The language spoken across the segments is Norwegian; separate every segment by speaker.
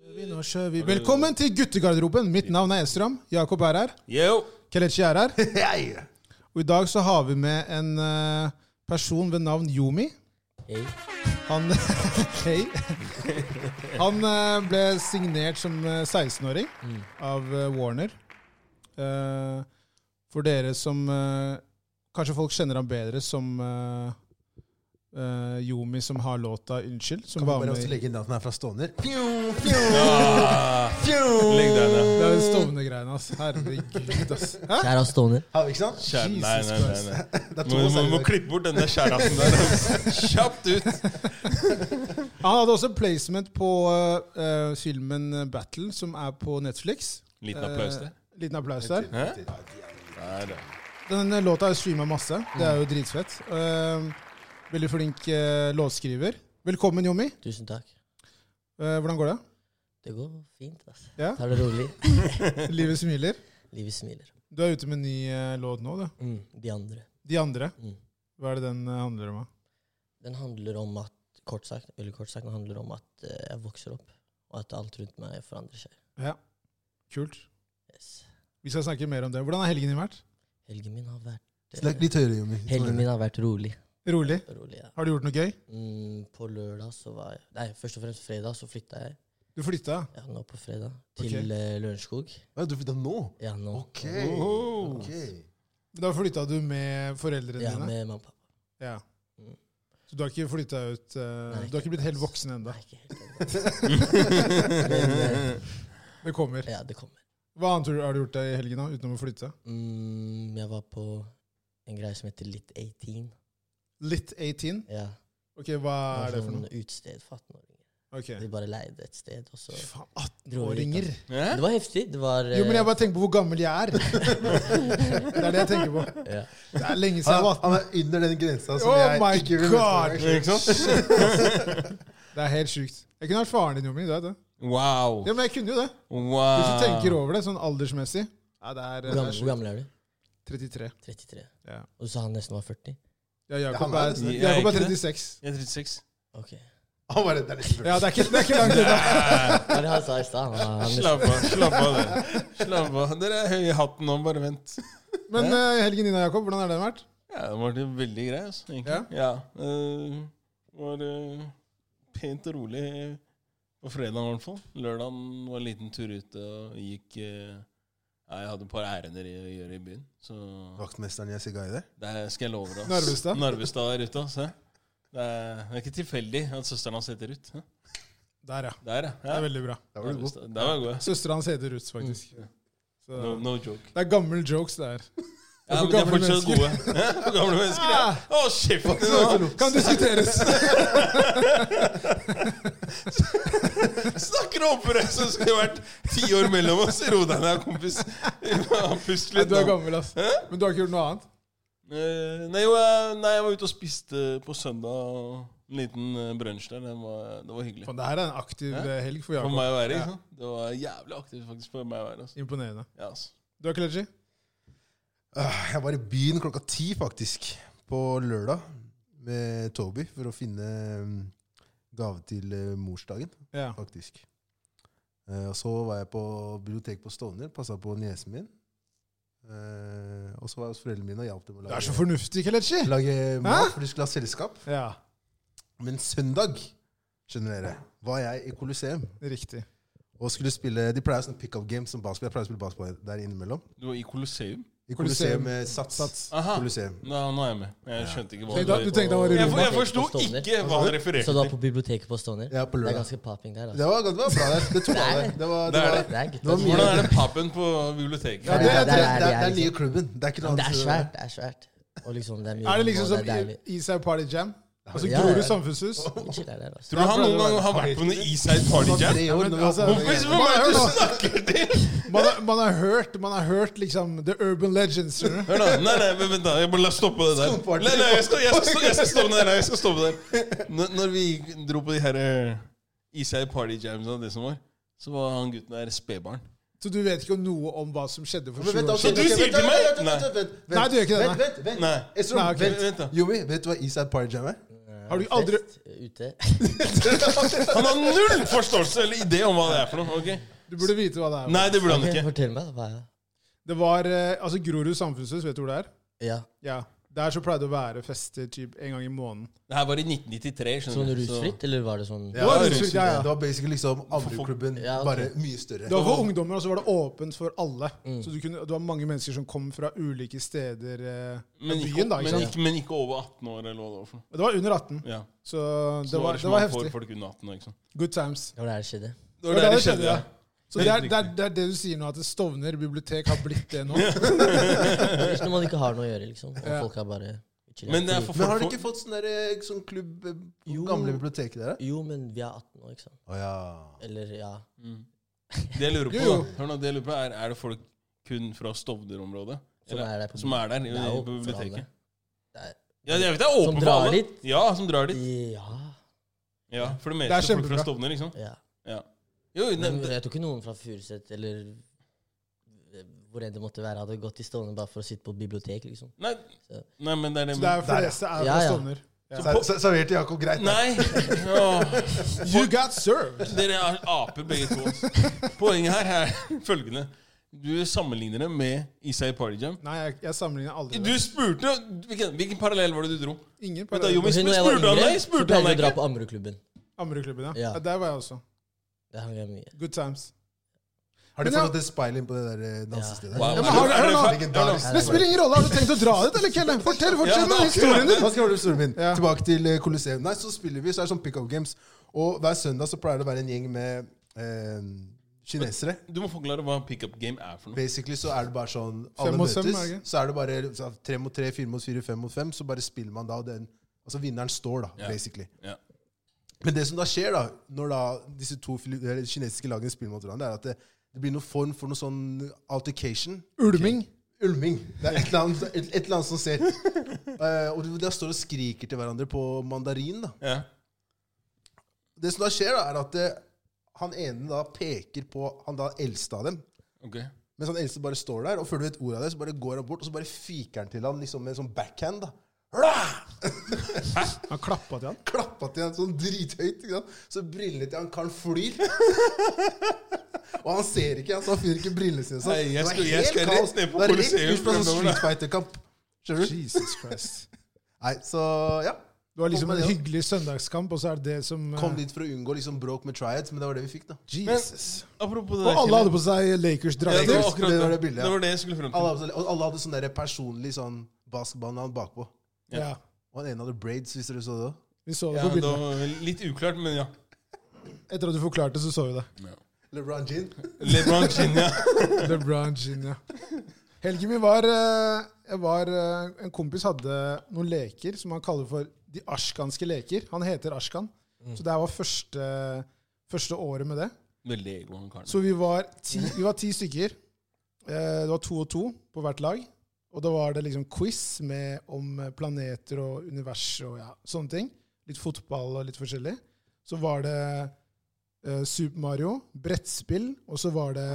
Speaker 1: nå kjører vi. Velkommen til guttegarderoben. Mitt navn er Estrøm. Jakob er her.
Speaker 2: Yo!
Speaker 1: Kelechi er her.
Speaker 3: Hei!
Speaker 1: Og i dag så har vi med en eh, person ved navn Yumi.
Speaker 2: Hey.
Speaker 1: Han Hei. Han eh, ble signert som eh, 16-åring
Speaker 3: Mm.
Speaker 1: av eh, Warner. Eh, for dere som eh, Kanskje folk kjenner ham bedre som eh, eh, Yumi, som har låta 'Unnskyld'. Som
Speaker 3: Kan vi
Speaker 1: var
Speaker 3: bare
Speaker 1: med i
Speaker 3: også legge inn at den er fra Stovner?
Speaker 2: Ah, legg den, ja.
Speaker 1: Det er den Stovner-greiene, ass. Herregud, ass. Hæ?
Speaker 4: Kjære Stoner.
Speaker 3: Har vi ikke sant?
Speaker 2: Kjære, nei, nei, nei. nei. Må,
Speaker 3: Det er
Speaker 2: må,
Speaker 3: to
Speaker 2: må
Speaker 3: sanger.
Speaker 2: klippe bort denne kjæresten der. Kjapt ut!
Speaker 1: Han hadde også placement på eh, filmen Battle, som er på Netflix.
Speaker 2: Liten applaus der.
Speaker 1: Eh, liten applaus der.
Speaker 2: Hæ? Nei, da.
Speaker 1: Den eh, låta er streama masse. Det er jo dritfett. Eh, veldig flink eh, låtskriver. Velkommen, Yomi.
Speaker 4: Tusen takk.
Speaker 1: Eh, hvordan går det?
Speaker 4: Det går fint. ass.
Speaker 1: Ja?
Speaker 4: Tar det rolig.
Speaker 1: Livet smiler.
Speaker 4: Livet smiler.
Speaker 1: Du er ute med en ny eh, låt nå, du.
Speaker 4: De andre.
Speaker 1: De andre.
Speaker 4: Mm.
Speaker 1: Hva er det den eh, handler om? da?
Speaker 4: Den handler om at Kort sagt, eller kort sagt, den handler om at eh, jeg vokser opp, og at alt rundt meg forandrer seg.
Speaker 1: Ja. Kult.
Speaker 4: Yes.
Speaker 1: Vi skal snakke mer om det. Hvordan har helgen din vært?
Speaker 4: Helgen min har vært
Speaker 3: Snakk
Speaker 4: eh,
Speaker 3: litt høyere, Jommi.
Speaker 4: Helgen min har vært rolig.
Speaker 1: Rolig?
Speaker 4: rolig ja.
Speaker 1: Har du gjort noe gøy?
Speaker 4: mm, på lørdag så var jeg Nei, først og fremst fredag så flytta jeg.
Speaker 1: Du flytta?
Speaker 4: Ja, nå på fredag.
Speaker 1: Ok.
Speaker 4: Til eh, Lørenskog.
Speaker 3: Hva, Du flytta nå?
Speaker 4: Ja, nå.
Speaker 3: Ok.
Speaker 1: Oh.
Speaker 3: Ok.
Speaker 1: Da flytta du med foreldrene
Speaker 4: Ja,
Speaker 1: dine?
Speaker 4: med mamma og pappa.
Speaker 1: Ja.
Speaker 4: Mm.
Speaker 1: Så du har ikke flytta ut eh,
Speaker 4: Nei,
Speaker 1: Du har ikke blitt helt
Speaker 4: ass.
Speaker 1: voksen ennå?
Speaker 4: Nei, ikke helt ennå. Men eh,
Speaker 1: Det kommer.
Speaker 4: ja, det kommer.
Speaker 1: Hva annet har du gjort i helgen da, utenom å flytte?
Speaker 4: Mm, jeg var på en greie som heter Litt 18.
Speaker 1: Litt 18?
Speaker 4: Ja.
Speaker 1: Ok, hva
Speaker 4: var
Speaker 1: er det for
Speaker 4: sånn
Speaker 1: noe?
Speaker 4: Utsted for 18-åringer.
Speaker 1: Ok.
Speaker 4: Vi bare leide et sted, og så
Speaker 1: Fy Faen,
Speaker 4: dro vi
Speaker 1: 18-åringer!
Speaker 4: dit,
Speaker 2: Hæ?
Speaker 4: da. Det var heftig. Det var
Speaker 1: Jo, men jeg
Speaker 4: eh,
Speaker 1: bare tenker på hvor gammel jeg er. Det er det jeg tenker på.
Speaker 4: eh, ja.
Speaker 1: Det er lenge siden jeg
Speaker 3: Han,
Speaker 1: var 18.
Speaker 3: han er under den grensa som
Speaker 1: Oh my
Speaker 3: jeg ikke vil
Speaker 1: God.
Speaker 3: møte.
Speaker 2: Ikke sant?
Speaker 1: Det er helt sjukt. Jeg kunne vært faren din, Jomi. Det er det.
Speaker 2: Wow.
Speaker 1: Ja, men jeg kunne jo det.
Speaker 2: Wow.
Speaker 1: Hvis du tenker over det sånn aldersmessig. Ja, det er,
Speaker 4: hvor,
Speaker 1: det er
Speaker 4: gammel, hvor
Speaker 1: sjukt.
Speaker 4: gammel er du?
Speaker 1: 33.
Speaker 4: 33.
Speaker 1: Ja.
Speaker 4: Og du sa han nesten var 40?
Speaker 1: Ja, Jakob
Speaker 3: Ja, han
Speaker 1: er,
Speaker 3: er
Speaker 1: Jakob
Speaker 3: det.
Speaker 1: er
Speaker 2: Jeg er ikke
Speaker 1: 36.
Speaker 2: Jeg er 36.
Speaker 4: Ok.
Speaker 3: Han bare, det er litt
Speaker 1: Ja, det er ikke, det er ikke langt unna.
Speaker 4: Hva er det han sa i stad? Han var- han nesten-
Speaker 2: Slapp av. Slapp av, dere. Slapp av. Dere er høye i hatten nå, bare vent.
Speaker 1: Men eh, helgen din, Jakob, hvordan har den vært?
Speaker 2: Ja, det var det veldig grei, altså, egentlig. Ja. eh, var eh, pent og rolig på fredagen, i hvert fall. Lørdagen var en liten tur ute og gikk eh, ja, Jeg hadde et par ærender i- å gjøre i byen, så
Speaker 3: Vaktmesteren jeg sigga i det.
Speaker 2: der skal jeg love deg. ass.
Speaker 1: Narvestad?
Speaker 2: Narvestad der ute, altså. Det er, det er ikke tilfeldig at søsteren hans heter Ruth. hæ?
Speaker 1: Der, ja.
Speaker 2: Der, ja.
Speaker 1: Det
Speaker 2: ja.
Speaker 1: er veldig bra.
Speaker 3: Der var du god.
Speaker 2: Narvestad. Der var jeg god. ass.
Speaker 1: Søstera hans heter Ruth, faktisk.
Speaker 2: Mm.
Speaker 1: Så,
Speaker 2: No, no joke.
Speaker 1: det er gammel jokes, det her. for
Speaker 2: Ja, men de er
Speaker 1: gamle
Speaker 2: fortsatt gode. Hæ? For gamle mennesker, ja.
Speaker 3: Ah!
Speaker 2: Å, shit, faktisk.
Speaker 1: Kan diskuteres!
Speaker 2: Snakker om opprør som skulle vært ti år mellom oss. Ro deg ned, kompis. Ja, Pust
Speaker 1: Nei,
Speaker 2: litt.
Speaker 1: du er
Speaker 2: nå.
Speaker 1: gammel, ass. Men du har ikke gjort noe annet?
Speaker 2: Eh, Nei, jo, jeg, nei, jeg var ute og spiste på søndag. En liten eh, brunsj der. Det var, det var hyggelig.
Speaker 1: Faen, det her er en aktiv
Speaker 2: Hæ?
Speaker 1: eh, helg for
Speaker 2: For
Speaker 1: Jakob.
Speaker 2: meg å være. ikke sant? Det var jævlig aktivt faktisk for meg å være. Altså.
Speaker 1: Imponerende.
Speaker 2: Ja, altså.
Speaker 1: Du har Kelechi?
Speaker 3: Ah, Jeg var i byen klokka ti, faktisk, på lørdag med Toby for å finne mm, gave til eh, morsdagen,
Speaker 1: Ja.
Speaker 3: faktisk. Eh, Og så var jeg på biblioteket på Stovner, passa på niesen min. Eh, Og så var jeg hos foreldrene mine og hjalp dem å
Speaker 1: Du er så
Speaker 3: lage,
Speaker 1: fornuftig, Kelechi!
Speaker 3: lage mat, for de skulle ha selskap.
Speaker 1: Ja,
Speaker 3: Men søndag, skjønner dere, var jeg i Colosseum
Speaker 1: riktig.
Speaker 3: og skulle spille De pleier å ha sånn pick-up game som basket. Jeg pleier å spille basket der innimellom.
Speaker 2: Du var i Colosseum?
Speaker 3: I Colosseum med
Speaker 1: Sats.
Speaker 3: Sats.
Speaker 2: Aha.
Speaker 3: Colosseum.
Speaker 2: Nå, nå er jeg med. Jeg skjønte ikke hva
Speaker 1: Tenkte, du
Speaker 2: det
Speaker 1: tenkte han var i
Speaker 2: Jeg,
Speaker 1: Roma?
Speaker 2: jeg forsto ikke hva han
Speaker 4: Så du
Speaker 2: refererte
Speaker 4: var på biblioteket på Stovner?
Speaker 3: Ja, på
Speaker 4: Det er
Speaker 3: lørdag.
Speaker 4: ganske popping der,
Speaker 3: Det
Speaker 4: altså.
Speaker 3: var, det var bra der. Det tok av deg. Det var, det
Speaker 2: Det er
Speaker 3: var,
Speaker 2: det.
Speaker 4: Det er
Speaker 3: Det var
Speaker 4: gutta.
Speaker 3: mye.
Speaker 2: Hvordan er den puben på biblioteket?
Speaker 3: Ja, det, er- det, er-
Speaker 4: Der er
Speaker 3: det,
Speaker 4: de,
Speaker 3: er- det er
Speaker 4: liksom.
Speaker 3: nye klubben. Det er ikke noe
Speaker 4: Det er
Speaker 3: annet.
Speaker 4: svært. Det er svært. Og liksom, det er mye
Speaker 1: Er det liksom
Speaker 4: rom, og
Speaker 1: som
Speaker 4: det er deilig.
Speaker 1: i- Isau Party Jam? Altså
Speaker 4: Ja,
Speaker 1: Grorud
Speaker 4: ja.
Speaker 1: samfunnshus?
Speaker 4: Chill er der, altså.
Speaker 2: Tror du han noen gang har vært på noe Eastside Party
Speaker 3: Det var
Speaker 2: Jam?
Speaker 3: tre år,
Speaker 1: Men,
Speaker 3: når vi var
Speaker 1: altså,
Speaker 3: på-
Speaker 2: Kompis, hvem er det du snakker til?
Speaker 1: Man har, man har hørt man har hørt liksom The Urban Legends. skjønner du?
Speaker 2: Hør da, nei, nei, men vent da, jeg må la stoppe det der.
Speaker 3: Skumparty.
Speaker 2: Nei, nei, jeg skal, jeg skal, jeg skal stoppe det der, jeg skal stoppe det der. Når, når vi dro på de her eh, Isai Party Jams og det som var, så var han gutten der spedbarn.
Speaker 1: Så du vet ikke noe om hva som skjedde for
Speaker 3: Men
Speaker 1: sju
Speaker 3: vent,
Speaker 1: år
Speaker 4: altså,
Speaker 3: ok,
Speaker 2: Så du
Speaker 3: ok,
Speaker 2: sier
Speaker 3: vent,
Speaker 2: til
Speaker 3: vent,
Speaker 2: meg-
Speaker 3: vent, vent,
Speaker 2: Nei.
Speaker 3: vent, vent, vent.
Speaker 1: Nei, du gjør ikke det,
Speaker 3: Vent, vent, vent.
Speaker 2: Nei.
Speaker 3: Esrom,
Speaker 1: Nei, ok.
Speaker 3: vent.
Speaker 2: Vent da.
Speaker 3: Jumi, vet du hva Eastside Party Jam er?
Speaker 1: siden? Har du aldri-
Speaker 4: fest ute.
Speaker 2: Han har null forståelse eller idé om hva det er for noe. ok?
Speaker 1: Du burde vite hva det er.
Speaker 2: Nei, det burde han
Speaker 4: Ok,
Speaker 2: ikke.
Speaker 4: Fortell meg, hva er det?
Speaker 1: Det var eh, altså Grorud samfunnshus, vet du hvor det er?
Speaker 4: Ja,
Speaker 1: Ja. Der så pleide det å være fester typ en gang i måneden.
Speaker 2: Det her var i 1993.
Speaker 4: Sånn
Speaker 2: skjønner du. så-
Speaker 4: rusfritt, eller var det sånn
Speaker 3: Ja,
Speaker 1: Var det
Speaker 3: det,
Speaker 1: så- ja, ja.
Speaker 3: var basically liksom Ammerudklubben,
Speaker 4: Ja, ok.
Speaker 3: bare mye større.
Speaker 1: Det var for ungdommer, og så var det åpent for alle. Så du kunne, det var mange mennesker som kom fra ulike steder eh,
Speaker 2: Men
Speaker 1: i
Speaker 2: ikke,
Speaker 1: byen. da, ikke
Speaker 2: men,
Speaker 1: sant?
Speaker 2: ikke, men ikke over 18 år, eller hva det var for noe.
Speaker 1: Men Det var under 18,
Speaker 2: Ja.
Speaker 1: så
Speaker 2: Så
Speaker 1: det var,
Speaker 2: ikke
Speaker 1: det var
Speaker 2: man får
Speaker 1: heftig.
Speaker 2: folk under 18 år, ikke sant.
Speaker 1: Good times.
Speaker 4: Det var det her skjedde.
Speaker 2: Det
Speaker 1: var
Speaker 2: var der
Speaker 1: der
Speaker 2: det skjedde,
Speaker 1: det
Speaker 2: ja.
Speaker 1: skjedde, Så det er,
Speaker 2: Helt
Speaker 1: det, er, det er det du sier nå, at Stovner bibliotek har blitt det nå.
Speaker 4: Hvis når man ikke har noe å gjøre, liksom. Og
Speaker 1: Ja.
Speaker 4: folk er bare chillet.
Speaker 2: Men det er for
Speaker 3: Men har
Speaker 2: folk
Speaker 3: du ikke fått sånn der, eh, sånn klubb eh, på
Speaker 4: Jo.
Speaker 3: gamle biblioteket der? da?
Speaker 4: Jo, men vi er 18 nå, ikke sant.
Speaker 3: Å ja.
Speaker 4: Eller ja.
Speaker 2: Det jeg lurer på,
Speaker 1: Jo,
Speaker 2: da,
Speaker 1: jo.
Speaker 2: hør nå, det jeg lurer på er, er det folk kun fra Stovner-området?
Speaker 4: Som
Speaker 2: Eller-
Speaker 4: er der på
Speaker 2: Som er der i,
Speaker 4: Det er jo
Speaker 2: på biblioteket?
Speaker 4: for alle.
Speaker 2: Ja, jeg vet det er åpen
Speaker 4: Som
Speaker 2: for
Speaker 4: drar
Speaker 2: alle.
Speaker 4: dit?
Speaker 2: Ja, som drar
Speaker 4: Det
Speaker 2: dit.
Speaker 4: er- Ja.
Speaker 2: Ja, for det
Speaker 1: Det er
Speaker 2: meste folk fra
Speaker 1: kjempebra.
Speaker 2: Stovner, liksom.
Speaker 4: ja.
Speaker 2: Ja. Jo, jo,
Speaker 4: Men
Speaker 2: det,
Speaker 4: jeg tror ikke noen fra Furuset eller eh, hvor enn det måtte være, hadde gått i Stovner bare for å sitte på et bibliotek, liksom.
Speaker 2: Nei, nei, men det er det
Speaker 1: Så det er
Speaker 3: Der, ja.
Speaker 1: fleste er
Speaker 4: Ja,
Speaker 1: fra
Speaker 4: ja.
Speaker 1: Stovner. Ja.
Speaker 3: Ser- ser- Serverte Jakob greit? da?
Speaker 2: Nei! Åh,
Speaker 1: You got served!
Speaker 2: dere er aper begge to. ass. Poenget her er følgende. Du sammenligner det med Isai Party Jam.
Speaker 1: Nei, jeg, jeg sammenligner aldri.
Speaker 2: Du
Speaker 1: det.
Speaker 2: spurte Hvilken, hvilken parallell var det du dro?
Speaker 1: Ingen
Speaker 2: Vet du, jo,
Speaker 1: på
Speaker 2: men
Speaker 4: Husker når jeg var
Speaker 2: spurte han deg?
Speaker 4: yngre, så
Speaker 2: Spurte han
Speaker 4: pleide vi å
Speaker 2: deg
Speaker 4: dra
Speaker 2: ikke?
Speaker 4: på Ammerudklubben.
Speaker 1: Ammerudklubben, ja.
Speaker 4: Ja.
Speaker 1: ja. Der var jeg også.
Speaker 4: Der hang jeg mye.
Speaker 1: Good times.
Speaker 3: Har de
Speaker 1: Men ja.
Speaker 3: fortsatt et speil inn på det der eh, dansestedet?
Speaker 2: Wow,
Speaker 1: Ja, men
Speaker 2: er
Speaker 1: har
Speaker 2: du-
Speaker 1: du-
Speaker 2: er
Speaker 1: hør
Speaker 2: du
Speaker 1: nå.
Speaker 2: fa-
Speaker 3: Legendarisk.
Speaker 1: Det spiller ingen rolle! Har du tenkt å dra dit, eller, Kellen? Fortell, fortell
Speaker 2: Ja,
Speaker 1: meg
Speaker 2: da-
Speaker 1: historien din!
Speaker 3: Hva skal jeg holde historien min?
Speaker 1: Ja.
Speaker 3: Tilbake til eh, Colosseum. Nei, så spiller vi, så er det sånn pick-up games. Og hver søndag så pleier det å være en gjeng med eh, kinesere.
Speaker 2: Du må forklare hva pickup game er for noe.
Speaker 3: Basically så er det bare sånn Alle
Speaker 1: Fem mot
Speaker 3: møtes,
Speaker 1: fem, er det ikke?
Speaker 3: så er det bare så, tre mot tre, fire mot fire, fem mot fem. Så bare spiller man da, og den Altså vinneren står, da,
Speaker 2: Ja.
Speaker 3: basically.
Speaker 2: Ja.
Speaker 3: Men det som da skjer, da, når da disse to fili- eller kinesiske lagene spiller mot hverandre, er at det, det blir noen form for noe sånn altercation.
Speaker 1: Ulming.
Speaker 3: Ulming. Det er et eller annet, et, et eller annet som ser Eh, Og de- de står og skriker til hverandre på mandarin. da.
Speaker 2: Ja.
Speaker 3: Det som da skjer, da, er at eh, han ene da peker på han da eldste av dem.
Speaker 2: Ok.
Speaker 3: Mens han eldste bare står der, og før du vet ordet av det, så bare går han bort og så bare fiker han til han liksom med en sånn backhand. da. Hurra!
Speaker 1: Han klappa til han.
Speaker 3: klappa til han sånn drithøyt. Ikke sant? Så brillene til han karen flyr. og han ser ikke, altså, han fyrer ikke brillene sine. Så.
Speaker 2: Nei, jeg skal- jeg skal rett ned på
Speaker 3: det var rett
Speaker 2: Colosseum
Speaker 3: ut fra sånn
Speaker 2: fremover, da.
Speaker 3: Street Fighter-kamp. Skjønner du?
Speaker 1: Jesus Christ.
Speaker 3: Nei, så ja.
Speaker 1: Det var liksom
Speaker 3: Kom
Speaker 1: en
Speaker 3: med det,
Speaker 1: hyggelig søndagskamp, og så er det det som eh,
Speaker 3: Kom dit for å unngå liksom bråk med triads, men det var det vi fikk, da.
Speaker 1: Jesus.
Speaker 2: Apropos det
Speaker 1: Og alle hadde
Speaker 2: Kjell.
Speaker 1: på seg
Speaker 2: Ja,
Speaker 1: Lakers-drakter.
Speaker 2: det,
Speaker 3: Lakers,
Speaker 2: var akkurat
Speaker 3: det var
Speaker 2: det,
Speaker 3: det bildet, ja.
Speaker 2: det var det jeg skulle frem til.
Speaker 3: Alle, hadde- og alle hadde sånn der personlig sånn basketballnavn bakpå.
Speaker 1: Ja.
Speaker 3: Og han ene hadde braids, hvis dere så det òg.
Speaker 1: Vi så det
Speaker 2: Ja,
Speaker 1: på
Speaker 2: Altså, det
Speaker 1: bildet.
Speaker 2: var litt uklart, men ja.
Speaker 1: Etter at du forklarte, så så vi det.
Speaker 3: LeBron Jean.
Speaker 2: LeBron James, ja.
Speaker 1: LeBron Jean, ja. Helgen min var, eh, jeg var eh, En kompis hadde noen leker som han kaller for de ashkanske leker. Han heter Ashkan. Så det her var første, første året med det.
Speaker 2: Veldig ego, han karen.
Speaker 1: Så vi var ti, vi var ti stykker. Eh, Det var to og to på hvert lag. Og da var det liksom quiz med, om planeter og univers og ja, sånne ting. Litt fotball og litt forskjellig. Så var det eh, Super Mario, brettspill, og så var det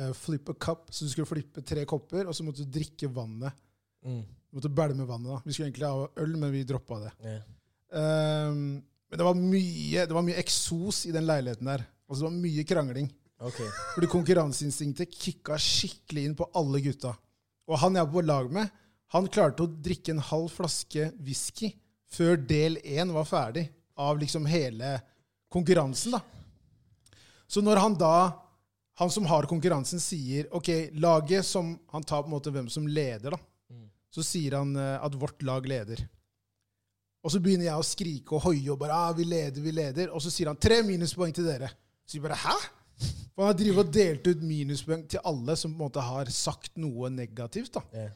Speaker 1: eh, flip a cup. Så du skulle flippe tre kopper, og så måtte du drikke vannet.
Speaker 4: Mm.
Speaker 1: Du måtte bælme vannet. da. Vi skulle egentlig ha øl, men vi droppa det.
Speaker 4: Ja.
Speaker 1: Ehm, men det var mye det var mye eksos i den leiligheten der. Altså Det var mye krangling.
Speaker 4: Ok.
Speaker 1: Fordi konkurranseinstinktet kicka skikkelig inn på alle gutta. Og han jeg var på lag med, han klarte å drikke en halv flaske whisky før del én var ferdig av liksom hele konkurransen, da. Så når han da, han som har konkurransen, sier OK, laget som Han tar på en måte hvem som leder, da. Så sier han eh, at vårt lag leder. Og så begynner jeg å skrike og hoie og bare ah, 'Vi leder, vi leder'. Og så sier han 'tre minuspoeng til dere'. Så vi bare 'hæ?' For han har drivet og delt ut minuspoeng til alle som på en måte har sagt noe negativt. da.
Speaker 4: Ja.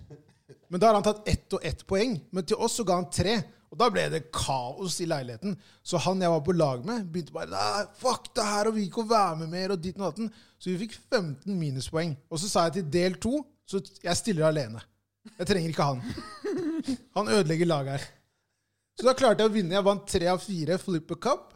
Speaker 1: Men da har han tatt ett og ett poeng. Men til oss så ga han tre. Og da ble det kaos i leiligheten. Så han jeg var på lag med, begynte bare Nei, fuck det her, og vi vil ikke være med mer, og ditt og datten. Så vi fikk 15 minuspoeng. Og så sa jeg til del to, så jeg stiller alene. Jeg trenger ikke han. Han ødelegger laget her. Så da klarte jeg å vinne. Jeg vant tre av fire Flipper Cup.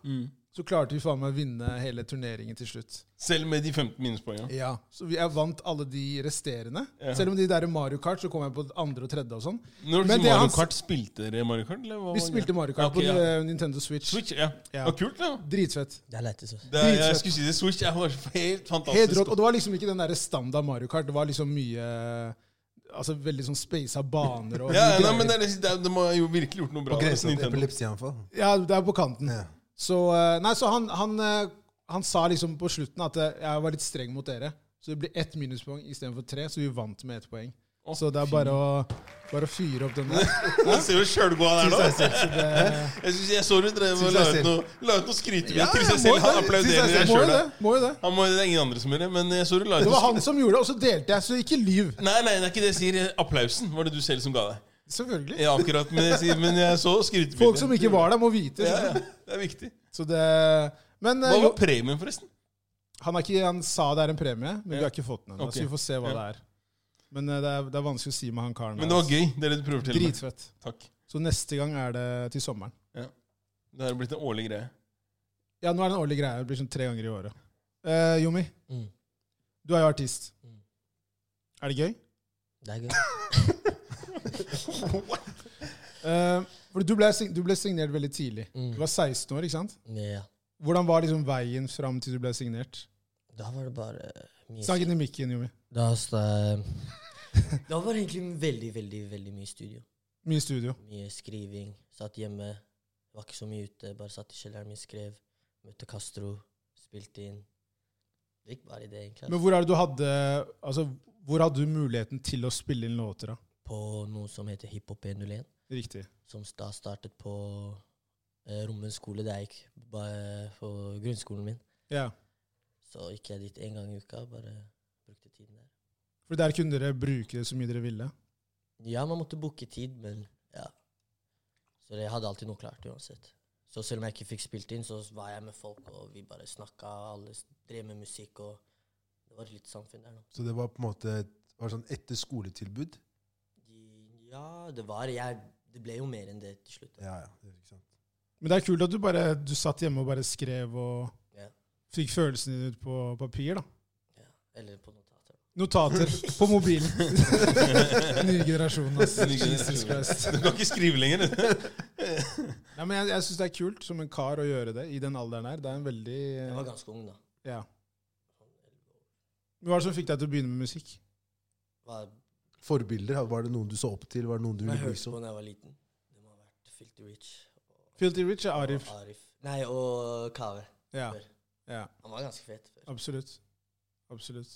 Speaker 1: så klarte vi faen meg å vinne hele turneringen til slutt.
Speaker 2: Selv med de 15 minuspoengene.
Speaker 1: Ja, Så vi- jeg vant alle de resterende.
Speaker 2: Ja.
Speaker 1: Selv om de der Mario Kart, så kom jeg på andre og tredje og sånn.
Speaker 2: Når
Speaker 1: Men
Speaker 2: du
Speaker 1: det er
Speaker 2: Mario
Speaker 1: hans-
Speaker 2: Kart, spilte dere Mario Kart? Eller hva
Speaker 1: Vi
Speaker 2: var
Speaker 1: spilte
Speaker 2: greia?
Speaker 1: Mario Kart
Speaker 2: Ok,
Speaker 1: på
Speaker 2: ja.
Speaker 1: eh, Nintendo Switch.
Speaker 2: Switch. Ja.
Speaker 1: Ja.
Speaker 2: Det var kult, da.
Speaker 1: Dritfett.
Speaker 4: Det er altså. lættis.
Speaker 2: Det er,
Speaker 1: Dritfett.
Speaker 2: jeg skulle si det. Switch er bare helt
Speaker 1: Helt
Speaker 2: fantastisk.
Speaker 1: rått. Og det var liksom ikke den der standard Mario Kart. Det var liksom mye Altså veldig sånn spasa baner og mye
Speaker 2: ja, nei,
Speaker 1: greier.
Speaker 2: men det, er- det, er- de har jo virkelig gjort noe bra.
Speaker 3: På grensen til
Speaker 2: Nintendo.
Speaker 3: epilepsianfall.
Speaker 1: Ja, det er på kanten.
Speaker 3: Ja.
Speaker 1: Så, eh, nei, så han, han, eh, han sa liksom på slutten at eh, jeg var litt streng mot dere. Så det blir ett minuspoeng istedenfor tre, så vi vant med ett poeng.
Speaker 2: Å,
Speaker 1: så det er bare å, bare å fyre opp den der.
Speaker 2: Jeg ser jo sjølgåa der nå.
Speaker 1: Så det,
Speaker 2: Jeg, synes, jeg så du drev og
Speaker 3: Til
Speaker 2: la ut
Speaker 3: seg selv.
Speaker 2: noe, la ut noe skrytebilde
Speaker 1: Ja,
Speaker 2: til
Speaker 1: jeg må
Speaker 2: seg selv. Han
Speaker 1: det.
Speaker 2: applauderer
Speaker 1: Til seg
Speaker 2: deg
Speaker 1: selv. Må
Speaker 2: sjøl.
Speaker 1: jo det. Må jo det.
Speaker 2: Han må, det er ingen andre som gjør det, men jeg så du la ut
Speaker 1: Det var
Speaker 2: noe
Speaker 1: han som gjorde det, og så delte jeg, så ikke lyv.
Speaker 2: Nei, nei, det er ikke det jeg sier. Applausen var det du selv som ga deg.
Speaker 1: Selvfølgelig.
Speaker 2: Ja, akkurat, men jeg, sier, men jeg så skrytebildet.
Speaker 1: Folk som ikke var der, må vite.
Speaker 2: ja, ja,
Speaker 1: skjønner du?
Speaker 2: Det er viktig.
Speaker 1: Så det Men eh,
Speaker 2: Hva
Speaker 1: jo,
Speaker 2: var premien, forresten?
Speaker 1: han, er ikke, han sa det er en premie, men vi
Speaker 2: Ja.
Speaker 1: har ikke fått den ennå.
Speaker 2: Ok.
Speaker 1: Så vi får se hva
Speaker 2: Ja.
Speaker 1: det er. Men eh, det er, det er vanskelig å si med han karen.
Speaker 2: Men
Speaker 1: der,
Speaker 2: det var gøy, det er det du prøver
Speaker 1: altså.
Speaker 2: til og med.
Speaker 1: Dritfett.
Speaker 2: Takk.
Speaker 1: Så neste gang er det til sommeren.
Speaker 2: Det har blitt en årlig greie.
Speaker 1: Ja, nå er det en årlig greie. Det blir sånn tre ganger i året. Eh, Jommi,
Speaker 4: Mm.
Speaker 1: du er jo artist.
Speaker 4: Mm.
Speaker 1: Er det gøy?
Speaker 4: Det er gøy.
Speaker 1: Eh, for du ble, sign- du ble signert veldig tidlig.
Speaker 4: Mm.
Speaker 1: Du var 16 år, ikke sant?
Speaker 4: Ja.
Speaker 1: Hvordan var liksom veien fram til du ble signert?
Speaker 4: Da var det bare mye
Speaker 1: Snakk inn i mikken, Jommi.
Speaker 4: Da sta- Da var det egentlig veldig, veldig, veldig mye studio.
Speaker 1: Mye studio.
Speaker 4: Mye skriving. Satt hjemme. Var ikke så mye ute. Bare satt i kjelleren min, skrev. Møtte Castro. Spilte inn. Det gikk bare i det, egentlig.
Speaker 1: Men hvor er det du hadde Altså, hvor hadde du muligheten til å spille inn låter, da?
Speaker 4: På noe som heter Hiphop 101.
Speaker 1: Riktig.
Speaker 4: Som da startet på eh, Rommen skole, der jeg gikk ba- på grunnskolen min.
Speaker 1: Ja.
Speaker 4: Så gikk jeg dit en gang i uka. Bare brukte tiden der.
Speaker 1: For der kunne dere bruke det så mye dere ville.
Speaker 4: Ja, man måtte booke tid, men ja. Så det jeg hadde alltid noe klart uansett. Så selv om jeg ikke fikk spilt inn, så var jeg med folk, og vi bare snakka, alle s- drev med musikk, og det var et lite samfunn der nå.
Speaker 3: Så det var på en måte et var sånn etter skoletilbud.
Speaker 4: De, ja, det var jeg, Det ble jo mer enn det til slutt. da.
Speaker 3: Ja, ja. det er Ikke sant.
Speaker 1: Men det er kult at du bare Du satt hjemme og bare skrev og
Speaker 4: Ja.
Speaker 1: fikk følelsene dine ut på papir, da.
Speaker 4: Ja. Eller på notater.
Speaker 1: Notater på mobilen. Ny generasjon, ass.
Speaker 2: Ny generasjon.
Speaker 1: Jesus Christ.
Speaker 2: Du kan ikke skrive lenger.
Speaker 1: Nei, men jeg, jeg syns det er kult som en kar å gjøre det i den alderen her. Det er en veldig
Speaker 4: Jeg var
Speaker 1: eh,
Speaker 4: ganske ung da. Sånn,
Speaker 1: Ja. Hva var det som fikk deg til å begynne med musikk?
Speaker 4: Var,
Speaker 3: Forbilder? Var det noen du så opp til? Var det noen du
Speaker 4: jeg
Speaker 3: ville bli
Speaker 4: hørte
Speaker 3: som?
Speaker 4: på da jeg var liten. Det må ha vært Filty Rich.
Speaker 1: Filty Rich er
Speaker 4: og
Speaker 1: Arif.
Speaker 4: Arif. Nei, og Kaveh.
Speaker 1: Ja. ja.
Speaker 4: Han var ganske fet før.
Speaker 1: Absolutt. Absolutt.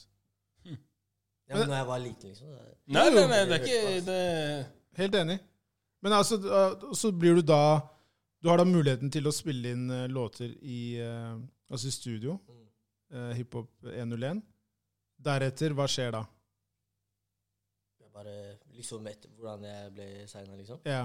Speaker 4: Ja, men når jeg var liten, liksom. Da,
Speaker 2: Nei, nei, nei, det er ikke det...
Speaker 1: Helt enig. Men altså, da- så blir du da Du har da muligheten til å spille inn eh, låter i eh, altså i studio,
Speaker 4: mm.
Speaker 1: eh, hiphop 101. Deretter, hva skjer da?
Speaker 4: Jeg bare liksom etter hvordan jeg ble signa, liksom.
Speaker 1: Ja.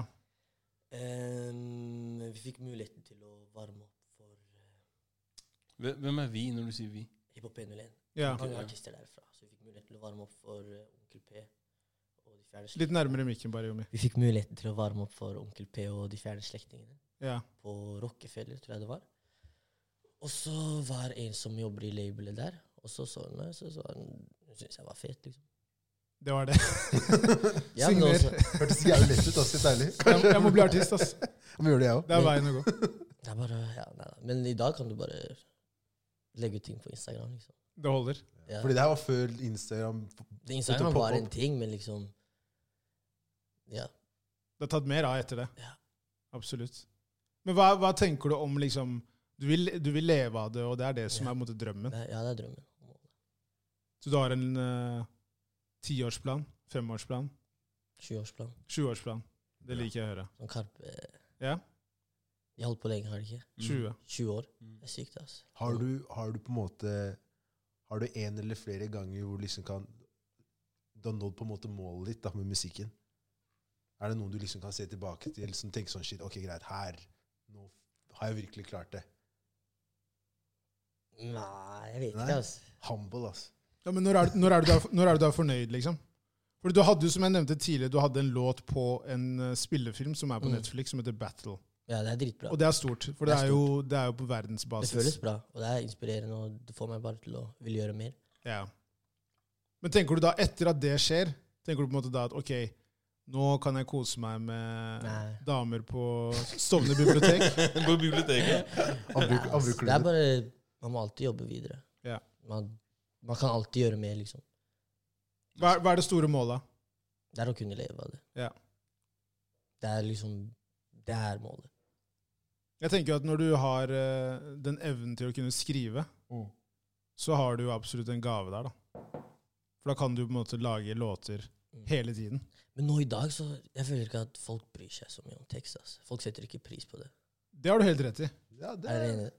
Speaker 4: Ehm, vi fikk muligheten til å varme opp for eh,
Speaker 2: Hvem er vi når du sier vi?
Speaker 4: hiphop 101.
Speaker 1: ja.
Speaker 4: Mange
Speaker 2: ja.
Speaker 4: artister derfra. Så vi fikk muligheten til å varme opp for eh, Onkel P og de fjerne
Speaker 1: Litt
Speaker 4: slektningene.
Speaker 1: nærmere mikken, bare, Jommi.
Speaker 4: Vi fikk muligheten til å varme opp for Onkel P og de fjerne slektningene
Speaker 1: Ja.
Speaker 4: på Rockefeller, tror jeg det var. Og så var det en som jobber i labelet der, og så så hun meg, så så hun Hun syntes jeg var fet, liksom.
Speaker 1: Det var det.
Speaker 4: Ja, men
Speaker 1: Signer.
Speaker 4: også-
Speaker 3: Hørtes jævlig lett ut, ass. Helt ærlig.
Speaker 1: Jeg, jeg må bli artist, ass.
Speaker 3: Jeg må gjøre det, jeg òg.
Speaker 1: Det er veien å gå.
Speaker 4: Det er bare ja, nei, nei. Men i dag kan du bare legge ut ting på Instagram, liksom.
Speaker 1: Det holder.
Speaker 4: Ja.
Speaker 3: Fordi det her var før Instagram.
Speaker 4: Det Instagram
Speaker 3: Slutt å
Speaker 4: var
Speaker 3: poppe
Speaker 4: en
Speaker 3: opp.
Speaker 4: ting, men liksom Ja.
Speaker 1: Det har tatt mer av etter det.
Speaker 4: Ja.
Speaker 1: Absolutt. Men hva, hva tenker du om liksom du vil, du vil leve av det, og det er det som
Speaker 4: Ja.
Speaker 1: er på en måte drømmen.
Speaker 4: Det, er- ja, det er drømmen.
Speaker 1: Så du har en eh, tiårsplan, femårsplan,
Speaker 4: 20-årsplan.
Speaker 1: sjuårsplan. Det liker jeg å høre.
Speaker 4: Som Karpe
Speaker 1: Ja.
Speaker 4: De eh, holdt på lenge, har de ikke?
Speaker 1: 20.
Speaker 4: 20 år.
Speaker 2: Mm.
Speaker 4: Det er sykt, altså.
Speaker 3: Har du, har du på en måte Har du en eller flere ganger hvor du liksom kan Du har nådd på en måte målet ditt da, med musikken? Er det noen du liksom kan se tilbake til som tenker sånn shit, ok, greit, her Nå har jeg virkelig klart det.
Speaker 4: Nei, jeg vet
Speaker 3: Nei.
Speaker 4: ikke, altså.
Speaker 3: Humble, ass.
Speaker 1: Ja, men når er, du- når, er du da, når er du da fornøyd, liksom? Fordi du hadde jo, som jeg nevnte tidligere, du hadde en låt på en eh, spillefilm som er på
Speaker 4: Mm.
Speaker 1: Netflix, som heter Battle.
Speaker 4: Ja, det er dritbra.
Speaker 1: Og det er stort, for det
Speaker 4: Det er
Speaker 1: er jo, det er jo på verdensbasis.
Speaker 4: Det føles bra, og det er inspirerende, og det får meg bare til å ville gjøre mer.
Speaker 1: Ja. Men tenker du da, etter at det skjer, tenker du på en måte da at ok, nå kan jeg kose meg med
Speaker 4: Nei.
Speaker 1: damer på Stovner bibliotek?
Speaker 2: På biblioteket.
Speaker 3: Han bruker, han bruker
Speaker 4: det er
Speaker 3: det.
Speaker 4: bare Man må alltid jobbe videre.
Speaker 1: Ja.
Speaker 4: Man, man kan alltid gjøre mer, liksom.
Speaker 1: Hva er, hva er det store målet?
Speaker 4: Det er å kunne leve av det.
Speaker 1: Ja.
Speaker 4: Det er liksom Det er målet.
Speaker 1: Jeg tenker at når du har eh, den evnen til å kunne skrive,
Speaker 2: Mm.
Speaker 1: så har du jo absolutt en gave der, da. For da kan du på en måte lage låter
Speaker 4: Mm.
Speaker 1: hele tiden.
Speaker 4: Men nå i dag så Jeg føler ikke at folk bryr seg så mye om tekst. ass. Folk setter ikke pris på det.
Speaker 1: Det har du helt rett i.
Speaker 3: Ja, det
Speaker 4: Er
Speaker 3: er,
Speaker 4: dere enige?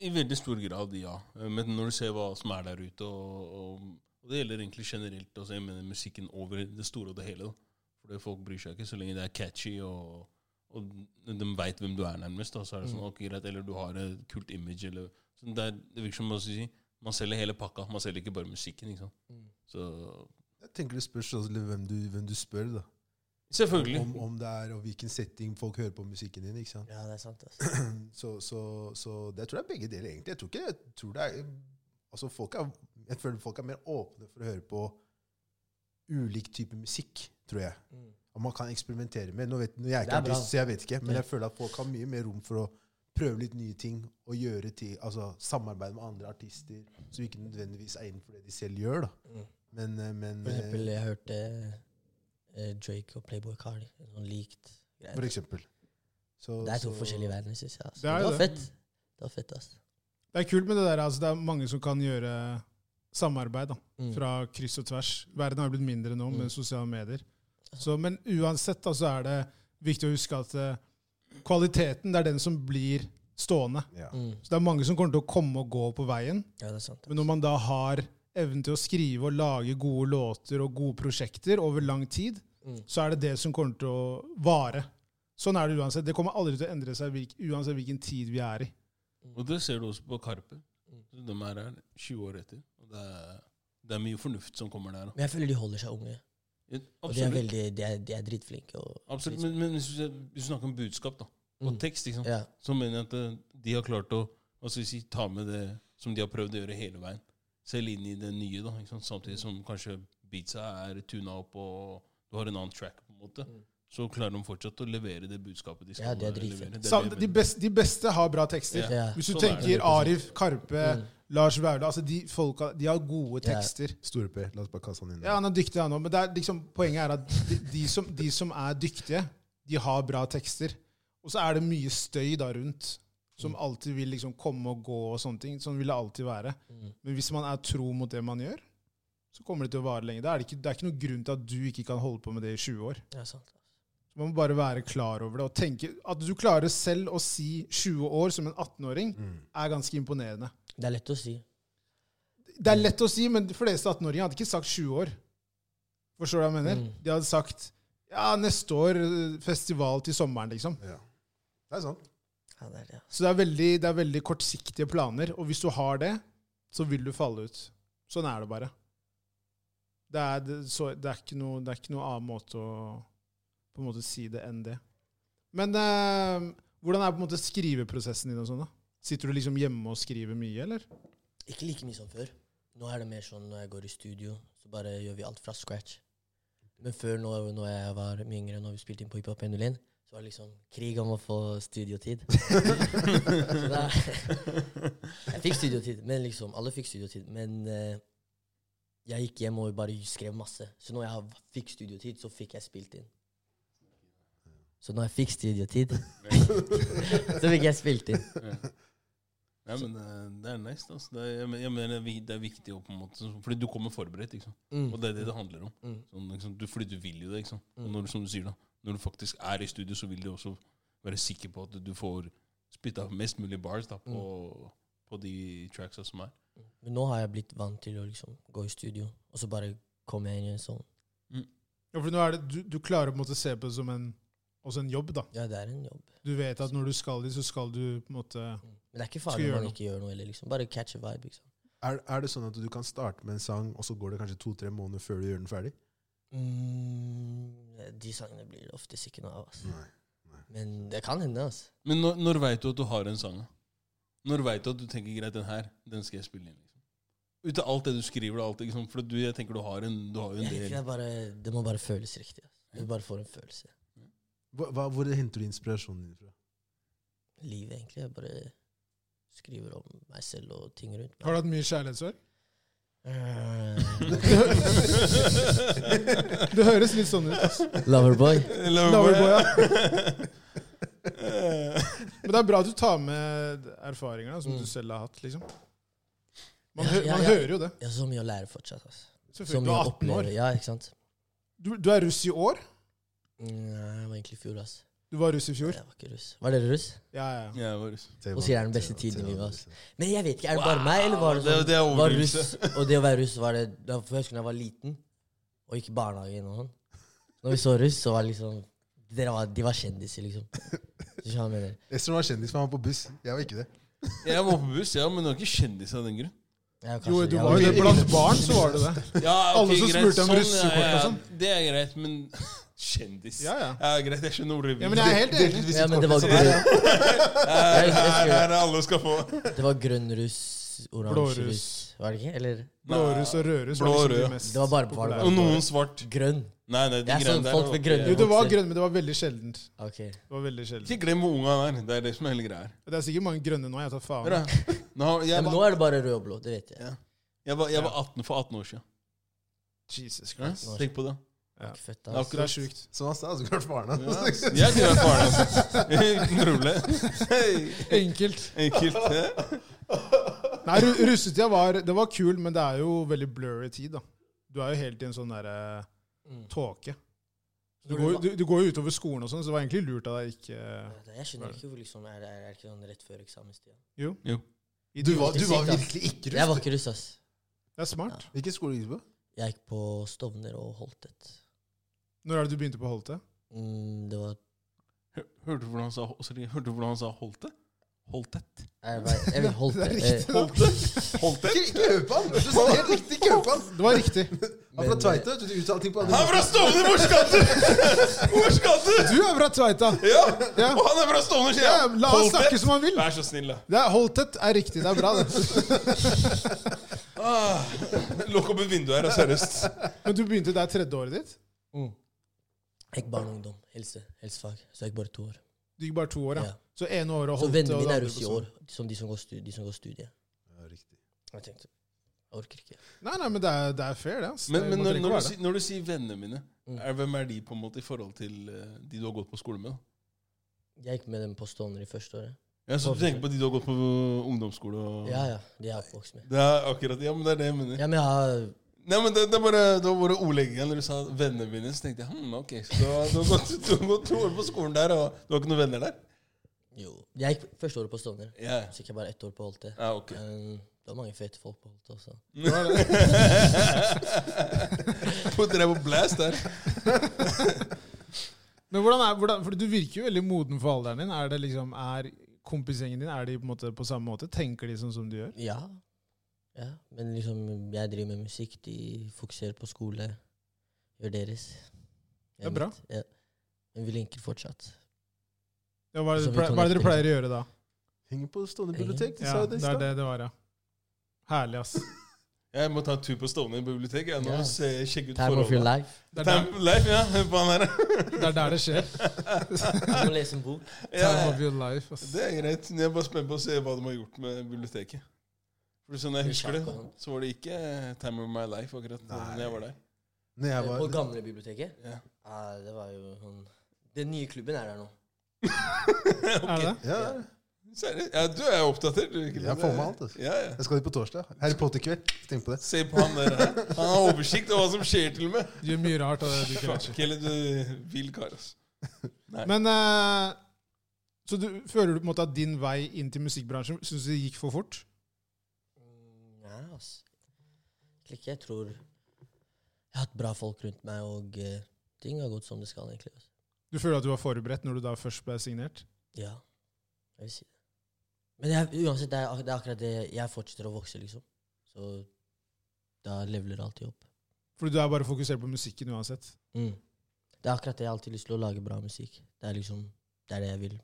Speaker 2: I veldig stor grad, ja. Eh, Men når du ser hva som er der ute, og, og, og det gjelder egentlig generelt, altså jeg mener musikken over det store og det hele. Da. Fordi folk bryr seg ikke så lenge det er catchy, og, og de veit hvem du er, nærmest. Da. Så er det
Speaker 4: Mm.
Speaker 2: sånn, ok, greit, Eller du har et kult image, eller sånn det, er, det virker som hva skal jeg si, man selger hele pakka, man selger ikke bare musikken. ikke sant?
Speaker 4: Mm.
Speaker 2: Så
Speaker 3: jeg tenker det spørs også litt hvem du, hvem du spør, da.
Speaker 2: Selvfølgelig.
Speaker 3: Om, om det er, og hvilken setting folk hører på musikken din. ikke sant?
Speaker 4: Ja, det er sant. ass.
Speaker 3: Så, så, så det tror jeg er begge deler, egentlig. Jeg tror ikke, jeg tror det er, altså folk er, jeg føler folk er mer åpne for å høre på ulik type musikk, tror jeg.
Speaker 4: Mm.
Speaker 3: Og man kan eksperimentere med. Nå, vet, nå jeg er
Speaker 4: Det
Speaker 3: ikke
Speaker 4: er bra.
Speaker 3: artist, så jeg vet ikke, men
Speaker 4: Ja.
Speaker 3: jeg føler at folk har mye mer rom for å prøve litt nye ting og gjøre ting, altså samarbeide med andre artister som ikke nødvendigvis er innenfor det de selv gjør. da.
Speaker 4: Mm.
Speaker 3: Men, eh, men
Speaker 4: For
Speaker 3: eh,
Speaker 4: eksempel, jeg hørte eh, Drake og Playboy Cardi. En sånn likt greie.
Speaker 3: For eksempel. Så,
Speaker 4: Det er to
Speaker 3: så-
Speaker 4: forskjellige verdener, syns jeg. ass.
Speaker 1: Det er
Speaker 4: det
Speaker 1: det.
Speaker 4: var fett. Det var fett, ass.
Speaker 1: Det er kult med det der. altså Det er mange som kan gjøre samarbeid da,
Speaker 4: Mm.
Speaker 1: fra kryss og tvers. Verden har blitt mindre nå med
Speaker 4: Mm.
Speaker 1: sosiale medier. Så, men uansett da, så er det viktig å huske at eh, kvaliteten det er den som blir stående.
Speaker 3: Ja.
Speaker 4: Mm.
Speaker 1: Så det er mange som kommer til å komme og gå på veien.
Speaker 4: Ja, det er sant.
Speaker 1: Men når man da har evnen til å skrive og lage gode låter og gode prosjekter over lang tid,
Speaker 4: Mm.
Speaker 1: så er det det som kommer til å vare. Sånn er det uansett. Det kommer aldri til å endre seg hvilk- uansett hvilken tid vi er i.
Speaker 2: Og det ser du også på Karpe.
Speaker 4: Mm.
Speaker 2: De er her 20 år etter. Og det er, det er mye fornuft som kommer der. da.
Speaker 4: Men jeg føler de holder seg unge. Og de er,
Speaker 2: Absolutt.
Speaker 4: veldig, de er, de er dritflinke. Og,
Speaker 2: Absolutt. Men, men hvis, du, hvis du snakker om budskap da, og
Speaker 4: Mm.
Speaker 2: tekst, ikke sant?
Speaker 4: ja.
Speaker 2: så mener jeg at eh, de har klart å hva skal vi si, ta med det som de har prøvd å gjøre hele veien. Selv inn i det nye, da, ikke sant?
Speaker 4: Mm.
Speaker 2: samtidig som kanskje beatsa er tuna opp og du har en annen track. på en måte.
Speaker 4: Mm.
Speaker 2: Så klarer de fortsatt å levere det budskapet de skal
Speaker 4: Ja, det er
Speaker 2: eh,
Speaker 4: dritfett.
Speaker 2: levere. Det
Speaker 1: Sam-
Speaker 2: det jeg
Speaker 1: de,
Speaker 2: mener.
Speaker 1: beste, de beste har bra tekster.
Speaker 2: Ja.
Speaker 4: Ja.
Speaker 1: Hvis du
Speaker 2: sånn er
Speaker 1: tenker
Speaker 2: det.
Speaker 1: Arif, Karpe,
Speaker 4: Mm.
Speaker 1: Lars Vaular altså de, folka, de har gode
Speaker 4: Ja.
Speaker 1: tekster.
Speaker 3: Store P. La oss bare kaste han inn.
Speaker 1: Ja, han er dyktig, han òg, men det er liksom, poenget er at de, de, som, de som er dyktige, de har bra tekster. Og så er det mye støy da rundt, som alltid vil liksom komme og gå og sånne ting. Sånn vil det alltid være.
Speaker 4: Mm.
Speaker 1: Men hvis man er tro mot det man gjør, så kommer det til å vare lenge. Det er, det ikke, det er ikke noen grunn til at du ikke kan holde på med det i 20 år.
Speaker 4: Ja, sant.
Speaker 1: Så man må bare være klar over det og tenke At du klarer selv å si 20 år som en 18-åring,
Speaker 3: Mm.
Speaker 1: er ganske imponerende.
Speaker 4: Det er lett å si.
Speaker 1: Det er lett å si, men de fleste 18-åringer hadde ikke sagt 20 år. Forstår du hva jeg mener?
Speaker 4: Mm.
Speaker 1: De hadde sagt ja, neste år, eh, festival til sommeren, liksom.
Speaker 3: Ja. Det er sant.
Speaker 4: Ja, det er det.
Speaker 1: Så det er, veldig, det er veldig kortsiktige planer, og hvis du har det, så vil du falle ut. Sånn er det bare. Det er, det, så, det er, ikke, noe, det er ikke noe annen måte å på en måte si det enn det. Men eh, hvordan er på en måte skriveprosessen din og sånn, da? Sitter du liksom hjemme og skriver mye, eller?
Speaker 4: Ikke like mye som før. Nå er det mer sånn når jeg går i studio, så bare gjør vi alt fra scratch. Men før, når, når jeg var mye yngre, når vi spilte inn på Hiphop 101, så var det liksom krig om å få studiotid. Så da, jeg fikk studiotid, men liksom, alle fikk studiotid. Men eh, jeg gikk hjem og bare skrev masse. Så når jeg har- fikk studiotid, så fikk jeg spilt inn. Så når jeg fikk studiotid, så fikk jeg spilt inn.
Speaker 2: Nei, men det, det er nice. Altså. Det, er, jeg men- jeg mener det er vi- det er viktig å på en måte så- Fordi du kommer forberedt, ikke sant?
Speaker 4: Mm.
Speaker 2: og det er det det handler om.
Speaker 4: Mm.
Speaker 2: Sånn, ikke sant? Du, fordi du vil jo det, ikke sant. Og
Speaker 4: Mm.
Speaker 2: når, du- som du sier, da, når du faktisk er i studio, så vil du også være sikker på at du får spytta mest mulig bars da, på, på de tracksa som er.
Speaker 4: Men nå har jeg blitt vant til å liksom gå i studio, og så bare kommer jeg inn i en sånn
Speaker 1: Ja, for nå er det, du, du klarer på en måte å se på det som en, også en jobb, da.
Speaker 4: Ja, det er en jobb.
Speaker 1: Du vet at når du skal dit, så skal du på en måte
Speaker 4: Mm. Men det er ikke
Speaker 1: Skal
Speaker 4: farlig
Speaker 1: gjøre
Speaker 4: om man
Speaker 1: noe.
Speaker 4: ikke gjør noe, eller liksom bare catch a vibe. Liksom.
Speaker 3: Er, er det sånn at du kan starte med en sang, og så går det kanskje to-tre måneder før du gjør den ferdig?
Speaker 4: Mm, de sangene blir det oftest ikke noe av. ass.
Speaker 3: Nei. Nei.
Speaker 4: Men det kan hende, altså.
Speaker 2: Men når, når veit du at du har en sang? da? Når veit du at du tenker greit, den her, den skal jeg spille inn? liksom? Ut av alt det du skriver, og alt, det, liksom, for du, jeg tenker du har en, du har jo
Speaker 4: Jeg
Speaker 2: en del
Speaker 4: liker det bare Det må bare føles riktig. Altså. Du bare får en følelse.
Speaker 3: Hva, hva, hvor henter du inspirasjonen din fra?
Speaker 4: Livet, egentlig. Jeg bare skriver om meg selv og ting rundt
Speaker 1: Har
Speaker 4: meg.
Speaker 1: du hatt mye kjærlighetssorg?
Speaker 4: Eh,
Speaker 1: Du høres litt sånn ut. ass.
Speaker 4: Loverboy.
Speaker 1: Loverboy, ja.
Speaker 2: Eh,
Speaker 1: Men det er bra at du tar med erfaringer da, som du selv har hatt. liksom. Man,
Speaker 4: Mm. Ja,
Speaker 1: hø
Speaker 4: ja,
Speaker 1: man
Speaker 4: ja.
Speaker 1: hører jo det.
Speaker 4: Jeg har så mye å lære fortsatt. Altså. Så
Speaker 1: Selvfølgelig. Du
Speaker 4: mye
Speaker 1: er
Speaker 4: å
Speaker 1: 18 år.
Speaker 4: oppleve. Ja, ikke sant?
Speaker 1: Du, du er russ i år?
Speaker 4: Nei, jeg var egentlig i fjor, altså.
Speaker 1: Du var russ i fjor?
Speaker 4: Jeg var ikke russ. Var dere russ?
Speaker 1: Ja, ja. ja.
Speaker 2: jeg var russ.
Speaker 4: Og sier det er den beste tiden i livet, altså. Men jeg vet ikke, er det bare
Speaker 2: Wow,
Speaker 4: meg, eller var det
Speaker 2: det-
Speaker 4: sånn
Speaker 2: det er
Speaker 4: var russ,
Speaker 2: overdrivelse.
Speaker 4: Og det å være russ, var det da- For jeg husker da jeg var liten, og gikk i barnehagen og sånn. Når vi så russ, så var det liksom dere var, De var kjendiser, liksom. Du skjønner hva jeg mener?
Speaker 3: Esther var kjendis, men han var på buss. Jeg var ikke det.
Speaker 2: Jeg var på buss, ja, men du er ikke kjendis av den grunn.
Speaker 4: Jeg,
Speaker 1: Jo,
Speaker 4: kanskje-
Speaker 1: du
Speaker 4: jeg
Speaker 1: var jo det.
Speaker 4: litt-
Speaker 1: Blant barn så var du det.
Speaker 2: Ja,
Speaker 1: Alle
Speaker 2: ok,
Speaker 1: som
Speaker 2: greit,
Speaker 1: spurte om
Speaker 2: sånn,
Speaker 1: russekort
Speaker 2: ja, ja,
Speaker 1: og sånn.
Speaker 2: Det er greit, men kjendis
Speaker 1: Ja, ja.
Speaker 2: greit, jeg skjønner hvor du vil.
Speaker 1: Ja, men jeg er helt
Speaker 3: Delte
Speaker 1: enig.
Speaker 3: vi
Speaker 4: Ja,
Speaker 3: sitt
Speaker 4: men det var
Speaker 1: sånn
Speaker 3: kort,
Speaker 4: grønn,
Speaker 2: her,
Speaker 4: jeg- jeg
Speaker 2: her,
Speaker 4: skulle-
Speaker 2: her er alle skal få.
Speaker 4: det var grønn russ, oransje
Speaker 1: Blåruss.
Speaker 4: russ, var det ikke? Eller
Speaker 1: Blåruss og rødruss var
Speaker 2: Blå og
Speaker 1: liksom
Speaker 2: rød.
Speaker 1: de mest
Speaker 4: Det var bare-
Speaker 1: populære.
Speaker 4: var det
Speaker 2: Og noen svart.
Speaker 4: grønn?
Speaker 2: Nei, nei, de
Speaker 4: Jeg så
Speaker 2: greiene der
Speaker 4: folk
Speaker 2: var
Speaker 4: med
Speaker 2: ikke-
Speaker 4: grønne
Speaker 1: Jo, det var grønn, men det var veldig sjeldent.
Speaker 4: Ok.
Speaker 1: Det var veldig sjeldent.
Speaker 2: Ikke glem hvor unga han er. Det er det som er hele greia her.
Speaker 1: Det er sikkert mange grønne nå. Jeg tar faen.
Speaker 2: Hør da. Nå,
Speaker 4: Ja,
Speaker 2: jeg, var,
Speaker 4: men nå er det bare rød og blå, det vet jeg.
Speaker 2: Ja. jeg, var, jeg var 18 for 18 år siden.
Speaker 1: Jesus
Speaker 2: Ja,
Speaker 1: Christ.
Speaker 2: tenk på det.
Speaker 4: Jeg er ikke født,
Speaker 2: Ja,
Speaker 4: altså.
Speaker 1: Det er sjukt.
Speaker 3: ass. Som han sa, så klart faren
Speaker 2: Ja.
Speaker 3: hans.
Speaker 2: Jeg tror jeg er faren hans. Uten problem. Hei.
Speaker 1: Enkelt.
Speaker 2: Enkelt. ja.
Speaker 1: Nei, ru- russetida var, det var kul, men det er jo veldig blurry tid, da. Du er jo helt i en sånn derre
Speaker 4: Mm.
Speaker 1: tåke. Du går, jo- du, du går jo utover skolen og sånn, så det var egentlig lurt av deg ikke
Speaker 4: Jeg skjønner ikke hvor liksom Er det er det ikke sånn rett før eksamenstida?
Speaker 3: Du var, du var
Speaker 4: Sykt, ass.
Speaker 3: virkelig ikke
Speaker 4: Jeg var
Speaker 3: russ.
Speaker 4: ikke russ, ass.
Speaker 1: Det er smart.
Speaker 3: Hvilken skole gikk du på?
Speaker 4: Jeg gikk på Stovner og Holtet.
Speaker 1: Når er det du begynte på Holte?
Speaker 4: Mm, det var
Speaker 2: Hør- Hørte du hvordan han sa, sorry, hørte du hvordan han sa Holte? Holtet?
Speaker 4: Jeg, vet- jeg vil Holte.
Speaker 1: Det er
Speaker 4: eh,
Speaker 2: Holte? Holte?
Speaker 3: Ikke, ikke hør på han! Du sa helt riktig, ikke hør på han!
Speaker 1: Det var riktig.
Speaker 3: Han er fra
Speaker 4: Men,
Speaker 3: Tveita, vet du, du uttaler ting på andre
Speaker 2: Han er fra Stovner! Hvor skal du? Hvor skal du?
Speaker 1: Du er fra Tveita!
Speaker 2: Ja.
Speaker 1: Ja.
Speaker 2: Og han er fra Stovner, sier
Speaker 1: Ja,
Speaker 2: jeg.
Speaker 1: la oss
Speaker 2: Holtet.
Speaker 1: snakke som han vil.
Speaker 2: Vær så snill, da.
Speaker 1: Det er, Holtet er riktig. Det er bra, det.
Speaker 2: Ah, Lukk opp et vindu her, da, seriøst.
Speaker 1: Men du begynte der tredje året ditt?
Speaker 4: Mm. Jeg gikk barn og ungdom. Helse. Helsefag. Så jeg gikk bare to år.
Speaker 1: Du gikk bare to år, ja.
Speaker 4: Ja.
Speaker 1: Så ene året og
Speaker 4: Så
Speaker 1: Holte
Speaker 4: vennene
Speaker 1: og det
Speaker 4: mine er
Speaker 1: andre
Speaker 4: russ i
Speaker 1: på
Speaker 4: år,
Speaker 1: skolen.
Speaker 4: som de som går studie. De som går studie.
Speaker 3: Ja, riktig.
Speaker 4: Jeg tenkte Jeg orker ikke.
Speaker 1: Nei, nei, men det er, det er fair, det. ass.
Speaker 2: Men,
Speaker 1: Det-
Speaker 2: men
Speaker 1: man
Speaker 2: når,
Speaker 1: trenger
Speaker 2: når,
Speaker 1: ikke
Speaker 2: du,
Speaker 1: være
Speaker 2: sier- når du sier vennene mine,
Speaker 4: Mm.
Speaker 2: er, hvem er de på en måte i forhold til eh, de du har gått på skole med? da?
Speaker 4: Jeg gikk med dem på Stovner i første året.
Speaker 2: Ja, så du tenker på de du har gått på eh, ungdomsskole og
Speaker 4: Ja, ja. De er jeg oppvokst med.
Speaker 2: Det er akkurat, ja, men det er det jeg mener.
Speaker 4: Ja, men jeg har
Speaker 2: Nei, men det, det, er bare, det var bare ordleggingen når du sa vennene mine. Så tenkte jeg hm, ok, så du har, du, har gått, du har gått to år på skolen der, og du har ikke noen venner der?
Speaker 4: Jo. Jeg gikk første året på Stovner.
Speaker 2: Ja,
Speaker 4: Så gikk jeg bare ett år på Holte.
Speaker 2: ja ok.
Speaker 4: Men det var mange fete folk på Holte også.
Speaker 2: Putter deg på blast der.
Speaker 1: Men hvordan er, hvordan, for Du virker jo veldig moden for alderen din. Er det liksom, er kompisgjengen din er de på, en måte på samme måte? Tenker de sånn som du gjør?
Speaker 4: Ja. ja. Men liksom, jeg driver med musikk. De fokuserer på skole. Gjør deres.
Speaker 1: Det er bra.
Speaker 4: Mitt. Ja. Men vi linker fortsatt.
Speaker 1: Ja, hva, er det
Speaker 4: Så
Speaker 1: du pleier,
Speaker 4: Altså, vi
Speaker 1: hva er det dere
Speaker 4: connecter.
Speaker 1: pleier å gjøre da?
Speaker 3: Henger på Stovner
Speaker 4: Henger.
Speaker 3: bibliotek, de
Speaker 1: Ja,
Speaker 3: sa jo
Speaker 1: det
Speaker 3: det i
Speaker 1: er
Speaker 3: stad.
Speaker 1: det det var, ja. Herlig, ass.
Speaker 2: Jeg må ta en tur på Stovner bibliotek. Jeg, nå
Speaker 4: Ja.
Speaker 2: se, sjekke ut
Speaker 4: Time of your
Speaker 2: forholdene.
Speaker 4: life.
Speaker 1: Det er
Speaker 2: Time
Speaker 1: der
Speaker 2: of life, ja. Hør på han her.
Speaker 1: det, er der det skjer.
Speaker 4: Du må lese en bok.
Speaker 2: Ja,
Speaker 1: Time
Speaker 2: ja.
Speaker 1: of your life, ass.
Speaker 2: Det er greit. men Jeg er bare spent på å se hva de har gjort med biblioteket. For sånn jeg husker det, så var det ikke Time of my life akkurat
Speaker 3: Nei.
Speaker 2: når jeg var der.
Speaker 3: Når jeg
Speaker 4: På
Speaker 3: var
Speaker 4: gamle biblioteket?
Speaker 2: Ja.
Speaker 4: Ja, det var jo sånn Den nye klubben er der nå.
Speaker 1: Er det det?
Speaker 3: Ja,
Speaker 2: Seriøst? Ja, du er oppdatert, du. ikke
Speaker 3: Jeg
Speaker 2: det?
Speaker 3: får med alt, altså.
Speaker 2: Ja, ja.
Speaker 3: jeg skal dit på torsdag. Harry Potter-kveld. Tenk på det.
Speaker 2: Se på han der. her. Han har oversikt over hva som skjer, til og med.
Speaker 1: Du gjør mye rart. av det du ikke vet.
Speaker 2: Fuck, eller du vill kar, altså.
Speaker 1: Men eh, Så du føler du på en måte at din vei inn til musikkbransjen syns du det gikk for fort?
Speaker 4: Mm, Nei, ass. Egentlig ikke. Jeg tror jeg har hatt bra folk rundt meg, og eh, ting har gått som det skal, egentlig. ass.
Speaker 1: Du føler at du var forberedt når du da først ble signert?
Speaker 4: Ja, jeg vil si det. Men jeg, uansett, det er, ak- det er akkurat det jeg fortsetter å vokse, liksom. Så da leveler det alltid opp.
Speaker 1: Fordi du er bare fokusert på musikken uansett?
Speaker 4: Det er akkurat det jeg har alltid lyst til å lage bra musikk. Det er liksom Det er det jeg vil.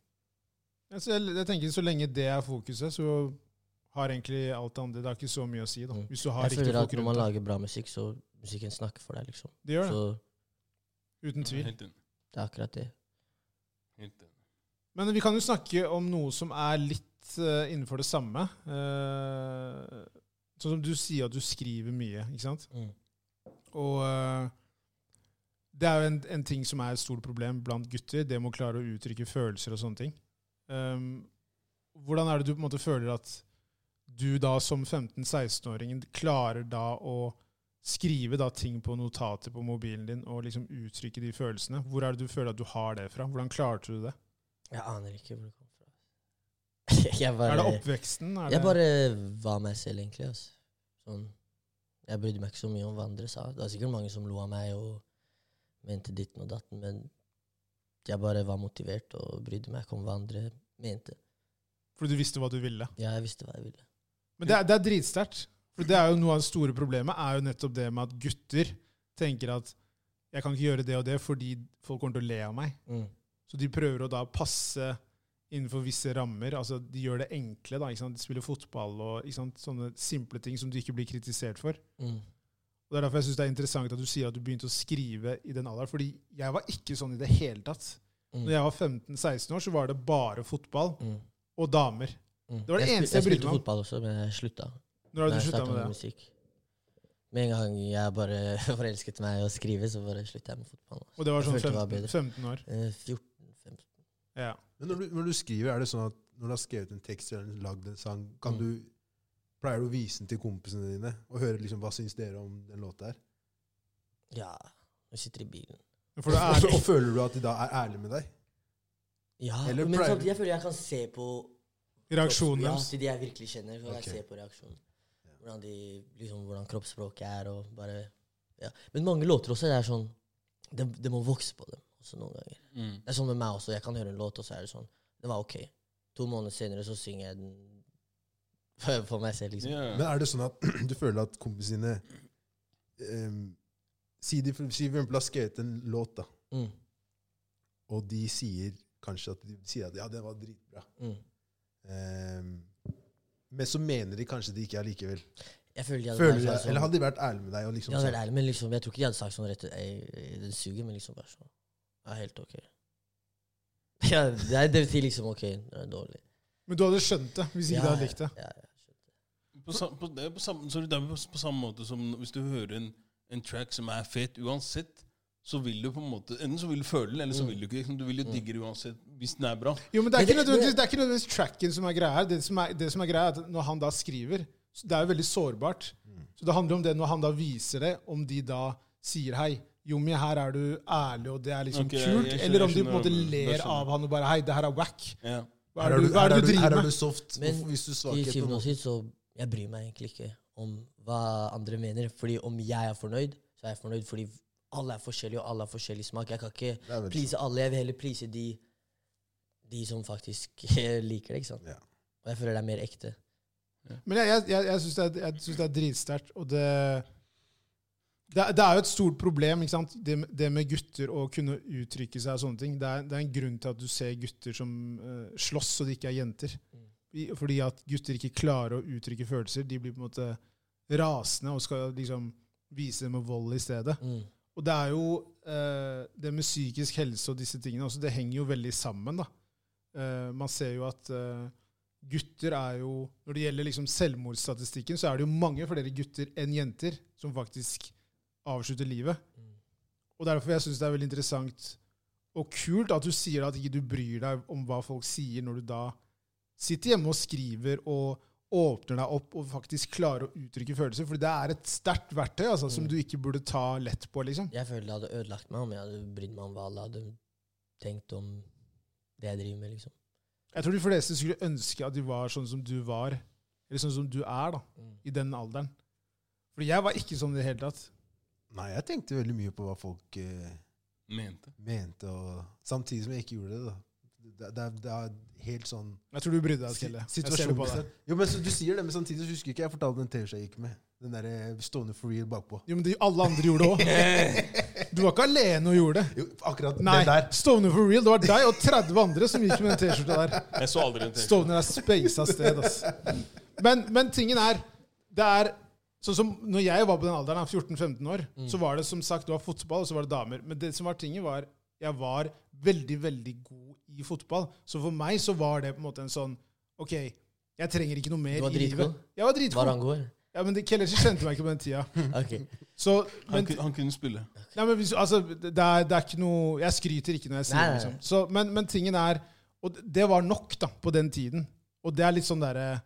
Speaker 1: Jeg, så jeg, jeg tenker Så lenge det er fokuset, så har egentlig alt det andre Det har ikke så mye å si. da.
Speaker 4: Mm.
Speaker 1: Hvis du har
Speaker 4: Jeg
Speaker 1: riktig
Speaker 4: føler at
Speaker 1: folk
Speaker 4: når man
Speaker 1: rundt deg.
Speaker 4: lager bra musikk, så musikken snakker for deg, liksom.
Speaker 1: Det gjør det.
Speaker 4: Så
Speaker 1: Uten tvil.
Speaker 4: Mm.
Speaker 2: Helt enig.
Speaker 4: det er akkurat det.
Speaker 2: Helt enig.
Speaker 1: Men vi kan jo snakke om noe som er litt eh, innenfor det samme. Eh, sånn som du sier at du skriver mye, ikke sant?
Speaker 4: Mm.
Speaker 1: Og eh, det er jo en, en ting som er et stort problem blant gutter, det med å klare å uttrykke følelser og sånne ting. Um, hvordan er det du på en måte føler at du da som 15-16-åringen klarer da å skrive da ting på notater på mobilen din og liksom uttrykke de følelsene? Hvor er det du føler at du har det fra? Hvordan klarte du det?
Speaker 4: Jeg aner ikke hvor det kom fra. jeg bare,
Speaker 1: Er det oppveksten? Er
Speaker 4: Jeg
Speaker 1: det-
Speaker 4: bare var meg selv, egentlig. Altså. Sånn. Jeg brydde meg ikke så mye om hva andre sa. Det var sikkert mange som lo av meg og mente ditten og datten, men jeg bare var motivert og brydde meg ikke om hva andre mente.
Speaker 1: Fordi du visste hva du ville.
Speaker 4: Ja, jeg visste hva jeg ville.
Speaker 1: Men det er, det er dritsterkt. For det er jo noe av det store problemet er jo nettopp det med at gutter tenker at jeg kan ikke gjøre det og det fordi folk kommer til å le av meg.
Speaker 4: Mm.
Speaker 1: Så de prøver å da passe innenfor visse rammer. altså De gjør det enkle. da, ikke sant? De spiller fotball og ikke sant? sånne simple ting som du ikke blir kritisert for.
Speaker 4: Mm.
Speaker 1: Og Det er derfor jeg synes det er interessant at du sier at du begynte å skrive i den alderen. fordi jeg var ikke sånn i det hele tatt.
Speaker 4: Mm.
Speaker 1: Når jeg var 15-16 år, så var det bare fotball
Speaker 4: Mm.
Speaker 1: og damer.
Speaker 4: Mm.
Speaker 1: Det var det
Speaker 4: spil-
Speaker 1: eneste jeg brydde meg om.
Speaker 4: spilte fotball også, men jeg slutta.
Speaker 1: Når har
Speaker 4: Da
Speaker 1: du
Speaker 4: jeg
Speaker 1: slutta
Speaker 4: startet
Speaker 1: med det?
Speaker 4: musikk. Med en gang jeg bare forelsket meg i å skrive, så bare slutta jeg med fotball.
Speaker 1: Og det var
Speaker 4: Jeg
Speaker 1: sånn
Speaker 4: følte det var
Speaker 1: 15,
Speaker 4: bedre.
Speaker 1: 15 år.
Speaker 4: Eh, 14-15
Speaker 1: Ja.
Speaker 3: Men når du, når du skriver, er det sånn at når du har skrevet en tekst eller lagd en sang, kan
Speaker 4: Mm.
Speaker 3: du, pleier du å vise den til kompisene dine og høre liksom, hva syns dere om den låta her?
Speaker 4: Ja. Nå sitter jeg i bilen.
Speaker 1: For det
Speaker 3: Og
Speaker 1: er
Speaker 3: så- og føler du at de da er ærlige med deg?
Speaker 4: Ja,
Speaker 3: Eller
Speaker 4: men
Speaker 3: pleier-
Speaker 4: sånn, jeg føler jeg kan se på
Speaker 1: reaksjonen
Speaker 4: ja,
Speaker 1: deres.
Speaker 4: til de jeg virkelig kjenner. Så
Speaker 3: Ok.
Speaker 4: jeg ser på reaksjonen. Hvordan, de, liksom, hvordan kroppsspråket er og bare ja. Men mange låter også det er sånn Det, det må vokse på dem også noen ganger.
Speaker 2: Mm.
Speaker 4: Det er sånn med meg også. Jeg kan høre en låt, og så er det sånn Det var ok. To måneder senere så synger jeg den for, for meg selv, liksom.
Speaker 2: Ja,
Speaker 3: Men er det sånn at du føler at kompisene ehm, Si de for si for eksempel har skrevet en låt, da,
Speaker 4: Mm,
Speaker 3: og de sier kanskje at de sier at ja, det var dritbra.
Speaker 4: mm.
Speaker 3: Ehm, men så mener de kanskje det ikke allikevel.
Speaker 4: Jeg føler de hadde
Speaker 3: Føler du
Speaker 4: vært sånn
Speaker 3: deg,
Speaker 4: som-
Speaker 3: eller hadde de vært ærlige med deg? Og liksom
Speaker 4: Ja, det er
Speaker 3: sagt,
Speaker 4: ærlig, men liksom, jeg tror ikke de hadde sagt sånn rett ut «Ei, Den suger, men liksom bare sånn Ja, helt ok. Ja, det, er, det betyr liksom ok, det er dårlig.
Speaker 1: Men du hadde skjønt det hvis ikke
Speaker 4: ja,
Speaker 1: du hadde likt det.
Speaker 4: Ja, ja, ja.
Speaker 2: På, sam, på, det er på, samme, så det er på, på samme måte som hvis du hører en, en track som er fet uansett, så vil du på en måte Enten så vil du føle den, eller så
Speaker 4: Mm.
Speaker 2: vil du ikke. Liksom, du vil jo
Speaker 4: Mm.
Speaker 2: digge det uansett, hvis den er bra.
Speaker 1: Jo, men Det er ikke
Speaker 4: Men det-
Speaker 1: nødvendigvis,
Speaker 4: det-
Speaker 1: det er ikke nødvendigvis tracken som er greia her. Det som er, det som er greia er at Når han da skriver så Det er jo veldig sårbart. Så det handler om det når han da viser det, om de da sier hei. Jommi, her er du ærlig, og det er liksom
Speaker 2: Ok, jeg- jeg
Speaker 1: kult.
Speaker 2: skjønner-
Speaker 1: Eller om de
Speaker 2: jeg
Speaker 1: på en måte
Speaker 2: skjønner hva du- jeg
Speaker 1: ler
Speaker 2: skjønner.
Speaker 1: av han og bare Hei, det her er whack.
Speaker 2: Ja.
Speaker 1: Hva er det du, hva er det du
Speaker 3: her
Speaker 1: driver
Speaker 3: er
Speaker 1: med?
Speaker 3: du soft.
Speaker 4: Men
Speaker 3: Hvorfor viser du
Speaker 4: Til
Speaker 3: svakhet?
Speaker 4: syvende
Speaker 3: nå?
Speaker 4: og sist, så jeg bryr meg egentlig ikke om hva andre mener. Fordi om jeg er fornøyd, så er jeg fornøyd fordi alle er forskjellige, og alle har forskjellig smak. Jeg kan ikke
Speaker 3: Det er veldig
Speaker 4: please alle. Jeg vil heller please de, de som faktisk liker det, ikke sant.
Speaker 3: Ja.
Speaker 4: Og jeg føler det er mer ekte.
Speaker 1: Men jeg, jeg, jeg, jeg syns det, er- jeg synes det er dritsterkt, og det det, er- det er jo et stort problem, ikke sant? Det, med- det med gutter å kunne uttrykke seg og sånne ting. Det er, det er en grunn til at du ser gutter som eh, slåss, og det ikke er jenter. I, fordi at gutter ikke klarer å uttrykke følelser. De blir på en måte rasende og skal liksom vise det med vold i stedet.
Speaker 4: Mm.
Speaker 1: Og det er jo eh, det med psykisk helse og disse tingene også, det henger jo veldig sammen. da. Eh, man ser jo at eh, gutter er jo Når det gjelder liksom selvmordsstatistikken, så er det jo mange flere gutter enn jenter som faktisk avslutter livet.
Speaker 4: Mm.
Speaker 1: Og derfor jeg syns det er veldig interessant og kult at du sier at ikke du bryr deg om hva folk sier, når du da sitter hjemme og skriver og åpner deg opp og faktisk klarer å uttrykke følelser. For det er et sterkt verktøy altså, som
Speaker 4: Mm.
Speaker 1: du ikke burde ta lett på. liksom.
Speaker 4: Jeg føler det hadde ødelagt meg om jeg hadde brydd meg om hva alle hadde tenkt om det jeg driver med, liksom.
Speaker 1: Jeg tror de fleste skulle ønske at de var sånn som du var, eller sånn som du er, da,
Speaker 4: Mm.
Speaker 1: i den alderen. Fordi jeg var ikke sånn i det hele tatt.
Speaker 3: Nei, jeg tenkte veldig mye på hva folk eh,
Speaker 2: Mente.
Speaker 3: mente, og samtidig som jeg ikke gjorde det. da. Det, det, er- det er helt sånn
Speaker 1: Jeg tror du brydde deg, Skelle. Jeg ser det på deg.
Speaker 3: situasjonsbestemt. Jo, men så, Du sier det, men samtidig så husker ikke jeg fortalte den TV-en jeg gikk med. Den derre stående for real bakpå.
Speaker 1: Jo, men de, alle andre gjorde det òg. Du var ikke alene og gjorde det.
Speaker 3: Jo, akkurat
Speaker 1: Nei,
Speaker 3: den der.
Speaker 1: Stovner for real. Det var deg og 30 andre som gikk med den T-skjorta der.
Speaker 2: Jeg så aldri en tekst.
Speaker 1: Stovner er spasa sted, ass. Men, men tingen er Det er sånn som når jeg var på den alderen, da, 14-15 år,
Speaker 4: Mm.
Speaker 1: så var det som sagt det var fotball, og så var det damer. Men det som var tingen, var jeg var veldig, veldig god i fotball. Så for meg så var det på en måte en sånn OK, jeg trenger ikke noe mer
Speaker 4: Du var
Speaker 1: i livet.
Speaker 4: dritgod.
Speaker 1: Jeg var dritgod.
Speaker 4: Varango, eller?
Speaker 1: Ja, men det- Kellerer kjente meg ikke på den tida.
Speaker 4: Ok.
Speaker 1: Så,
Speaker 2: Han,
Speaker 1: men,
Speaker 2: kun- han kunne spille.
Speaker 1: Nei, men hvis, altså, det, er, det er ikke noe Jeg skryter ikke når jeg sier
Speaker 4: Nei,
Speaker 1: det.
Speaker 4: nei,
Speaker 1: Liksom. Så, men, men tingen er Og det- det var nok da, på den tiden. Og det er litt sånn derre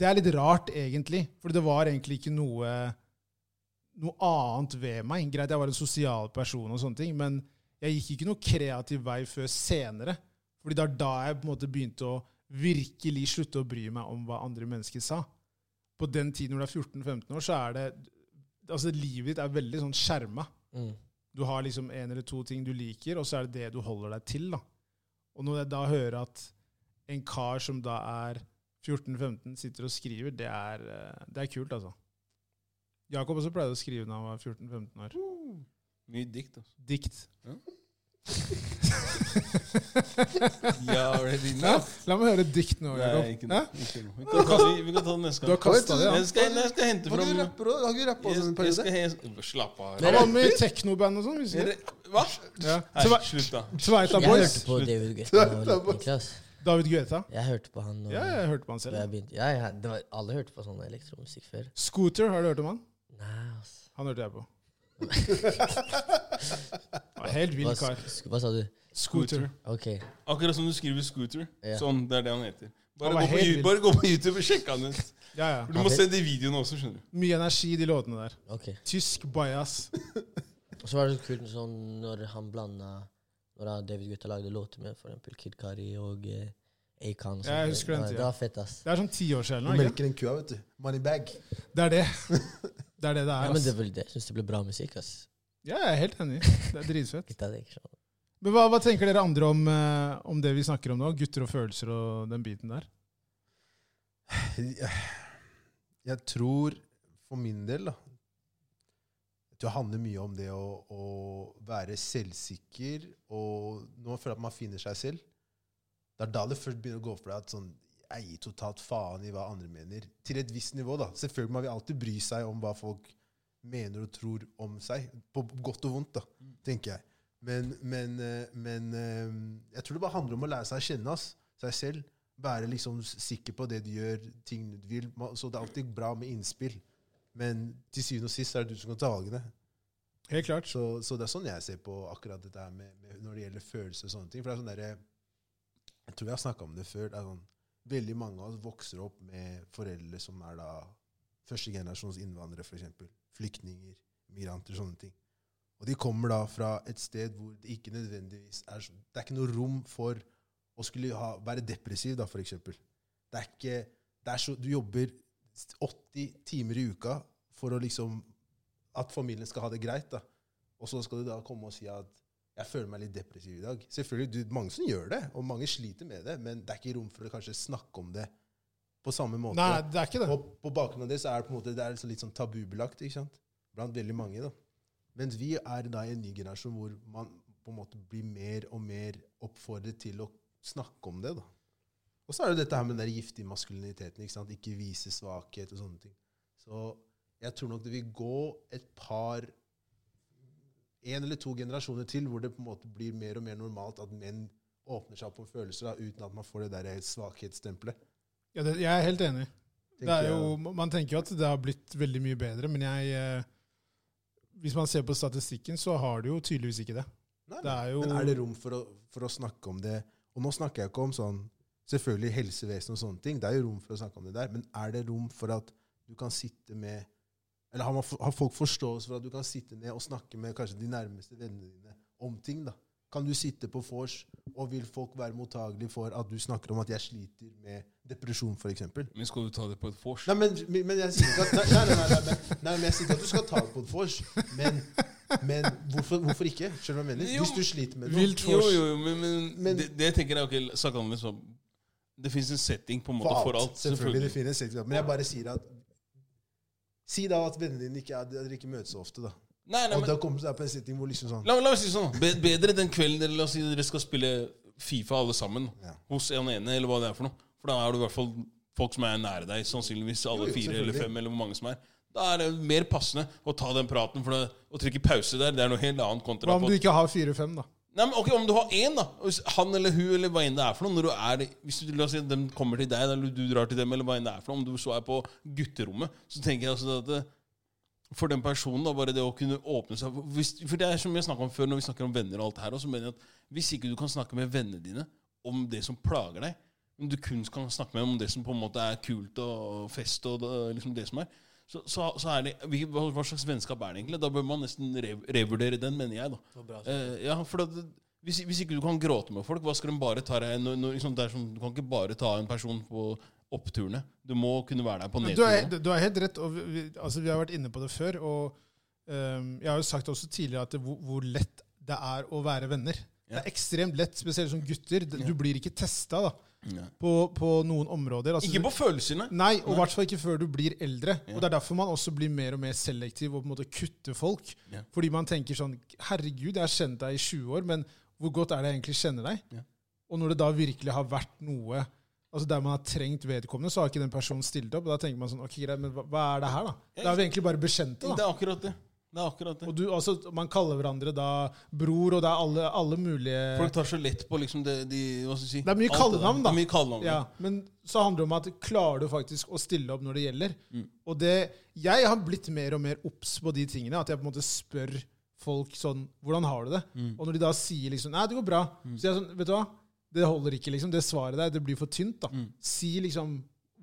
Speaker 1: Det er litt rart, egentlig. For det var egentlig ikke noe noe annet ved meg. Greit, jeg var en sosial person, og sånne ting, men jeg gikk ikke noe kreativ vei før senere. Fordi det er da jeg på en måte begynte å virkelig slutte å bry meg om hva andre mennesker sa. På den tiden når du er 14-15 år, så er det altså Livet ditt er veldig sånn skjerma.
Speaker 4: Mm.
Speaker 1: Du har liksom en eller to ting du liker, og så er det det du holder deg til. da. Og når jeg da hører at en kar som da er 14-15, sitter og skriver, det er, eh, det er kult, altså. Jakob også pleide å skrive da han var 14-15 år.
Speaker 2: Mye dikt, altså.
Speaker 1: Dikt.
Speaker 2: Yeah, already enough.
Speaker 1: La meg høre et dikt nå, Jakob.
Speaker 2: Nei, ikke
Speaker 1: Hæ?
Speaker 2: noe. Ikke noe. Vi, kan ta, de- vi kan ta det neste
Speaker 1: Du har
Speaker 2: gang.
Speaker 1: kasta det, ja.
Speaker 2: Jeg skal, jeg skal hente
Speaker 3: Var
Speaker 2: fram
Speaker 3: du rapper òg? Har ikke du rappa
Speaker 2: jeg,
Speaker 3: også en
Speaker 2: jeg
Speaker 3: periode?
Speaker 2: skal, he- Slapp av.
Speaker 1: Han var med i teknoband og sånn. visste du det?
Speaker 2: Dere- Hva?
Speaker 1: Ja.
Speaker 2: Nei,
Speaker 1: Tve-
Speaker 2: slutt, da.
Speaker 1: Tveita
Speaker 4: Jeg
Speaker 1: Boys.
Speaker 4: hørte på David Guetta og Niklas.
Speaker 1: David Guetta.
Speaker 4: Jeg hørte på han. Og,
Speaker 1: Ja, jeg hørte på han
Speaker 4: og jeg
Speaker 1: selv.
Speaker 4: begynte, ja, ja, det var, alle hørte på sånn elektromusikk før.
Speaker 1: Scooter, har du hørt om han?
Speaker 4: Nei, altså.
Speaker 1: Han hørte jeg på. Han var Helt
Speaker 4: Hva,
Speaker 1: vill kar.
Speaker 4: sk- hva sa du?
Speaker 1: Scooter.
Speaker 4: Ok.
Speaker 2: Akkurat som du skriver scooter.
Speaker 4: Ja.
Speaker 2: Sånn, Det er det han heter. Bare,
Speaker 1: Han var
Speaker 2: gå på,
Speaker 1: helt
Speaker 2: Yu-
Speaker 1: vild.
Speaker 2: bare gå på YouTube og sjekk han ut.
Speaker 1: Ja, ja.
Speaker 2: For Du må se de videoene også, skjønner du.
Speaker 1: Mye energi i de låtene der.
Speaker 4: ok.
Speaker 1: Tysk bias.
Speaker 4: Og så var det så kult sånn, når han blanda Når han- David Guetta lagde låter med for eksempel Kid Kari og eh, Acon. og
Speaker 1: Ja, jeg
Speaker 4: sånt.
Speaker 1: husker den
Speaker 4: Det var-
Speaker 1: tida.
Speaker 4: Det var fett, ass.
Speaker 1: Det er sånn ti år siden.
Speaker 3: Du
Speaker 1: nå, Ikke?
Speaker 3: melker den kua, vet du. Moneybag.
Speaker 1: sant? Det er det. Det er det det
Speaker 4: Ja,
Speaker 1: er.
Speaker 4: men det,
Speaker 1: ass.
Speaker 4: var det. Jeg syns det ble bra musikk, ass.
Speaker 1: Ja, jeg er helt enig. Det er dritfett.
Speaker 4: Guetta, det er ikke sånn.
Speaker 1: Men hva, hva tenker dere andre om, eh, om det vi snakker om nå? Gutter og følelser og den biten der?
Speaker 3: Jeg tror, for min del, da Jeg tror det handler mye om det å, å være selvsikker og nå føler jeg at man finner seg selv. Det er da det først begynner å gå for deg at sånn jeg gir totalt faen i hva andre mener. Til et visst nivå, da. Selvfølgelig man vil alltid bry seg om hva folk mener og tror om seg. På godt og vondt, da, tenker jeg. Men, men, eh, men eh, jeg tror det bare handler om å lære seg å kjenne ass, seg selv. Være liksom s- sikker på det du gjør, ting du vil. Ma- Så det er alltid bra med innspill. Men til syvende og sist er det du som kan ta valgene.
Speaker 1: Helt klart.
Speaker 3: Så, så det er sånn jeg ser på akkurat dette her med, med når det gjelder følelser og sånne ting. For det er sånn derre Jeg tror jeg har snakka om det før. Det er sånn, veldig mange av oss vokser opp med foreldre som er da førstegenerasjons innvandrere, f.eks. Flyktninger, migranter, sånne ting. Og de kommer da fra et sted hvor det ikke nødvendigvis er så- Det er ikke noe rom for å skulle ha, være depressiv, da, f.eks. Det er ikke det er så, Du jobber 80 timer i uka for å liksom At familien skal ha det greit, da. Og så skal du da komme og si at jeg føler meg litt depressiv i dag. Selvfølgelig, du, Mange som gjør det, og mange sliter med det, men det er ikke rom for å kanskje snakke om det på samme måte.
Speaker 1: Nei, det er ikke det.
Speaker 3: Og på bakgrunn av det så er det på en måte det er så litt sånn tabubelagt ikke sant? blant veldig mange. da. Mens vi er da i en ny generasjon hvor man på en måte blir mer og mer oppfordret til å snakke om det. da. Og så er det dette her med den der giftige maskuliniteten. Ikke sant? Ikke vise svakhet og sånne ting. Så jeg tror nok det vil gå et par En eller to generasjoner til hvor det på en måte blir mer og mer normalt at menn åpner seg opp for følelser da, uten at man får det der svakhetsstempelet.
Speaker 1: Ja, det. Jeg er helt enig. Det
Speaker 3: tenker
Speaker 1: er
Speaker 3: jeg.
Speaker 1: jo, man tenker jo at det har blitt veldig mye bedre, men jeg eh, Hvis man ser på statistikken, så har det jo tydeligvis ikke det.
Speaker 3: Nei,
Speaker 1: Det er jo
Speaker 3: Men er det rom for å, for å snakke om det? Og nå snakker jeg ikke om sånn selvfølgelig helsevesen og sånne ting. Det er jo rom for å snakke om det der. Men er det rom for at du kan sitte med Eller har, man, for- har folk forståelse for at du kan sitte ned og snakke med kanskje de nærmeste vennene dine om ting? da? Kan du sitte på vors, og vil folk være mottagelige for at du snakker om at jeg sliter med depresjon, f.eks.?
Speaker 2: Men skal du ta det på et vors?
Speaker 3: Nei, men, men jeg sier ikke at Nei, nei, nei, nei, nei, nei, men jeg sier ikke at du skal ta det på et vors. Men, men hvorfor, hvorfor ikke? Skjønner du hva jeg mener?
Speaker 2: Jo,
Speaker 3: Hvis du sliter med noe.
Speaker 1: Vilt
Speaker 2: Jo,
Speaker 1: vors.
Speaker 2: jo, jo, men, men,
Speaker 3: Men-
Speaker 2: det, det tenker jeg ok, sagt annerledes. så Det fins en setting på en måte for alt.
Speaker 3: selvfølgelig. det finnes sikkert, Men jeg bare sier at Si da at vennene dine ikke, er- dere ikke møtes så ofte, da.
Speaker 2: Nei, nei,
Speaker 3: Og
Speaker 2: men,
Speaker 3: da kommer du deg på en setting hvor liksom sånn
Speaker 2: la, la meg si det sånn. Be, bedre den kvelden dere, la oss si, dere skal spille Fifa alle sammen
Speaker 3: Ja.
Speaker 2: hos en ene, eller hva det er for noe. For da er du i hvert fall folk som er nære deg, sannsynligvis alle
Speaker 3: Jo, jo,
Speaker 2: fire eller
Speaker 3: selvfølgelig.
Speaker 2: fem, eller hvor mange som er. Da er det mer passende å ta den praten, for det, å trykke pause der, det er noe helt annet kontra
Speaker 1: Hva om
Speaker 2: på-
Speaker 1: du ikke har fire-fem, da?
Speaker 2: Nei, men ok, Om du har én, da. og Hvis han eller hun eller hva enn det er for noe. Når du er, hvis du, la oss si, at de kommer til deg, eller du drar til dem, eller hva enn det er for noe. Om du så er på gutterommet, så tenker jeg altså at det, for den personen, da, bare det å kunne åpne seg hvis, For det er som jeg snakka om før, når vi snakker om venner og alt det her, og så mener jeg at hvis ikke du kan snakke med vennene dine om det som plager deg, men du kun kan snakke med dem om det som på en måte er kult og fest og det, liksom det som er, så, så, så er det hvilke- Hva hva slags vennskap er det egentlig? Da bør man nesten rev, revurdere den, mener jeg, da.
Speaker 4: Det var bra.
Speaker 2: Eh, ja, for at, hvis, hvis ikke du kan gråte med folk, hva skal de bare ta deg når, når, liksom, det er som, Du kan ikke bare ta en person på oppturene. Du må kunne være der på
Speaker 1: Du er,
Speaker 2: nedturene.
Speaker 1: du er helt rett. og vi, vi- altså, vi har vært inne på det før. og ehm, Jeg har jo sagt også tidligere at det, hvor, hvor lett det er å være venner. Det
Speaker 2: Ja.
Speaker 1: er ekstremt lett, spesielt som gutter. Det-
Speaker 2: Ja.
Speaker 1: Du blir ikke testa
Speaker 2: Ja.
Speaker 1: på, på noen områder. Altså,
Speaker 2: Ikke på følelsene.
Speaker 1: Nei, og i
Speaker 2: Nei.
Speaker 1: hvert fall ikke før du blir eldre.
Speaker 2: Ja.
Speaker 1: Og Det er derfor man også blir mer og mer selektiv og på en måte kutter folk.
Speaker 2: Ja.
Speaker 1: Fordi man tenker sånn Herregud, jeg har kjent deg i 20 år, men hvor godt er det jeg egentlig kjenner deg?
Speaker 2: Ja.
Speaker 1: Og når det da virkelig har vært noe Altså Der man har trengt vedkommende, så har ikke den personen stilt opp. Og Da tenker man sånn Ok, greit, men hva, hva er det her, da? Da er vi egentlig bare bekjente,
Speaker 2: Det
Speaker 1: da.
Speaker 2: er akkurat det. det, er akkurat det.
Speaker 1: Og du, altså, Man kaller hverandre da bror, og det er alle, alle mulige
Speaker 2: Folk tar så lett på liksom det de, Hva skal jeg si
Speaker 1: Det er mye
Speaker 2: alt
Speaker 1: kallenavn, da.
Speaker 2: Det er mye kallenavn.
Speaker 1: Ja, men så handler det om at klarer du faktisk å stille opp når det gjelder? Og det, jeg har blitt mer og mer obs på de tingene. At jeg på en måte spør folk sånn Hvordan har du det? Og når de da sier liksom Nei, det går bra. Så jeg er sånn Vet du hva? Det holder ikke, liksom. Det svaret der, det blir for tynt, da. Si liksom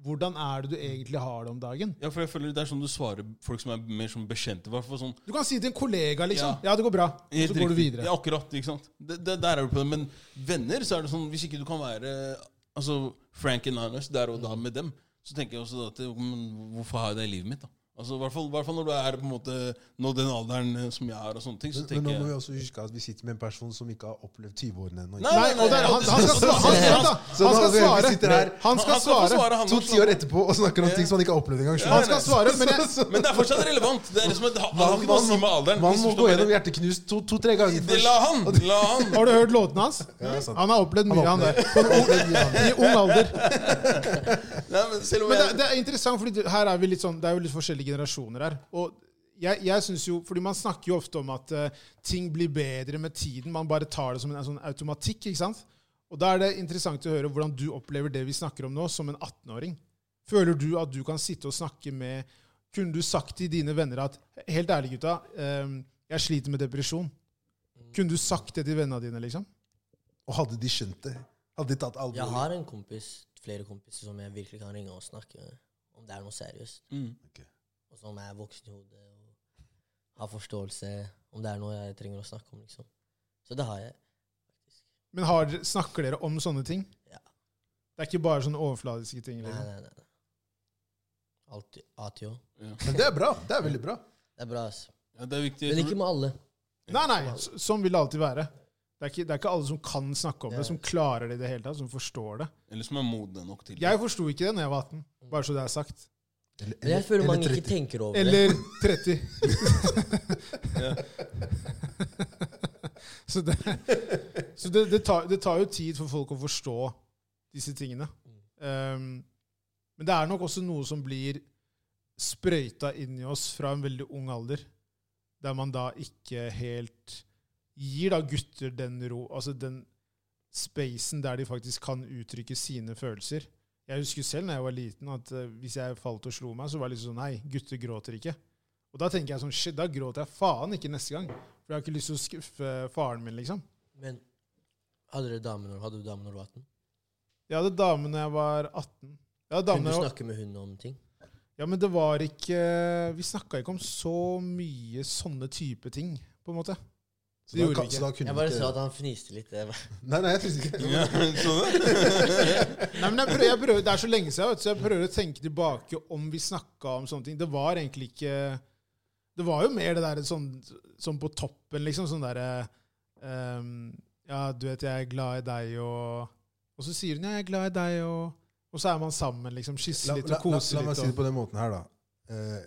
Speaker 1: Hvordan er det du egentlig har det om dagen?
Speaker 2: Ja, for jeg føler Det er sånn du svarer folk som er mer som bekjente. Hvertfall sånn
Speaker 1: Du kan si til en kollega, liksom.
Speaker 2: Ja.
Speaker 1: Ja, det går bra. Og
Speaker 2: Helt
Speaker 1: så går du
Speaker 2: riktig.
Speaker 1: videre.
Speaker 2: Ja, akkurat, ikke sant? Det, det, der er du på det. Men venner, så er det sånn Hvis ikke du kan være altså, frank and honest der og da med dem, så tenker jeg også da at men, Hvorfor har jeg det i livet mitt, da? Altså, I hvert fall, i hvert fall når du er på en måte Nå den alderen eh, som jeg er, og sånne ting, så
Speaker 3: men, men nå
Speaker 2: tenker
Speaker 3: må vi
Speaker 2: jeg
Speaker 3: også huske at vi sitter med en person som ikke har opplevd 20-årene ennå.
Speaker 2: Nei,
Speaker 1: Nei, og der, han, han skal svare! Han, vent da.
Speaker 3: Så
Speaker 1: han skal
Speaker 3: da- vi sitter
Speaker 1: svare!
Speaker 3: her.
Speaker 1: Han skal svare!
Speaker 2: han
Speaker 3: To
Speaker 2: også.
Speaker 3: tiår etterpå og snakker om ting som han ikke har opplevd engang.
Speaker 1: Han
Speaker 3: skjønner du?
Speaker 1: skal svare, men jeg,
Speaker 2: Men det er fortsatt relevant. Det er liksom, det har det har ikke noe å si med alderen.
Speaker 3: man må
Speaker 2: Misforstå
Speaker 3: gå
Speaker 2: meg
Speaker 3: gjennom
Speaker 2: rett.
Speaker 3: hjerteknust to-tre ganger
Speaker 2: Det la han! La han.
Speaker 1: Har du hørt låtene hans?
Speaker 3: det er sant.
Speaker 1: Han har opplevd mye, han der.
Speaker 3: først.
Speaker 1: I ung alder.
Speaker 2: Nei, men selv om
Speaker 1: Men det,
Speaker 2: jeg
Speaker 1: det er interessant, fordi det- her er vi litt sånn, det er jo litt forskjellige generasjoner her. Og jeg, jeg synes jo, fordi Man snakker jo ofte om at eh, ting blir bedre med tiden. Man bare tar det som en, en sånn automatikk. ikke sant? Og Da er det interessant å høre hvordan du opplever det vi snakker om nå, som en 18-åring. Føler du at du kan sitte og snakke med Kunne du sagt til dine venner at Helt ærlig, gutta. eh, jeg sliter med depresjon. Kunne du sagt det til vennene dine, liksom?
Speaker 3: Og hadde de skjønt det? Hadde de tatt
Speaker 4: Jeg
Speaker 3: alvorlig?
Speaker 4: har en kompis, flere kompiser som jeg virkelig kan ringe og snakke med om det er noe seriøst.
Speaker 2: mm.
Speaker 4: Og som er voksen i hodet og har forståelse om det er noe jeg trenger å snakke om. liksom. Så det har jeg.
Speaker 1: Men har, dere- snakker dere om sånne ting?
Speaker 4: Ja.
Speaker 1: Det er ikke bare sånne overfladiske ting?
Speaker 4: Nei,
Speaker 1: Liksom.
Speaker 4: nei, nei. nei. Alt ATO.
Speaker 3: Men det er bra. Det er veldig bra.
Speaker 4: Det er bra, altså.
Speaker 2: ja, Det er viktig.
Speaker 4: Men ikke med alle.
Speaker 1: Nei, nei, s- sånn vil det alltid være. Det er ikke, det er ikke alle som kan snakke om
Speaker 4: Ja.
Speaker 1: det, som klarer det i det hele tatt, som forstår det.
Speaker 2: Eller som er modne nok til
Speaker 1: Jeg forsto ikke det da jeg var 18, bare så det er sagt.
Speaker 3: Eller-
Speaker 4: Men jeg
Speaker 3: eller-
Speaker 4: føler
Speaker 3: eller
Speaker 4: mange
Speaker 3: 30.
Speaker 4: ikke tenker over det.
Speaker 1: Eller 30. så det, så det, det, tar, det tar jo tid for folk å forstå disse tingene. Um, men det er nok også noe som blir sprøyta inn i oss fra en veldig ung alder, der man da ikke helt gir da gutter den ro, altså den spacen der de faktisk kan uttrykke sine følelser. Jeg husker selv når jeg var liten, at eh, hvis jeg falt og slo meg, så var det liksom sånn Nei, gutter gråter ikke. Og da tenker jeg sånn Shit, da gråter jeg faen ikke neste gang. For jeg har ikke lyst til å skuffe faren min, liksom.
Speaker 4: Men hadde du dame når, hadde du dame når du var 18?
Speaker 1: Jeg hadde dame når jeg var 18. Jeg hadde dame
Speaker 4: Kunne
Speaker 1: når
Speaker 4: du
Speaker 1: jeg var
Speaker 4: snakke med hun om ting?
Speaker 1: Ja, men det var ikke Vi snakka ikke om så mye sånne type ting, på en måte.
Speaker 3: Så
Speaker 1: Det
Speaker 3: da
Speaker 1: gjorde
Speaker 3: kan-
Speaker 1: vi ikke.
Speaker 3: så da kunne
Speaker 4: Jeg
Speaker 3: vi
Speaker 4: bare
Speaker 3: ikke-
Speaker 4: så at han fniste litt. Jeg bare-
Speaker 3: Nei, nei, jeg synes ikke
Speaker 2: Ja, sånn. så det?
Speaker 1: Nei, men jeg prøver, jeg prøver, Det er så lenge siden, vet du, så jeg prøver å tenke tilbake om vi snakka om sånne ting. Det var egentlig ikke Det var jo mer det der sånn, sånn på toppen, liksom. Sånn derre ehm, Ja, du vet, jeg er glad i deg, og Og så sier hun ja, jeg er glad i deg, og Og så er man sammen, liksom.
Speaker 3: La,
Speaker 1: Kysser litt og
Speaker 3: la, la, la
Speaker 1: koser
Speaker 3: meg
Speaker 1: litt.
Speaker 3: si det
Speaker 1: Og,
Speaker 3: på den måten her, da. Eh,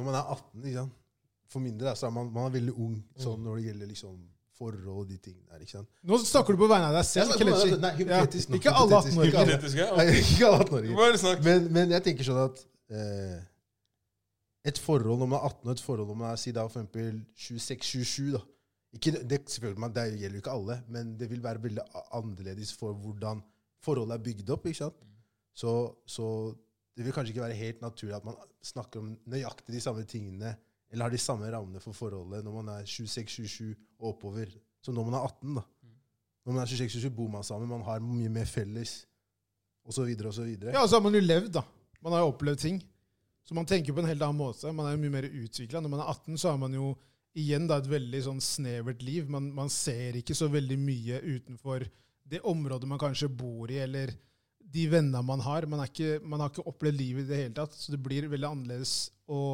Speaker 3: man er 18, ikke sant? for min del da, så er man, man er veldig ung
Speaker 1: Mm.
Speaker 3: sånn, når det gjelder liksom, forhold og de tingene der. ikke sant?
Speaker 1: Nå snakker du på vegne av deg selv.
Speaker 3: Jeg snakker på vegne av-
Speaker 1: Kelechi.
Speaker 3: nei, hypotetisk nå,
Speaker 1: Ikke alle
Speaker 3: hypotetisk,
Speaker 1: 18 år.
Speaker 3: ikke alle.
Speaker 2: Hypotetisk, ja.
Speaker 3: Nei, ikke alle 18-åringer.
Speaker 2: Bare snakk.
Speaker 3: Men, men jeg tenker sånn at eh, et forhold når man er 18 og et forhold når man er si da, for eksempel 26-27 da. Ikke, det, selvfølgelig, man- det gjelder jo ikke alle, men det vil være veldig a- annerledes for hvordan forholdet er bygd opp. ikke sant? Så, så det vil kanskje ikke være helt naturlig at man snakker om nøyaktig de samme tingene eller har de samme rammene for forholdet når man er 26-27 og oppover, som når man er 18. da. Når man er 26-27, bor man sammen, man har mye mer felles, osv. osv.
Speaker 1: Ja, og så har man jo levd, da. Man har jo opplevd ting. Så man tenker på en helt annen måte. Man er jo mye mer utvikla. Når man er 18, så har man jo igjen da et veldig sånn snevert liv. Man, man ser ikke så veldig mye utenfor det området man kanskje bor i, eller de vennene man har. Man, er ikke, man har ikke opplevd livet i det hele tatt, så det blir veldig annerledes å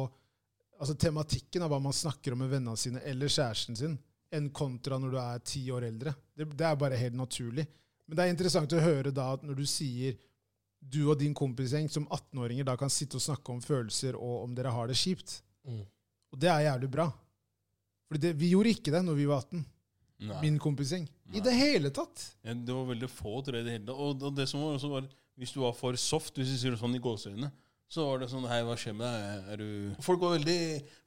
Speaker 1: Altså tematikken av hva man snakker om med vennene sine eller kjæresten sin, enn kontra når du er ti år eldre. Det, det er bare helt naturlig. Men det er interessant å høre da at når du sier du og din kompisgjeng som 18-åringer da kan sitte og snakke om følelser og om dere har det kjipt.
Speaker 4: Mm.
Speaker 1: Og det er jævlig bra. For det, vi gjorde ikke det når vi var 18.
Speaker 2: Nei.
Speaker 1: Min kompisgjeng.
Speaker 2: Nei.
Speaker 1: I det hele tatt.
Speaker 2: Ja, det var veldig få, tror jeg. i det hele tatt. Og, og det som var også var, hvis du var for soft, hvis vi sier det sånn i gåseøynene, så var det sånn Hei, hva skjer med deg? Er du Folk var veldig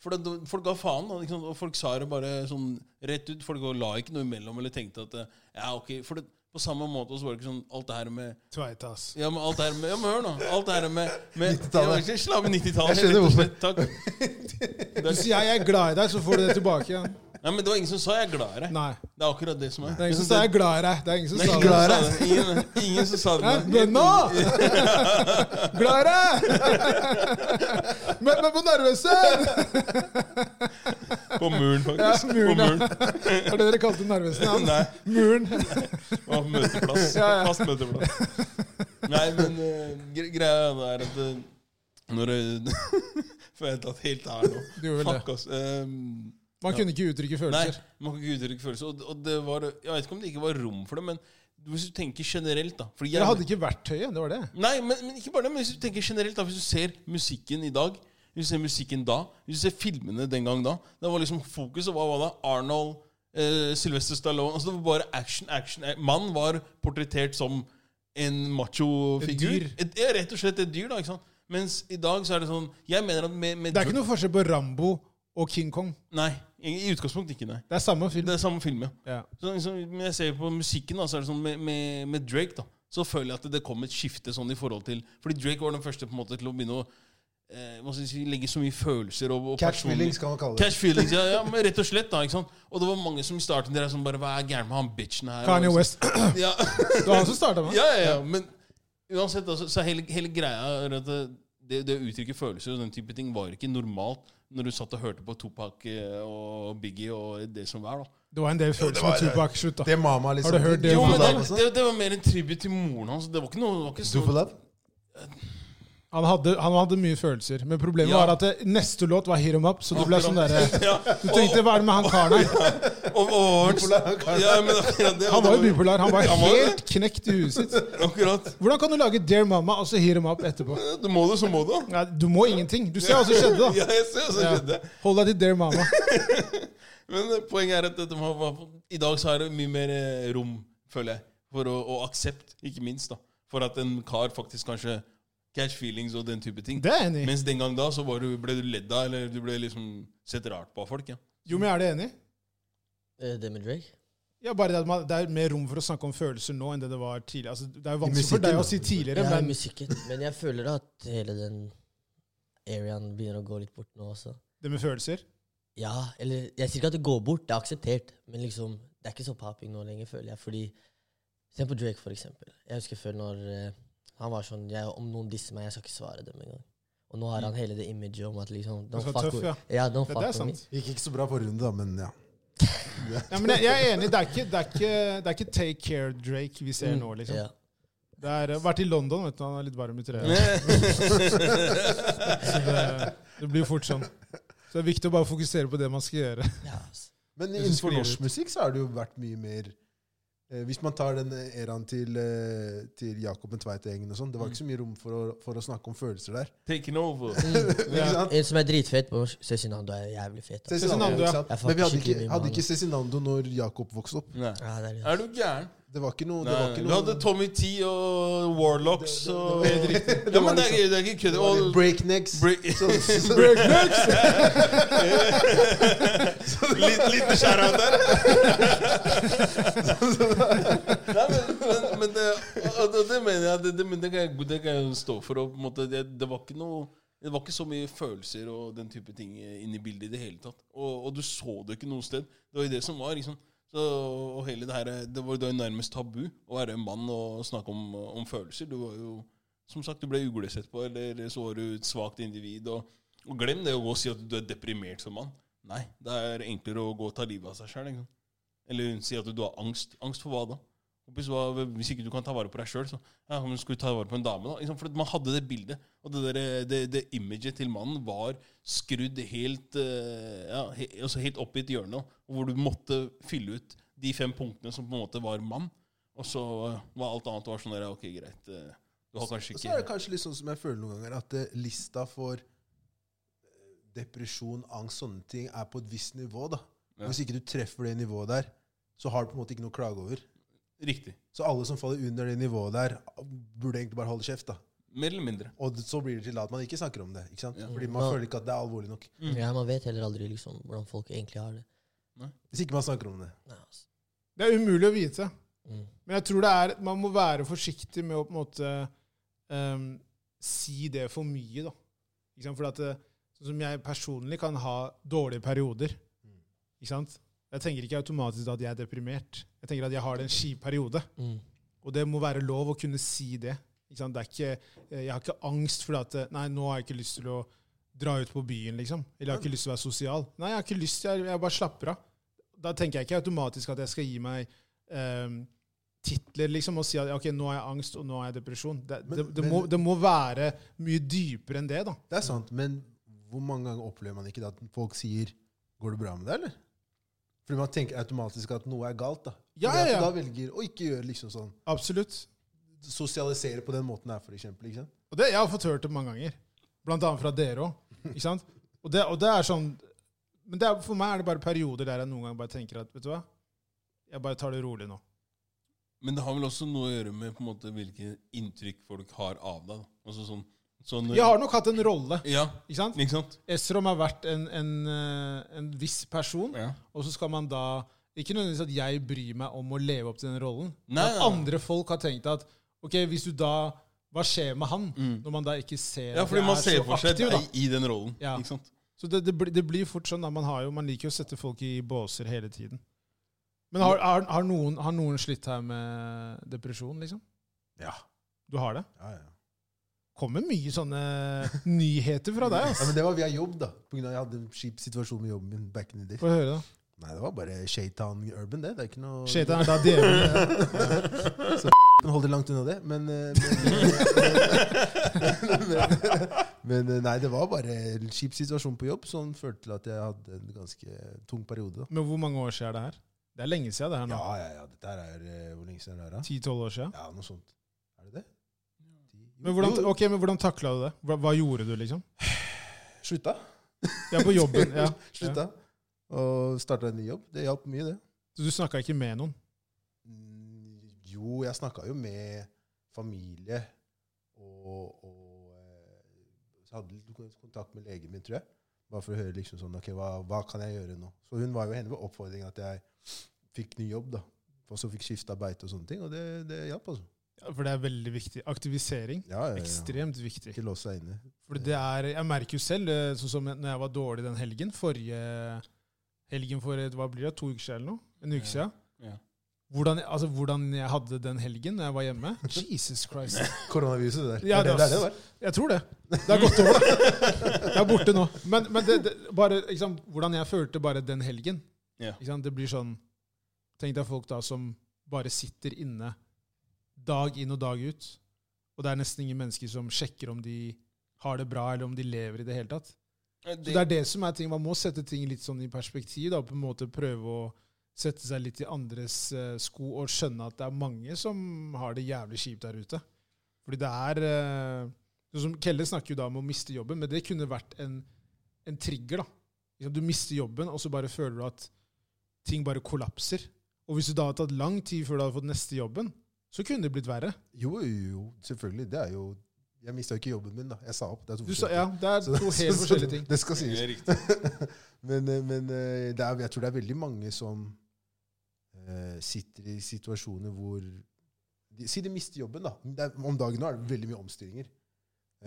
Speaker 2: For det, folk ga faen, da. Ikke sant? Og folk sa det bare sånn rett ut. Folk la ikke noe imellom eller tenkte at eh, Ja, OK. For det, på samme måte så var det ikke sånn alt det her med
Speaker 1: Tveita, ass.
Speaker 2: Ja, men alt det her med Ja, men hør nå. Alt det her med, med
Speaker 3: 90-tallet.
Speaker 2: Ja, Slamme 90-tallet.
Speaker 3: Jeg
Speaker 2: rett
Speaker 3: skjønner
Speaker 2: og
Speaker 3: hvorfor.
Speaker 2: slett. Takk.
Speaker 1: Du sier jeg er glad i deg, så får du det tilbake igjen.
Speaker 2: Nei, men det var ingen som sa 'jeg er glad i deg'.
Speaker 1: Nei.
Speaker 2: Det er akkurat det som er.
Speaker 1: Det er ingen som sa jeg er glad i deg. Det er ingen som
Speaker 2: Nei,
Speaker 1: sa
Speaker 2: ingen
Speaker 1: det.
Speaker 2: som
Speaker 3: glad i
Speaker 2: sa det. Ingen, ingen som sa
Speaker 1: Hæ?
Speaker 2: det.
Speaker 1: Men nå! Glad i deg! Møt meg på Narvesen!
Speaker 2: På muren, faktisk.
Speaker 1: Ja, muren, ja.
Speaker 2: På muren.
Speaker 1: Det var det dere kalte Narvesen? Ja.
Speaker 2: Nei,
Speaker 1: Muren.
Speaker 2: og møteplass.
Speaker 1: Ja, ja.
Speaker 2: Fast møteplass. Nei, men eh, gre greia er det at eh, når du Får jeg tatt helt her nå?
Speaker 1: Du gjorde vel det.
Speaker 2: Fuck, ass. Ehm,
Speaker 1: Man kunne ikke uttrykke
Speaker 2: nei,
Speaker 1: følelser.
Speaker 2: man kan ikke uttrykke følelser. Og, og det var Jeg vet ikke om det ikke var rom for det, men hvis du tenker generelt, da fordi
Speaker 1: Dere hadde ikke verktøyet. Det var det.
Speaker 2: Nei, men, men ikke bare det, men hvis du tenker generelt da, hvis du ser musikken i dag, hvis du ser musikken da, hvis du ser filmene den gang da, det var liksom fokuset, hva var det? Arnold, eh, Sylvester Stallone, altså det var bare action, action. eh, Mann var portrettert som en macho-figur.
Speaker 1: Et dyr.
Speaker 2: Et- ja, Rett og slett et dyr da, ikke sant? Mens i dag så er det sånn, jeg mener at med... med
Speaker 1: Det er ikke noe forskjell på Rambo og King Kong.
Speaker 2: Nei, i i utgangspunktet ikke, nei.
Speaker 1: Det er samme film.
Speaker 2: Det er samme film, ja.
Speaker 1: Ja.
Speaker 2: Så, liksom, men jeg ser på musikken, da, så er det sånn med, med, med Drake, da, så føler jeg at det kom et skifte sånn i forhold til Fordi Drake var den første på en måte til å begynne å eh, hva skal jeg si, legge så mye følelser og, og
Speaker 3: Catch
Speaker 2: personlig-
Speaker 3: feelings kan man kalle det.
Speaker 2: Catch feelings, ja, ja, men rett og slett. da, ikke sant? Og det var mange som i starten der er sånn bare Hva er gærent med han bitchen her?
Speaker 1: Kanye
Speaker 2: Og-
Speaker 1: West. Det
Speaker 2: Ja,
Speaker 1: var han som starta med det.
Speaker 2: ja, ja, ja, men uansett, altså, så hele, hele greia er at det- det, det å uttrykke følelser og den type ting var ikke normalt når du satt og hørte på Topak eh, og Biggie og det som var, da.
Speaker 1: Det var en del følelser
Speaker 3: var
Speaker 1: med
Speaker 3: det.
Speaker 1: Tupac. Slutt, da.
Speaker 3: Det mama liksom.
Speaker 1: Har du hørt det
Speaker 2: Jo,
Speaker 1: om
Speaker 2: men
Speaker 1: Duffelab
Speaker 3: sånn.
Speaker 2: det, det, det var mer en tribut til moren hans. Det var ikke noe det var ikke så,
Speaker 3: Duffelab?
Speaker 1: Han hadde, han hadde mye følelser, men problemet
Speaker 2: Ja.
Speaker 1: var at det, neste låt var Hit 'Em Up, så det ble sånn derre
Speaker 2: ja,
Speaker 1: Du tenkte hva er det med han karen her?
Speaker 2: og, og, ja, men akkurat det,
Speaker 1: Han var jo bipolar. Han var
Speaker 2: Han var jo
Speaker 1: helt knekt i huet sitt.
Speaker 2: Akkurat.
Speaker 1: Hvordan kan du lage 'Dear Mama' og så Hit 'Em Up etterpå?
Speaker 2: Du må det, så må du.
Speaker 1: Nei, du må ingenting. Du ser hva som skjedde, da.
Speaker 2: Ja, jeg ser hva som
Speaker 1: Ja.
Speaker 2: skjedde.
Speaker 1: Hold deg til 'Dear Mama'.
Speaker 2: Men eh, poenget er at dette må, må- i dag så er det mye mer eh, rom, føler jeg, for å, og aksept, ikke minst, da, for at en kar faktisk kanskje catch feelings og den type ting.
Speaker 1: Det er jeg enig i.
Speaker 2: Mens den gang da så var du, ble du ledd av, eller du ble liksom sett rart på av folk. ja.
Speaker 1: Jo, men jeg er det enig.
Speaker 4: Eh, Det med Drake?
Speaker 1: Ja, bare det, at man, det er mer rom for å snakke om følelser nå enn det det var tidligere. Altså, det er jo
Speaker 3: I
Speaker 1: vanskelig for
Speaker 3: musikken,
Speaker 1: deg å
Speaker 3: da.
Speaker 1: si tidligere,
Speaker 4: Ja, i
Speaker 1: men
Speaker 4: musikken. Men jeg føler at hele den areaen begynner å gå litt bort nå også.
Speaker 1: det med følelser
Speaker 4: Ja, eller Jeg sier ikke at det går bort, det er akseptert. Men liksom, det er ikke så popping nå lenger, føler jeg. Fordi, Se på Drake, for eksempel. Jeg husker før når eh, han var sånn jeg, Om noen disser meg, jeg skal ikke svare dem engang. Og nå
Speaker 1: Mm.
Speaker 4: har han hele det imaget om at liksom
Speaker 1: Du
Speaker 4: Don't
Speaker 1: skal
Speaker 4: fuck
Speaker 1: være tøff,
Speaker 4: with
Speaker 1: ja.
Speaker 4: ja. don't
Speaker 1: Det,
Speaker 4: fuck
Speaker 1: det er
Speaker 4: with me.
Speaker 1: sant.
Speaker 3: Gikk ikke så bra forrige runde, da, men ja.
Speaker 1: Ja, men jeg, jeg er enig. Det er ikke, det er ikke, det er ikke Take Care Drake vi ser
Speaker 4: Mm,
Speaker 1: nå, liksom.
Speaker 4: ja.
Speaker 1: Det er vært i London, vet du. Han er litt varm i trøya. Så det, det blir fort sånn. Så det er viktig å bare fokusere på det man skal gjøre.
Speaker 4: Ja, ass.
Speaker 3: Men
Speaker 1: Jeg synes
Speaker 3: innenfor
Speaker 1: det er
Speaker 3: norsk musikk så har det jo vært mye mer Eh, hvis man tar den eh, eraen til, eh, til Jakob en Tveit-gjengen og sånn, det var ikke så mye rom for å, for å snakke om følelser der.
Speaker 2: Taken over.
Speaker 3: ikke sant?
Speaker 4: Mm. En som er dritfett på Cezinando, er jævlig fet. ass.
Speaker 1: Cezinando,
Speaker 3: ikke
Speaker 1: ja.
Speaker 3: sant?
Speaker 4: Jeg fucker
Speaker 3: Men vi hadde
Speaker 4: skikkelig
Speaker 3: ikke,
Speaker 4: med
Speaker 3: hadde
Speaker 4: han,
Speaker 3: ikke Cezinando når Jakob vokste opp.
Speaker 2: Nei.
Speaker 4: Ja, det er det.
Speaker 2: Er du gæren?
Speaker 3: Det var ikke noe,
Speaker 2: Nei,
Speaker 3: det var
Speaker 2: nei.
Speaker 3: ikke
Speaker 2: Du hadde
Speaker 3: noe
Speaker 2: Tommy T og Warlocks
Speaker 3: Det- det-
Speaker 2: og
Speaker 3: det var- det
Speaker 2: Ja,
Speaker 3: var
Speaker 2: men det er,
Speaker 3: liksom-
Speaker 2: ikke- det er ikke kødd.
Speaker 3: det var litt
Speaker 2: Og
Speaker 3: breaknecks.
Speaker 2: Break-
Speaker 3: Så- så-
Speaker 2: litt, litt skjæra der. Nei, men, men, men det, og- og det mener jeg det, det, men det, kan jeg, det kan jeg stå for. Og, på en måte, det, det var ikke noe det var ikke så mye følelser og den type ting inne i bildet i det hele tatt. Og, og du så det ikke noe sted. Det var jo det som var. liksom. Så, og hele Det her, det var jo da nærmest tabu å være en mann og snakke om, om følelser. Du var jo, som sagt, du ble uglesett på, eller så var du et svakt individ. Og, og glem det å gå og si at du er deprimert som mann. Nei, det er enklere å gå og ta livet av seg sjøl. Eller si at du har angst. Angst for hva da? Hvis, hva- hvis ikke du kan ta vare på deg sjøl, så ja, men skal du ta vare på en dame, da? Ikke sant? For at man hadde det bildet. Og det, der, det, det imaget til mannen var skrudd helt, eh, ja, he, altså helt opp i et hjørne, og hvor du måtte fylle ut de fem punktene som på en måte var mann. Og så eh, var alt annet var sånn der, ok, greit. eh, Du har kanskje
Speaker 3: Og så er det
Speaker 2: ikke
Speaker 3: kanskje litt sånn som jeg føler noen ganger, at eh, lista for eh, depresjon, angst, sånne ting er på et visst nivå. da.
Speaker 2: Ja.
Speaker 3: Hvis ikke du treffer det nivået der, så har du på en måte ikke noe å klage over.
Speaker 2: Riktig.
Speaker 3: Så alle som faller under det nivået der, burde egentlig bare holde kjeft. da.
Speaker 2: Mer eller mindre.
Speaker 3: Og det- så blir det til at man ikke snakker om det. ikke sant?
Speaker 2: Ja.
Speaker 3: Fordi man
Speaker 4: Ja.
Speaker 3: føler ikke at det er alvorlig nok.
Speaker 4: Ja, man vet heller aldri liksom, hvordan folk egentlig har det.
Speaker 3: Hvis ikke man snakker om det.
Speaker 4: Nei, ass.
Speaker 1: Det er umulig å vite.
Speaker 4: Mm.
Speaker 1: Men jeg tror det er, man må være forsiktig med å på en måte ehm, si det for mye. da. Ikke sant? For at, eh, sånn som jeg personlig kan ha dårlige perioder.
Speaker 4: Mm.
Speaker 1: Ikke sant? Jeg tenker ikke automatisk at jeg er deprimert. Jeg tenker at jeg har en kjip periode.
Speaker 4: Mm.
Speaker 1: Og det må være lov å kunne si det. Ikke sant? det er ikke, eh, jeg har ikke angst fordi at eh, Nei, nå har jeg ikke lyst til å dra ut på byen, liksom. Eller jeg har ikke lyst til å være sosial. Nei, jeg har ikke lyst, jeg, jeg bare slapper av. Da tenker jeg ikke automatisk at jeg skal gi meg eh, titler liksom, og si at ok, nå har jeg angst, og nå har jeg depresjon. Det,
Speaker 3: Men-
Speaker 1: det, det,
Speaker 3: men-
Speaker 1: må, det må være mye dypere enn det, da.
Speaker 3: Det er sant, men hvor mange ganger opplever man ikke det at folk sier 'Går det bra med deg', eller? Fordi man tenker automatisk at noe er galt. da.
Speaker 1: Ja,
Speaker 3: Fordi at
Speaker 1: ja, ja.
Speaker 3: du Da velger å ikke gjøre liksom sånn.
Speaker 1: Absolutt.
Speaker 3: Sosialisere på den måten her, for eksempel. Ikke sant?
Speaker 1: Og det, jeg har fått hørt det mange ganger. Blant annet fra dere òg. Ikke sant? Og det, og det er sånn Men det er, for meg er det bare perioder der jeg noen ganger bare tenker at vet du hva, jeg bare tar det rolig nå.
Speaker 2: Men det har vel også noe å gjøre med på en måte hvilke inntrykk folk har av deg. da. Altså sånn, sånn
Speaker 1: Jeg har nok hatt en rolle.
Speaker 2: Ja,
Speaker 1: ikke sant?
Speaker 2: ikke sant?
Speaker 1: Esrom har vært en, en, eh, en viss person,
Speaker 2: Ja.
Speaker 1: og så skal man da Ikke nødvendigvis at jeg bryr meg om å leve opp til den rollen, men
Speaker 2: Nei,
Speaker 1: at
Speaker 2: nei, nei.
Speaker 1: andre folk har tenkt at ok, hvis du da Hva skjer med han når man da ikke ser
Speaker 2: ja,
Speaker 1: at
Speaker 2: fordi
Speaker 1: Mm. jeg
Speaker 2: man
Speaker 1: er
Speaker 2: ser
Speaker 1: så
Speaker 2: for seg
Speaker 1: aktiv, da?
Speaker 2: deg i den rollen.
Speaker 1: Ja.
Speaker 2: ikke sant?
Speaker 1: Så det, det, blir- det blir fort sånn. Da. Man, har jo, man liker jo å sette folk i båser hele tiden. Men har, har, har, noen, har noen slitt her med depresjon, liksom?
Speaker 3: Ja.
Speaker 1: Du har det?
Speaker 3: Ja, ja.
Speaker 1: Kommer mye sånne nyheter fra deg,
Speaker 3: Ja,
Speaker 1: altså.
Speaker 3: men det var via jobb, da. På grunn av jeg hadde en kjip situasjon med jobben min. back in the day.
Speaker 1: Få høre, da.
Speaker 3: Nei, det var bare Shaytown Urban, det. Det er ikke noe
Speaker 1: Shaitan er da djevelen.
Speaker 3: Men Hold deg langt unna det. Men, eh, men, men, men, men eh, nei, det var bare en kjip situasjon på jobb som førte til at jeg hadde en ganske tung periode. da.
Speaker 1: Men hvor mange år siden er det her? Det er lenge siden det her nå.
Speaker 3: Ja, ja, ja. Dette her er eh, Hvor lenge siden er det her, da?
Speaker 1: 10-12 år siden.
Speaker 3: Ja, noe sånt. Er det det? Jo,
Speaker 1: Men hvordan,
Speaker 3: jo,
Speaker 1: ok, men hvordan takla du det? Hva, hva gjorde du, liksom?
Speaker 3: Slutta.
Speaker 1: Ja, på jobben. Ja.
Speaker 3: Slutta. Og starta en ny jobb. Det hjalp mye, det.
Speaker 1: Så du snakka ikke med noen?
Speaker 3: Mm, Jo, jeg snakka jo med familie og, og eh, så hadde litt kontakt med legen min, tror jeg. Bare for å høre liksom sånn, ok, hva, hva kan jeg gjøre nå? Så hun var jo henne med oppfordringen at jeg fikk ny jobb, da. Og så fikk skifta beite og sånne ting, og det, det hjalp, altså.
Speaker 1: Ja, For det er veldig viktig. Aktivisering.
Speaker 3: Ja, ja, ja.
Speaker 1: Ekstremt viktig.
Speaker 3: Ikke låse seg inne.
Speaker 1: For det er, jeg merker jo selv, eh, sånn som når jeg var dårlig den helgen, forrige helgen for eh, hva blir det, to uker siden eller noe? En uke
Speaker 2: Ja.
Speaker 1: siden.
Speaker 2: Ja.
Speaker 1: Hvordan, altså, hvordan jeg hadde den helgen når jeg var hjemme? Jesus Christ.
Speaker 3: Koronaviruset, det der.
Speaker 1: Ja,
Speaker 3: det,
Speaker 1: det
Speaker 3: er det, det, er det var.
Speaker 1: Jeg tror det. Det har gått over, da. Jeg er borte nå. Men, men det, det, bare, ikke sant, hvordan jeg følte bare den helgen.
Speaker 2: Ja.
Speaker 1: Ikke sant? Det blir sånn Tenk deg folk da som bare sitter inne dag inn og dag ut, og det er nesten ingen mennesker som sjekker om de har det bra, eller om de lever i det hele tatt. Så det er det som er ting. Man må sette ting litt sånn i perspektiv. da, på en måte Prøve å sette seg litt i andres eh, sko og skjønne at det er mange som har det jævlig kjipt der ute. Fordi det er eh, sånn som Kelle snakker jo da om å miste jobben, men det kunne vært en, en trigger. da. Liksom, Du mister jobben, og så bare føler du at ting bare kollapser. Og hvis det da hadde tatt lang tid før du hadde fått neste jobben, så kunne det blitt verre.
Speaker 3: Jo, jo, jo, selvfølgelig. Det er jo Jeg mista jo ikke jobben min, da. Jeg sa opp. Det er to
Speaker 1: Du sa, ja, Det er
Speaker 3: Så-
Speaker 1: to
Speaker 3: så-
Speaker 1: helt
Speaker 3: så-
Speaker 1: forskjellige ting.
Speaker 3: Det skal
Speaker 2: Det
Speaker 3: sies.
Speaker 2: er riktig.
Speaker 3: men eh, men eh, det er, jeg tror det er veldig mange som eh, sitter i situasjoner hvor de, Si de mister jobben, da. Det er, om dagen nå er det veldig mye omstillinger.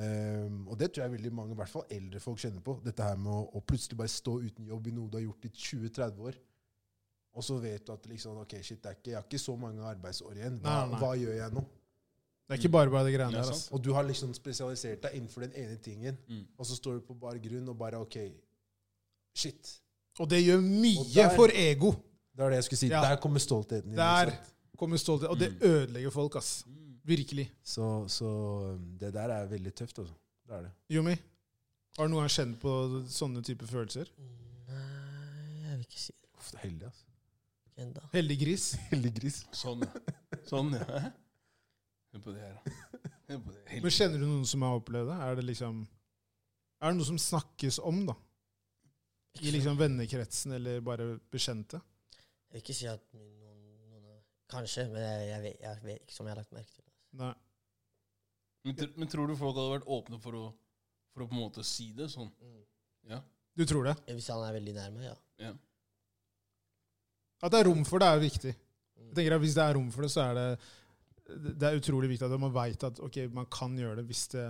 Speaker 3: Ehm, og det tror jeg veldig mange, i hvert fall eldre folk, kjenner på. Dette her med å, å plutselig bare stå uten jobb i noe du har gjort i 20-30 år. Og så vet du at liksom, ok, shit, det er ikke, jeg har ikke så mange arbeidsår igjen. Hva,
Speaker 1: Nei, nei.
Speaker 3: hva gjør jeg nå?
Speaker 1: Det er ikke bare bare de greiene
Speaker 2: Det er
Speaker 1: der.
Speaker 2: sant.
Speaker 1: Altså.
Speaker 3: Og du har liksom spesialisert deg innenfor den ene tingen,
Speaker 2: Mm.
Speaker 3: og så står du på bar grunn og bare OK, shit.
Speaker 1: Og det gjør
Speaker 3: Og
Speaker 1: mye
Speaker 3: der-
Speaker 1: for ego.
Speaker 3: Det er det jeg skulle si.
Speaker 1: Ja.
Speaker 3: Der kommer stoltheten inn.
Speaker 1: Der
Speaker 3: ikke sant?
Speaker 1: kommer stolthet. Og det
Speaker 2: Mm.
Speaker 1: ødelegger folk, ass.
Speaker 2: Mm.
Speaker 1: Virkelig.
Speaker 3: Så, så um, det der er veldig tøft, altså. Det er det.
Speaker 1: Yumi, har du noen gang kjent på sånne type følelser?
Speaker 4: Nei, jeg vil ikke si det
Speaker 3: Uff, det er heldig, altså.
Speaker 4: ennå.
Speaker 1: Heldig gris.
Speaker 3: Heldig gris.
Speaker 2: Sånn, ja. Sånn, ja. Hæ? Hør på det her, da. Hør på det.
Speaker 1: Men
Speaker 2: Helt.
Speaker 1: kjenner du noen som har opplevd det? Er det liksom Er det noe som snakkes om, da? I liksom vennekretsen eller bare bekjente?
Speaker 4: Jeg vil ikke si at min- noen, noen av- Kanskje, men jeg, jeg, vet, jeg vet ikke som jeg har lagt merke til.
Speaker 1: Nei.
Speaker 2: Men, tr- men tror du folk hadde vært åpne for å, for å på en måte si det sånn?
Speaker 1: Mm. Du tror det?
Speaker 4: Hvis han er veldig nærme, ja.
Speaker 2: Ja.
Speaker 1: At det er rom for det, er viktig.
Speaker 4: Mm.
Speaker 1: Jeg tenker at Hvis det er rom for det, så er det Det er utrolig viktig at man veit at ok, man kan gjøre det hvis det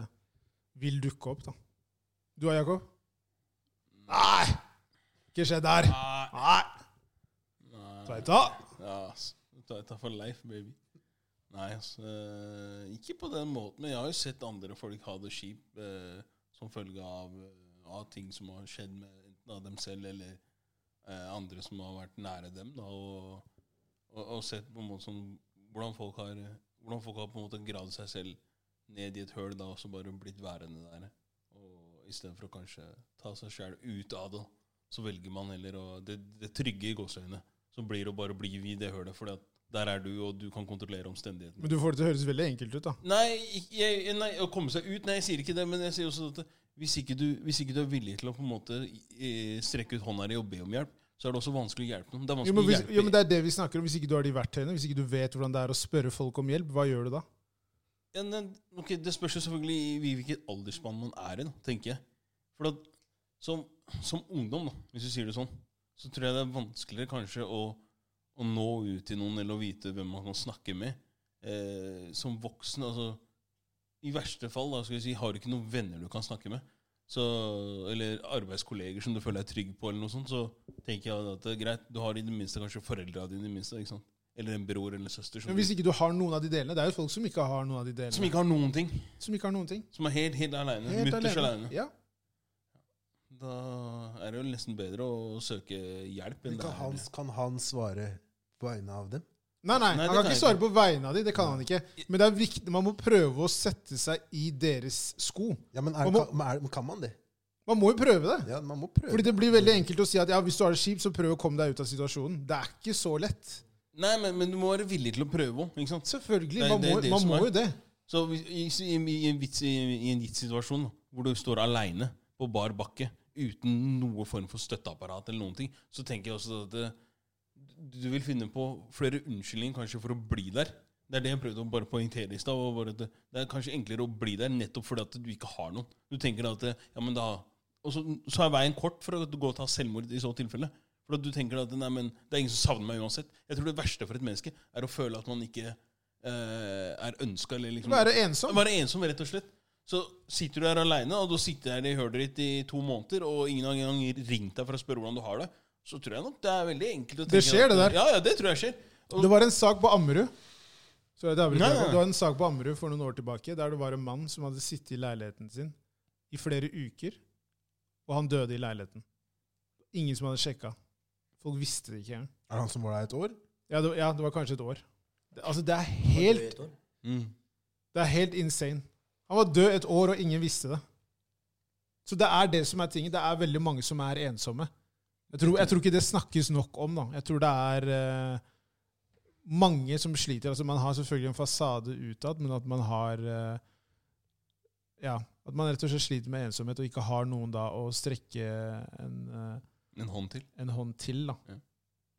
Speaker 1: vil dukke opp. da. Du og Jakob? Nei! Ikke skje der.
Speaker 2: Nei.
Speaker 1: Nei!
Speaker 2: Nei.
Speaker 1: Tveita.
Speaker 2: Ja, ass. Ta ta for life, baby. Nei, ass. eh, Ikke på den måten, men jeg har jo sett andre folk ha det kjipt eh, som følge av, eh, av ting som har skjedd med enten av dem selv eller eh, andre som har vært nære dem, da, og, og, og sett på en måte sånn hvordan folk har hvordan folk har på en måte gravd seg selv ned i et høl da, og så bare blitt værende der. Og Istedenfor å kanskje ta seg sjæl ut av det, så velger man heller å Det, det trygge i gåseøynene. Så blir det å bare bli i det hølet, for der er du, og du kan kontrollere omstendighetene.
Speaker 1: Men du får det til å høres veldig enkelt ut, da.
Speaker 2: Nei, ikke- jeg, nei, å komme seg ut Nei, jeg sier ikke det, men jeg sier også at hvis ikke du, hvis ikke du er villig til å på en måte eh, strekke ut hånda di og be om hjelp, så er det også vanskelig å hjelpe noen. Det er
Speaker 1: Jo,
Speaker 2: vanskelig
Speaker 1: men, hvis,
Speaker 2: å hjelpe
Speaker 1: jo, men det er det vi snakker om. Hvis ikke du har de verktøyene, hvis ikke du vet hvordan det er å spørre folk om hjelp, hva gjør du da?
Speaker 2: ja, men, ok, Det spørs jo selvfølgelig i hvilket aldersspann man er i, da, tenker jeg. For at, som, som ungdom, da, hvis du sier det sånn, så tror jeg det er vanskeligere kanskje å, å nå ut til noen eller å vite hvem man kan snakke med. Eh, som voksen, altså I verste fall da, skal jeg si, har du ikke noen venner du kan snakke med, så, eller arbeidskolleger som du føler deg trygg på, eller noe sånt, så tenker jeg at det er greit. Du har i det minste kanskje foreldra dine, i det minste, ikke sant? eller en bror eller søster som,
Speaker 1: Men hvis ikke du har noen av de delene, det er jo folk som ikke har noen av de delene.
Speaker 2: som ikke Mm. har noen ting.
Speaker 1: som ikke har noen ting.
Speaker 2: Som er helt, helt aleine. Mutters aleine.
Speaker 1: Ja.
Speaker 2: Da er det jo nesten bedre å søke hjelp enn
Speaker 3: Men
Speaker 2: det
Speaker 3: kan
Speaker 2: er.
Speaker 3: han, kan han svare på vegne av dem?
Speaker 1: Nei, nei,
Speaker 2: Nei,
Speaker 1: han
Speaker 2: det
Speaker 1: kan
Speaker 2: kan
Speaker 1: ikke
Speaker 2: jeg
Speaker 1: svare
Speaker 2: ikke.
Speaker 1: på vegne av de, det kan han ikke. Men det er viktig, man må prøve å sette seg i deres sko.
Speaker 3: Ja, men, er,
Speaker 1: Man må-
Speaker 3: kan, men er, men kan man det?
Speaker 1: Man må jo prøve det.
Speaker 3: Ja, man må prøve.
Speaker 1: Fordi det blir veldig enkelt å si at ja, hvis du har det kjipt, så prøv å komme deg ut av situasjonen. Det er ikke så lett.
Speaker 2: Nei, men, men du må være villig til å prøve òg.
Speaker 1: Selvfølgelig.
Speaker 2: Nei,
Speaker 1: Man
Speaker 2: det er
Speaker 1: må,
Speaker 2: det
Speaker 1: man
Speaker 2: som
Speaker 1: må
Speaker 2: er-
Speaker 1: jo det.
Speaker 2: Så hvis- i, i, i, en vits, i, i en gitt situasjon da, hvor du står aleine på bar bakke uten noe form for støtteapparat, eller noen ting, så tenker jeg også at eh, det, du vil finne på flere unnskyldninger kanskje for å bli der. Det er det jeg prøvde å bare poengtere i stad. og bare at Det det er kanskje enklere å bli der nettopp fordi at du ikke har noen. Du tenker at ja, men da, og så, så er veien kort for at du går og tar selvmord i så tilfelle. For at du tenker at nei, men det er ingen som savner meg uansett. Jeg tror det verste for et menneske er å føle at man ikke eh, er ønska. Liksom,
Speaker 1: Være ensom.
Speaker 2: være ensom, rett og slett. Så sitter du her aleine, og du sitter her i hølet ditt i to måneder, og ingen har engang ringt deg for å spørre hvordan du har det, så tror jeg nok det er veldig enkelt å tenke
Speaker 1: Det skjer,
Speaker 2: at-
Speaker 1: det der.
Speaker 2: Ja, ja, det tror jeg skjer. Og-
Speaker 1: Det var en sak på Ammerud. Så det, avbryter
Speaker 2: Nei,
Speaker 1: jeg.
Speaker 2: nei.
Speaker 1: det var en sak på Ammerud for noen år tilbake der det var en mann som hadde sittet i leiligheten sin i flere uker, og han døde i leiligheten. Ingen som hadde sjekka. Folk visste det ikke engang.
Speaker 3: Er det han som var der et år?
Speaker 1: Ja, det- ja, det var kanskje et år. Det, altså, det er
Speaker 4: Var du
Speaker 1: helt
Speaker 4: et år?
Speaker 2: Mm.
Speaker 1: Det er helt insane. Han var død et år, og ingen visste det. Så det er det som er tingen. Det er veldig mange som er ensomme. Jeg tror, jeg tror ikke det snakkes nok om. da. Jeg tror det er eh, mange som sliter. Altså, Man har selvfølgelig en fasade utad, men at man har eh, Ja, at man rett og slett sliter med ensomhet og ikke har noen da å strekke en, eh,
Speaker 2: En hånd til.
Speaker 1: en hånd til. da.
Speaker 2: Ja.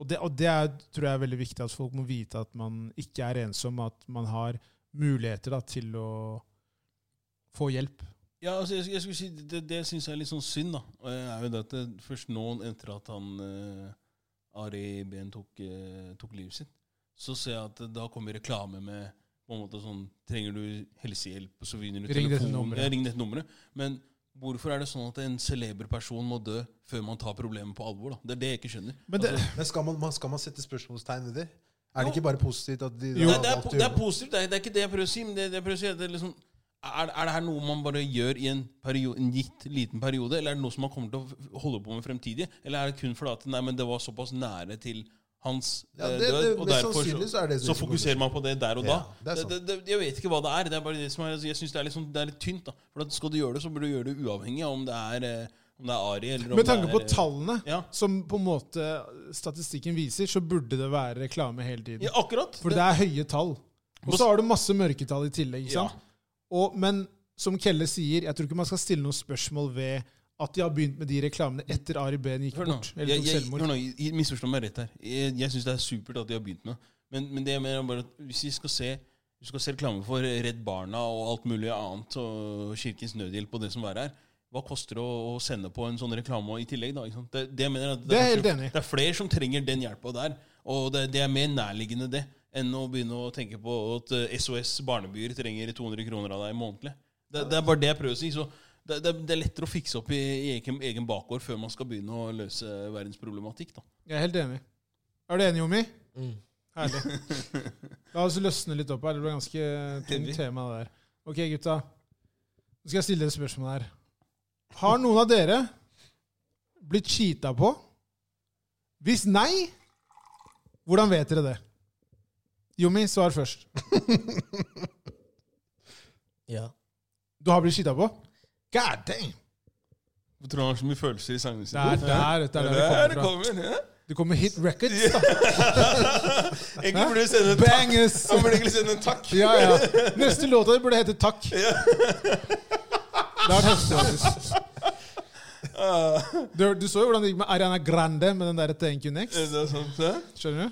Speaker 1: Og det, og det er, tror jeg er veldig viktig, at folk må vite at man ikke er ensom, at man har muligheter da, til å få hjelp.
Speaker 2: Ja, altså, jeg, jeg skulle si, Det, det syns jeg er litt sånn synd, da. Og jeg er jo det at det, Først nå, etter at han eh, Ari Behn tok, eh, tok livet sitt, så ser jeg at det, da kommer reklame med på en måte sånn Trenger du helsehjelp, så vinner du
Speaker 1: Ring dette
Speaker 2: telefonen.
Speaker 1: nummeret.
Speaker 2: Ja, ring dette nummeret. Men hvorfor er det sånn at en celeber person må dø før man tar problemet på alvor? da? Det er det jeg ikke skjønner. Altså,
Speaker 1: Men det,
Speaker 3: Men skal man, man, skal man sette spørsmålstegn ved det? Er det ikke bare positivt at de
Speaker 2: Jo,
Speaker 3: har
Speaker 2: det, det, er,
Speaker 3: valgt å
Speaker 2: po- det
Speaker 3: gjøre
Speaker 2: er positivt. Det er, det er ikke det jeg prøver å si. Men det, det jeg prøver å si er, at det er liksom, er, er det her noe man bare gjør i en, periode, en gitt liten periode, eller er det noe som man kommer til å f- holde på med fremtidig? Eller er det kun fordi at nei, men det var såpass nære til hans
Speaker 3: Ja,
Speaker 2: eh,
Speaker 3: det-
Speaker 2: død,
Speaker 3: det-
Speaker 2: og
Speaker 3: mest
Speaker 2: derfor
Speaker 3: sannsynlig så er det det
Speaker 2: så
Speaker 3: som
Speaker 2: fokuserer man på det der og da.
Speaker 3: Ja, det er
Speaker 2: det
Speaker 3: sant.
Speaker 2: det, det, jeg vet ikke hva det er. Det er bare det som er, altså, jeg synes det, er litt sånn- det er litt tynt. da For at Skal du gjøre det, så burde du gjøre det uavhengig av om det er, eh, om det er Ari eller om
Speaker 1: med tanke
Speaker 2: det
Speaker 1: på
Speaker 2: er,
Speaker 1: tallene,
Speaker 2: Ja.
Speaker 1: som på en måte statistikken viser, så burde det være reklame hele tiden.
Speaker 2: Ja, akkurat.
Speaker 1: For det er høye tall. Og så har du masse mørketall i tillegg. ikke
Speaker 2: Ja.
Speaker 1: sant? Og, men som Kelle sier, jeg tror ikke man skal stille noen spørsmål ved at de har begynt med de reklamene etter Ari Behn gikk
Speaker 2: Hør nå,
Speaker 1: bort.
Speaker 2: jeg,
Speaker 1: Eller tok
Speaker 2: jeg, hør
Speaker 1: selvmord.
Speaker 2: nå, jeg misforstår meg rett her. Jeg, jeg syns det er supert at de har begynt med det. Men, men det jeg mener er bare at hvis vi skal se vi skal se reklame for Redd Barna og alt mulig annet, og Kirkens Nødhjelp og det som verre er, hva koster det å, å sende på en sånn reklame i tillegg? da, ikke sant? Det, det, jeg mener at
Speaker 1: Det er jeg helt
Speaker 2: kanskje-
Speaker 1: enig i.
Speaker 2: Det er flere som trenger den hjelpa der, og det, det er mer nærliggende det enn å begynne å tenke på at eh, SOS Barnebyer trenger 200 kroner av deg månedlig. Det, det er bare det jeg prøver å si. så det, det, det er lettere å fikse opp i, i egen, egen bakgård før man skal begynne å løse verdensproblematikk. da.
Speaker 1: Jeg er helt enig. Er du enig, Jomi?
Speaker 4: Mm.
Speaker 1: Herlig. La oss løsne litt opp her. Det ble ganske tungt
Speaker 2: Heavy.
Speaker 1: tema, det der. Ok, gutta. Nå skal jeg stille dere et spørsmål her. Har noen av dere blitt cheata på? Hvis nei, hvordan vet dere det? Jomi, svar først.
Speaker 4: Ja.
Speaker 1: Du har blitt cheata på? God damn!
Speaker 2: Hvorfor tror du han har så mye følelser i sangene
Speaker 1: Det er der, det er der det kommer fra.
Speaker 2: kommer. ja.
Speaker 1: Det kommer hit records, da.
Speaker 2: Egentlig burde du sende en takk.
Speaker 1: Bangers!
Speaker 2: Han burde egentlig sende en takk.
Speaker 1: Ja, ja. Neste låta di burde hete Takk. Det har vært heftig, faktisk. Du, du så jo hvordan det gikk med Ariana Grande med den der Thank You Next.
Speaker 2: Det er sant, ja.
Speaker 1: Skjønner du?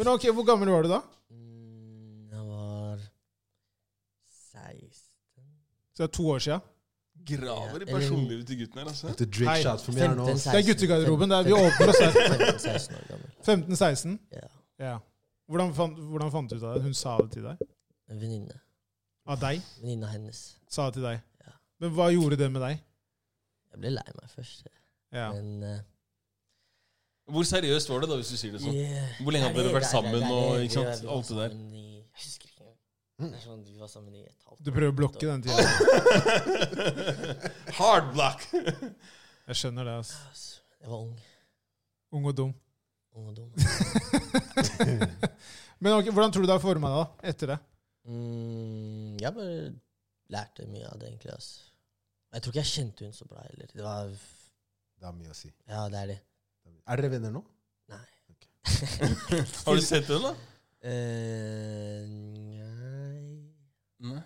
Speaker 1: Men ok, Hvor gammel var du da?
Speaker 4: Mm, jeg var 16
Speaker 1: Så det er to år sia.
Speaker 2: Graver i
Speaker 4: Ja, eller-
Speaker 2: personlivet til gutten her, altså.
Speaker 3: Dette Drake
Speaker 1: Hei.
Speaker 3: shot for meg her nå.
Speaker 4: 15,
Speaker 1: Det er guttegarderoben. Det er, vi åpner oss her.
Speaker 4: 15-16 år gammel.
Speaker 1: 15-16.
Speaker 4: Ja.
Speaker 1: Ja. Hvordan fant, hvordan fant du ut av det? Hun sa det til deg?
Speaker 4: En venninne.
Speaker 1: Av deg?
Speaker 4: Venninna hennes.
Speaker 1: Sa det til deg.
Speaker 4: Ja.
Speaker 1: Men hva gjorde det med deg?
Speaker 4: Jeg ble lei meg først,
Speaker 1: Ja.
Speaker 4: men eh,
Speaker 2: Hvor seriøst var det, da, hvis du sier det sånn?
Speaker 4: yeah.
Speaker 2: Hvor lenge hadde
Speaker 4: Nei,
Speaker 2: dere vært
Speaker 4: det- det-
Speaker 2: sammen?
Speaker 4: det-
Speaker 2: og
Speaker 4: det-
Speaker 2: ikke
Speaker 4: vi
Speaker 2: sant,
Speaker 4: var
Speaker 2: alt det der.
Speaker 4: sammen i- Jeg husker ikke. Det er sånn, vi var sammen i et halvt
Speaker 1: Du prøver å blokke den tida.
Speaker 2: Hard black.
Speaker 1: Jeg skjønner det. ass.
Speaker 4: Altså, Jeg var ung.
Speaker 1: Ung og dum.
Speaker 4: Ung og dum.
Speaker 3: Mm.
Speaker 1: Men ok, hvordan tror du det har forma deg da, etter det?
Speaker 4: Mm, jeg bare lærte mye av det, egentlig. ass. Jeg tror ikke jeg kjente hun så bra heller. Det var
Speaker 3: Det har mye å si.
Speaker 4: Ja, det er det.
Speaker 3: Er dere venner nå?
Speaker 4: Nei.
Speaker 2: Har du sett den, da?
Speaker 4: Eh, nei
Speaker 2: Nei.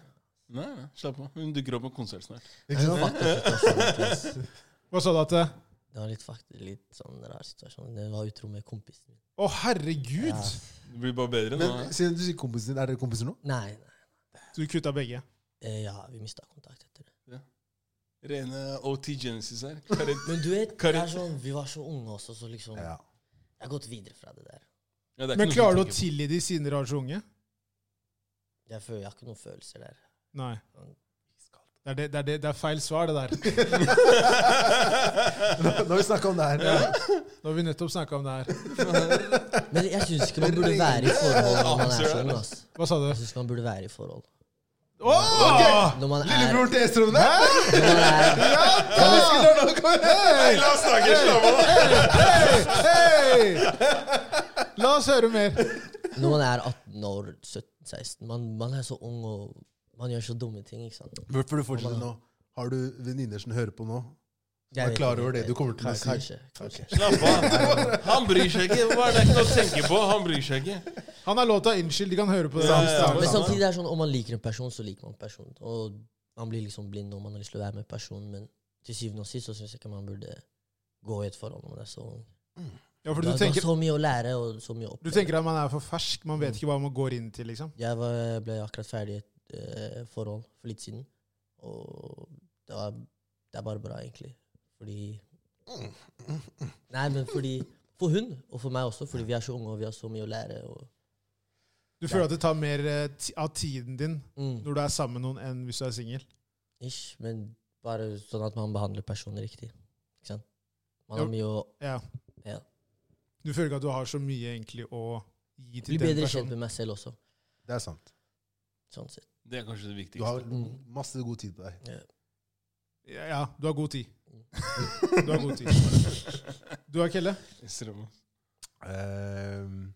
Speaker 2: Nei, nei. Slapp av. Hun dukker opp på konsert snart.
Speaker 4: Det var fucked up situasjon, egentlig, ass.
Speaker 1: Hva sa du at det
Speaker 4: Det var litt, fucked, litt sånn rar situasjon. Jeg var utro med kompisen min.
Speaker 1: Å, herregud!
Speaker 4: Ja.
Speaker 2: Det blir bare bedre nå.
Speaker 3: Men siden du sier kompisen din, er dere kompiser nå?
Speaker 4: Nei, nei.
Speaker 1: Så du kutta begge.
Speaker 4: Eh, ja, vi mista kontakt etter det.
Speaker 2: Rene OT Genesis her. Karet-
Speaker 4: Men du vet,
Speaker 2: Kari-
Speaker 4: det er sånn, vi var så unge også, så liksom
Speaker 3: Ja.
Speaker 4: Jeg har gått videre fra det der.
Speaker 2: Ja, det er ikke
Speaker 1: Men
Speaker 2: noe
Speaker 1: klarer du å
Speaker 2: tenker på.
Speaker 1: tilgi de siden dere var så unge?
Speaker 4: Jeg, føler, jeg har ikke noen følelser der.
Speaker 1: Nei. Det er, det, det, er det, det er feil svar, det der.
Speaker 3: Nå nå har vi snakka om det her.
Speaker 1: Nå har vi nettopp snakka om det her.
Speaker 4: Men jeg syns ikke man burde være i forhold når man er så ung. ass.
Speaker 1: Hva sa du?
Speaker 4: Jeg syns man burde være i forhold.
Speaker 1: Åh!
Speaker 4: Når man er,
Speaker 3: Lillebror til Estrom der!
Speaker 4: når man er
Speaker 1: Hei!
Speaker 2: La oss snakke, slapp av!
Speaker 1: Hei! La oss høre mer.
Speaker 4: Når man er 18 år, 17-16 man, man er så ung, og man gjør så dumme ting. ikke sant?
Speaker 3: Hvorfor du fortsetter nå? Har du venninner som hører på nå? Du er klar over det du kommer til å si?
Speaker 4: Kanskje. kanskje.
Speaker 2: Slapp av. Han bryr seg ikke. Hva er det ikke noe å tenke på? Han bryr seg ikke.
Speaker 1: Han er låta 'Unnskyld'. De kan høre på det.
Speaker 2: Ja, ja, ja.
Speaker 4: Men
Speaker 2: samme.
Speaker 4: samtidig er det sånn, om man liker en person, så liker man personen. Og man blir liksom blind om man har lyst til å være med personen, men til syvende og sist så syns jeg ikke man burde gå i et forhold når man er så ung.
Speaker 1: Ja, for du
Speaker 4: Du har, du har
Speaker 1: tenker,
Speaker 4: så mye å lære og så mye å
Speaker 1: du
Speaker 4: oppleve.
Speaker 1: tenker at man er for fersk. Man vet ikke hva man går inn til, liksom.
Speaker 4: Jeg var, ble akkurat ferdig i et eh, forhold for litt siden, og det, var, det er bare bra, egentlig. Fordi Nei, men fordi For hun, og for meg også, fordi vi er så unge og vi har så mye å lære. Og,
Speaker 1: Du føler at det tar mer eh, ti- av tiden din
Speaker 4: mm,
Speaker 1: når du er sammen med noen, enn hvis du er singel.
Speaker 4: ish, men bare sånn at man behandler personen riktig. Ikke sant? Man har
Speaker 1: Jo.
Speaker 4: mye å
Speaker 1: Ja.
Speaker 4: Ja.
Speaker 1: Du føler ikke at du har så mye egentlig å gi
Speaker 4: bli
Speaker 1: til den
Speaker 4: bedre kjent
Speaker 1: personen.
Speaker 4: med meg selv også.
Speaker 3: Det er sant.
Speaker 4: Sånn sett.
Speaker 2: Det er kanskje det
Speaker 3: Du
Speaker 2: viktigste.
Speaker 3: har masse god tid på deg.
Speaker 1: Ja, ja, du har god tid. Du har god tid. Du har Kelle.
Speaker 2: Ekstreme.
Speaker 3: Ehm,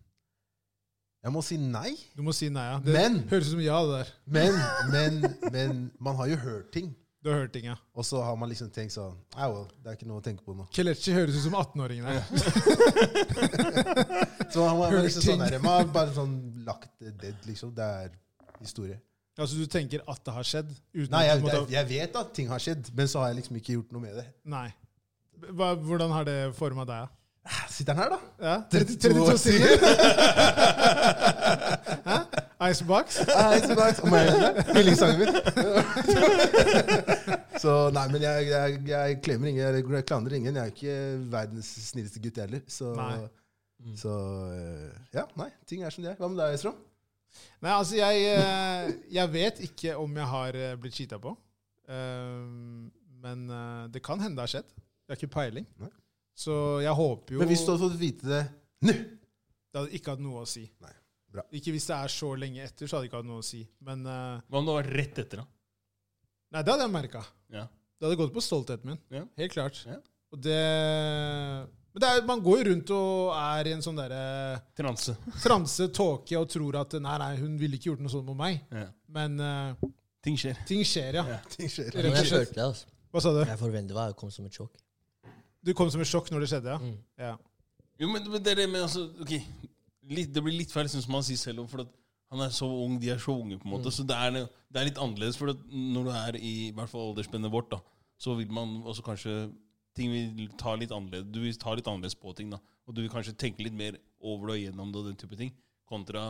Speaker 3: jeg må si nei.
Speaker 1: Du må si nei, ja. Det
Speaker 3: Men-
Speaker 1: høres ut som ja, det der.
Speaker 3: Men, men, men man har jo hørt ting.
Speaker 1: Du har hørt ting, ja.
Speaker 3: Og så har man liksom tenkt sånn ah, well, Det er ikke noe å tenke på nå.
Speaker 1: Kelechi høres ut som 18-åringen her.
Speaker 3: Så man, man,
Speaker 1: Hørt
Speaker 3: man, liksom sånn
Speaker 1: ting.
Speaker 3: der, man har bare sånn lagt det dead, liksom. Det er historie.
Speaker 1: Altså, du tenker at det har skjedd? Uten
Speaker 3: Nei,
Speaker 1: at
Speaker 3: jeg,
Speaker 1: du
Speaker 3: jeg,
Speaker 1: måtte-
Speaker 3: jeg vet at ting har skjedd, men så har jeg liksom ikke gjort noe med det.
Speaker 1: Nei. Hva, hvordan har det forma deg? da?
Speaker 3: Sitter han her, da?
Speaker 1: Ja?
Speaker 3: 32 år
Speaker 1: siden? Hæ? Icebox?
Speaker 3: Ah, it's about- Om jeg- Yndlingssangen min. Så nei, men jeg, jeg, jeg klemmer ingen, jeg klandrer ingen. Jeg er ikke verdens snilleste gutt heller. Så, Mm.
Speaker 1: Nei.
Speaker 3: så eh, ja, nei. Ting er som de er. Hva med deg, Estrom?
Speaker 1: Nei, altså, jeg, eh, jeg vet ikke om jeg har eh, blitt cheata på. Ehm, Men eh, det kan hende det har skjedd. Jeg har ikke peiling.
Speaker 3: Nei.
Speaker 1: Så jeg håper jo
Speaker 3: Men hvis du hadde fått vite det nå
Speaker 1: Det hadde ikke hatt noe å si.
Speaker 3: Nei, bra.
Speaker 1: Ikke hvis det er så lenge etter, så hadde det ikke hatt noe å si. Men eh,
Speaker 2: Hva om det var rett etter, da?
Speaker 1: nei, det hadde jeg merka.
Speaker 2: Ja.
Speaker 1: Det hadde gått på stoltheten min.
Speaker 2: Ja.
Speaker 1: Helt klart.
Speaker 2: Ja.
Speaker 1: Og det Men det er, man går jo rundt og er i en sånn derre
Speaker 2: Transe.
Speaker 1: transe tåke og tror at nei, nei, hun ville ikke gjort noe sånt mot meg.
Speaker 2: Ja.
Speaker 1: Men eh,
Speaker 2: Ting skjer.
Speaker 1: ting skjer, ja.
Speaker 2: Ja.
Speaker 3: Ting skjer.
Speaker 1: Rett
Speaker 4: Men
Speaker 1: og
Speaker 4: jeg
Speaker 1: slett.
Speaker 4: følte det, altså.
Speaker 1: Hva sa du?
Speaker 4: Jeg forventet hva jeg kom som et sjokk.
Speaker 1: Du kom som et sjokk når det skjedde, ja?
Speaker 4: Mm.
Speaker 1: ja.
Speaker 2: Jo, men, men det er det med altså, ok, litt, Det blir litt feil, syns man sier selv. For at han er så ung, de er så unge, på en måte. Så det er, det er litt annerledes. For at når du er i, i hvert fall aldersspennet vårt, da, så vil man også kanskje ting vil ta litt annerledes, Du vil ta litt annerledes på ting. da, Og du vil kanskje tenke litt mer over det og gjennom det og den type ting. Kontra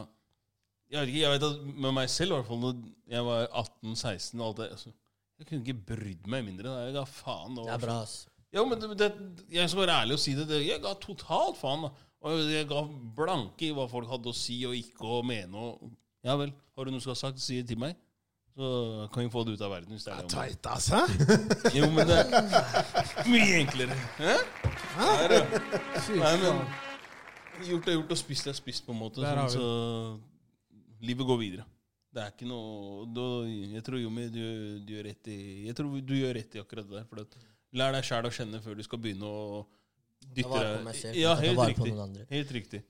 Speaker 2: Jeg vet ikke, jeg vet at med meg selv, i hvert fall når jeg var 18-16 og alt det altså, Jeg kunne ikke brydd meg mindre. da, Jeg ga faen.
Speaker 4: Det er bra, ass.
Speaker 2: Ja, men det, det, jeg skal være ærlig og si det. det jeg ga totalt faen. da. Og jeg ga blanke i hva folk hadde å si og ikke å mene. Og, ja vel, har du noe du skal ha sagt, si det til meg. Så kan vi få det ut av verden. hvis det er det.
Speaker 1: Teit, ass, hæ?
Speaker 2: Jo, men det er mye enklere. Hæ? Nei, det-
Speaker 1: Fy
Speaker 2: Nei, men
Speaker 1: faen.
Speaker 2: gjort er gjort, og spist er spist, på en måte.
Speaker 1: Der har
Speaker 2: Sånn, så livet går videre. Det er ikke noe da, Jeg tror Jommi, du, du gjør rett i Jeg tror du gjør rett i akkurat det der. For at, lær deg sjæl å kjenne før du skal begynne å
Speaker 4: Ta
Speaker 2: dytte
Speaker 4: vare på meg selv.
Speaker 2: deg Ja,
Speaker 4: ta
Speaker 2: helt
Speaker 4: vare på
Speaker 2: riktig.
Speaker 4: noen andre.
Speaker 2: Helt riktig.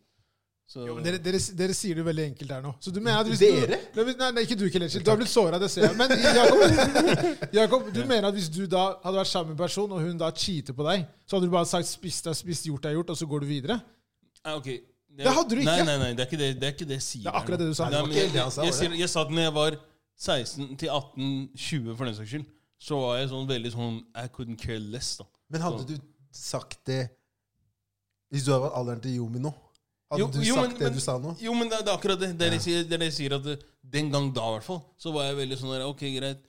Speaker 2: Så,
Speaker 1: Jo, men dere, dere, dere sier det veldig enkelt her nå. Så du mener at hvis
Speaker 3: Dere?
Speaker 1: Du, nei, nei, ikke du, Kelechi. Du har blitt såra, det ser jeg. Men Jakob, Jakob, du mener at hvis du da hadde vært sammen med en person, og hun da cheater på deg, så hadde du bare sagt 'spist er spist, gjort er gjort', og så går du videre?
Speaker 2: Nei, Ah, ok. Det,
Speaker 1: hadde du ikke.
Speaker 2: Nei, nei, nei, det er ikke det, det, er ikke det jeg sier.
Speaker 1: Det er akkurat det du sa.
Speaker 2: Nei,
Speaker 3: Det var
Speaker 2: men
Speaker 3: ikke
Speaker 2: jeg,
Speaker 3: det han sa,
Speaker 2: jeg,
Speaker 3: var det?
Speaker 2: sier- jeg sa at når jeg var 16 til 18, 20 for den saks skyld, så var jeg sånn veldig sånn I couldn't care less, da.
Speaker 3: Men hadde du sagt det hvis du hadde vært alderen til Yomi nå? Hadde
Speaker 2: Jo,
Speaker 3: du
Speaker 2: jo,
Speaker 3: sagt
Speaker 2: men-
Speaker 3: det
Speaker 2: men-
Speaker 3: du sa nå?
Speaker 2: Jo, men det, det er akkurat det. Det er det jeg sier, det er det jeg sier at eh, den gang da, i hvert fall, så var jeg veldig sånn der Ok, greit.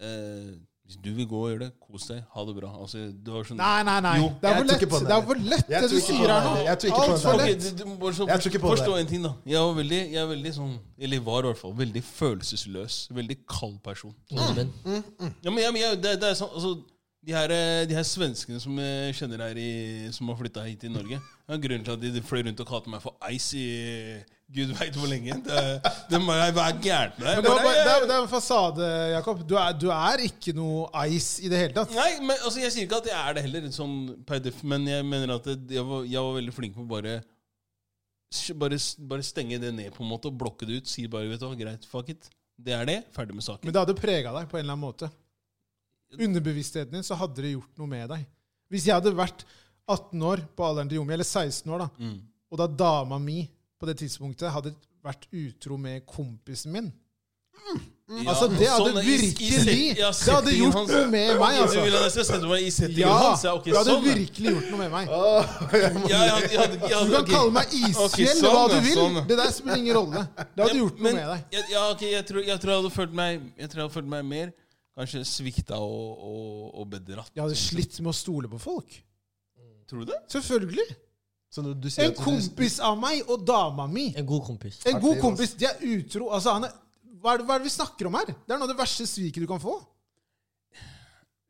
Speaker 2: Eh, hvis du vil gå og gjøre det, kos deg. Ha det bra. Altså, det var sånn
Speaker 1: Nei, nei, nei.
Speaker 2: Jo,
Speaker 1: det er
Speaker 3: jeg
Speaker 1: for
Speaker 3: tror
Speaker 1: lett,
Speaker 3: ikke på den
Speaker 1: det, er
Speaker 3: der.
Speaker 1: for lett
Speaker 3: Jeg
Speaker 1: det du
Speaker 3: tror ikke på
Speaker 1: sier her
Speaker 3: den
Speaker 1: nå.
Speaker 3: der. Jeg tror ikke på
Speaker 1: Alt
Speaker 3: den
Speaker 1: for
Speaker 3: der.
Speaker 2: Ok,
Speaker 1: lett.
Speaker 2: det- det- bare så-
Speaker 3: Jeg tror ikke på det
Speaker 2: Forstå
Speaker 3: der.
Speaker 2: en ting, da. Jeg var veldig, jeg er veldig sånn Eller var i hvert fall veldig følelsesløs. Veldig kald person.
Speaker 1: Mm.
Speaker 4: Nordmenn.
Speaker 2: Ja, men, ja, men jeg- det, det er sånn altså, de, her, eh, de her svenskene som jeg kjenner her i, Som har flytta hit til Norge Det er grunnen til at de, de fløy rundt og kalte meg for Ice i gud veit hvor lenge. Det, det må jeg være gærent med
Speaker 1: Men
Speaker 2: deg.
Speaker 1: Det, var
Speaker 2: Bare-
Speaker 1: bare, det, er, det er en fasade, Jakob. Du er, du er ikke noe ice i det hele tatt.
Speaker 2: Nei, men altså, Jeg sier ikke at jeg er det heller, sånn per def, men jeg mener at det, jeg, var, jeg var veldig flink på å bare, bare Bare stenge det ned på en måte og blokke det ut. Si bare vet du hva, greit, fuck it. Det er det. Ferdig med saken.
Speaker 1: Men det hadde prega deg på en eller annen måte. Underbevisstheten din så hadde det gjort noe med deg. Hvis jeg hadde vært 18 år på alderen til Jomi, eller 16 år, da,
Speaker 2: Mm.
Speaker 1: og da dama mi på det tidspunktet hadde vært utro med kompisen min
Speaker 2: Ja,
Speaker 1: Altså, det hadde
Speaker 2: sånn, i- i
Speaker 1: virkelig
Speaker 2: set- ja,
Speaker 1: Det hadde
Speaker 2: settingen
Speaker 1: gjort
Speaker 2: hans.
Speaker 1: noe med meg,
Speaker 2: Du
Speaker 1: altså.
Speaker 2: ville at jeg skal sette meg i settingen
Speaker 1: Ja,
Speaker 2: hans?
Speaker 1: det
Speaker 2: Ja, ok,
Speaker 1: hadde
Speaker 2: sånn. ja.
Speaker 1: virkelig gjort noe med meg.
Speaker 2: Ja, jeg hadde- jeg hadde- jeg
Speaker 1: Du
Speaker 2: hadde-
Speaker 1: kan
Speaker 2: ok.
Speaker 1: kalle meg isfjell
Speaker 2: Ok, sånn,
Speaker 1: hva du
Speaker 2: ja,
Speaker 1: vil.
Speaker 2: sånn.
Speaker 1: Det der spiller ingen rolle. Det hadde
Speaker 2: Ja,
Speaker 1: gjort noe
Speaker 2: men
Speaker 1: med deg.
Speaker 2: jeg- Ja, ok, jeg tror, jeg tror jeg hadde følt meg Jeg tror jeg hadde følt meg mer Kanskje svikta og, og, og bedratt.
Speaker 1: Jeg hadde slitt med å stole på folk.
Speaker 2: Tror du det?
Speaker 1: Selvfølgelig.
Speaker 3: Så når du sier
Speaker 1: En
Speaker 3: at du-
Speaker 1: kompis av meg og dama mi.
Speaker 4: En god kompis.
Speaker 1: En
Speaker 3: Artig,
Speaker 1: god
Speaker 3: ass.
Speaker 1: kompis. De er utro. Altså, han er, hva, er det, hva er det vi snakker om her? Det er noe av det verste sviket du kan få.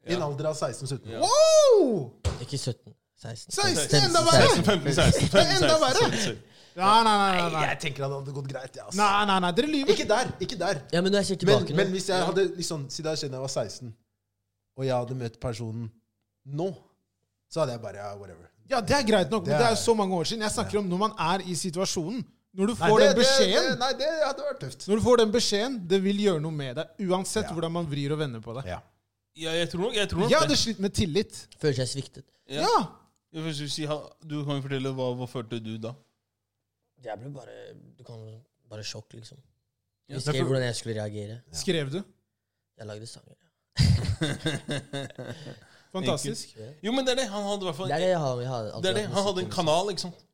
Speaker 3: I en alder av 16-17
Speaker 2: Ja.
Speaker 1: Wow!
Speaker 4: Ikke 17. 16.
Speaker 1: 16, enda verre!
Speaker 2: 15, 16, 15,
Speaker 1: Enda verre!
Speaker 2: 16.
Speaker 1: Nei, nei, nei.
Speaker 3: Nei,
Speaker 1: Nei,
Speaker 3: jeg tenker at det hadde gått greit, jeg, ass.
Speaker 1: nei, nei, nei dere lyver.
Speaker 3: Ikke der, ikke der.
Speaker 4: Ja, men når jeg ser
Speaker 3: Men,
Speaker 4: tilbake nå
Speaker 3: men hvis jeg hadde liksom, siden jeg kjenner jeg var 16, og jeg hadde møtt personen nå, så hadde jeg bare ja, whatever.
Speaker 1: Ja, Det er greit nok, men
Speaker 3: Det
Speaker 1: det er
Speaker 3: er-
Speaker 1: jo så mange år siden. Jeg snakker om når man er i situasjonen. Når du
Speaker 3: Nei,
Speaker 1: får den
Speaker 3: det- det- det-
Speaker 1: beskjeden,
Speaker 3: Nei, det hadde vært tøft.
Speaker 1: Når du får den beskjeden, det vil gjøre noe med deg. Uansett
Speaker 3: Ja.
Speaker 1: hvordan man vrir og vender på det.
Speaker 3: Ja.
Speaker 2: Ja, jeg tror nok, jeg tror nok
Speaker 1: Jeg
Speaker 2: det.
Speaker 1: hadde slitt med tillit.
Speaker 4: Føler jeg sviktet.
Speaker 2: Ja.
Speaker 1: Ja!
Speaker 2: Jeg får si, ha- du kan jo fortelle hva, hva følte du da?
Speaker 4: Jeg ble bare Du kan bare sjokk, liksom.
Speaker 2: Ja,
Speaker 4: Jeg skrev
Speaker 1: derfor-
Speaker 4: hvordan jeg skulle reagere.
Speaker 1: Skrev du?
Speaker 4: Jeg lagde sanger.
Speaker 1: Fantastisk.
Speaker 2: Jo, men det er det. Han hadde i hvert fall
Speaker 4: Det er det jeg har. Jeg har alltid
Speaker 2: det er det.
Speaker 4: hatt
Speaker 2: Han
Speaker 4: musikk
Speaker 2: hadde
Speaker 4: i
Speaker 2: en
Speaker 4: musikk.
Speaker 2: kanal, ikke sant?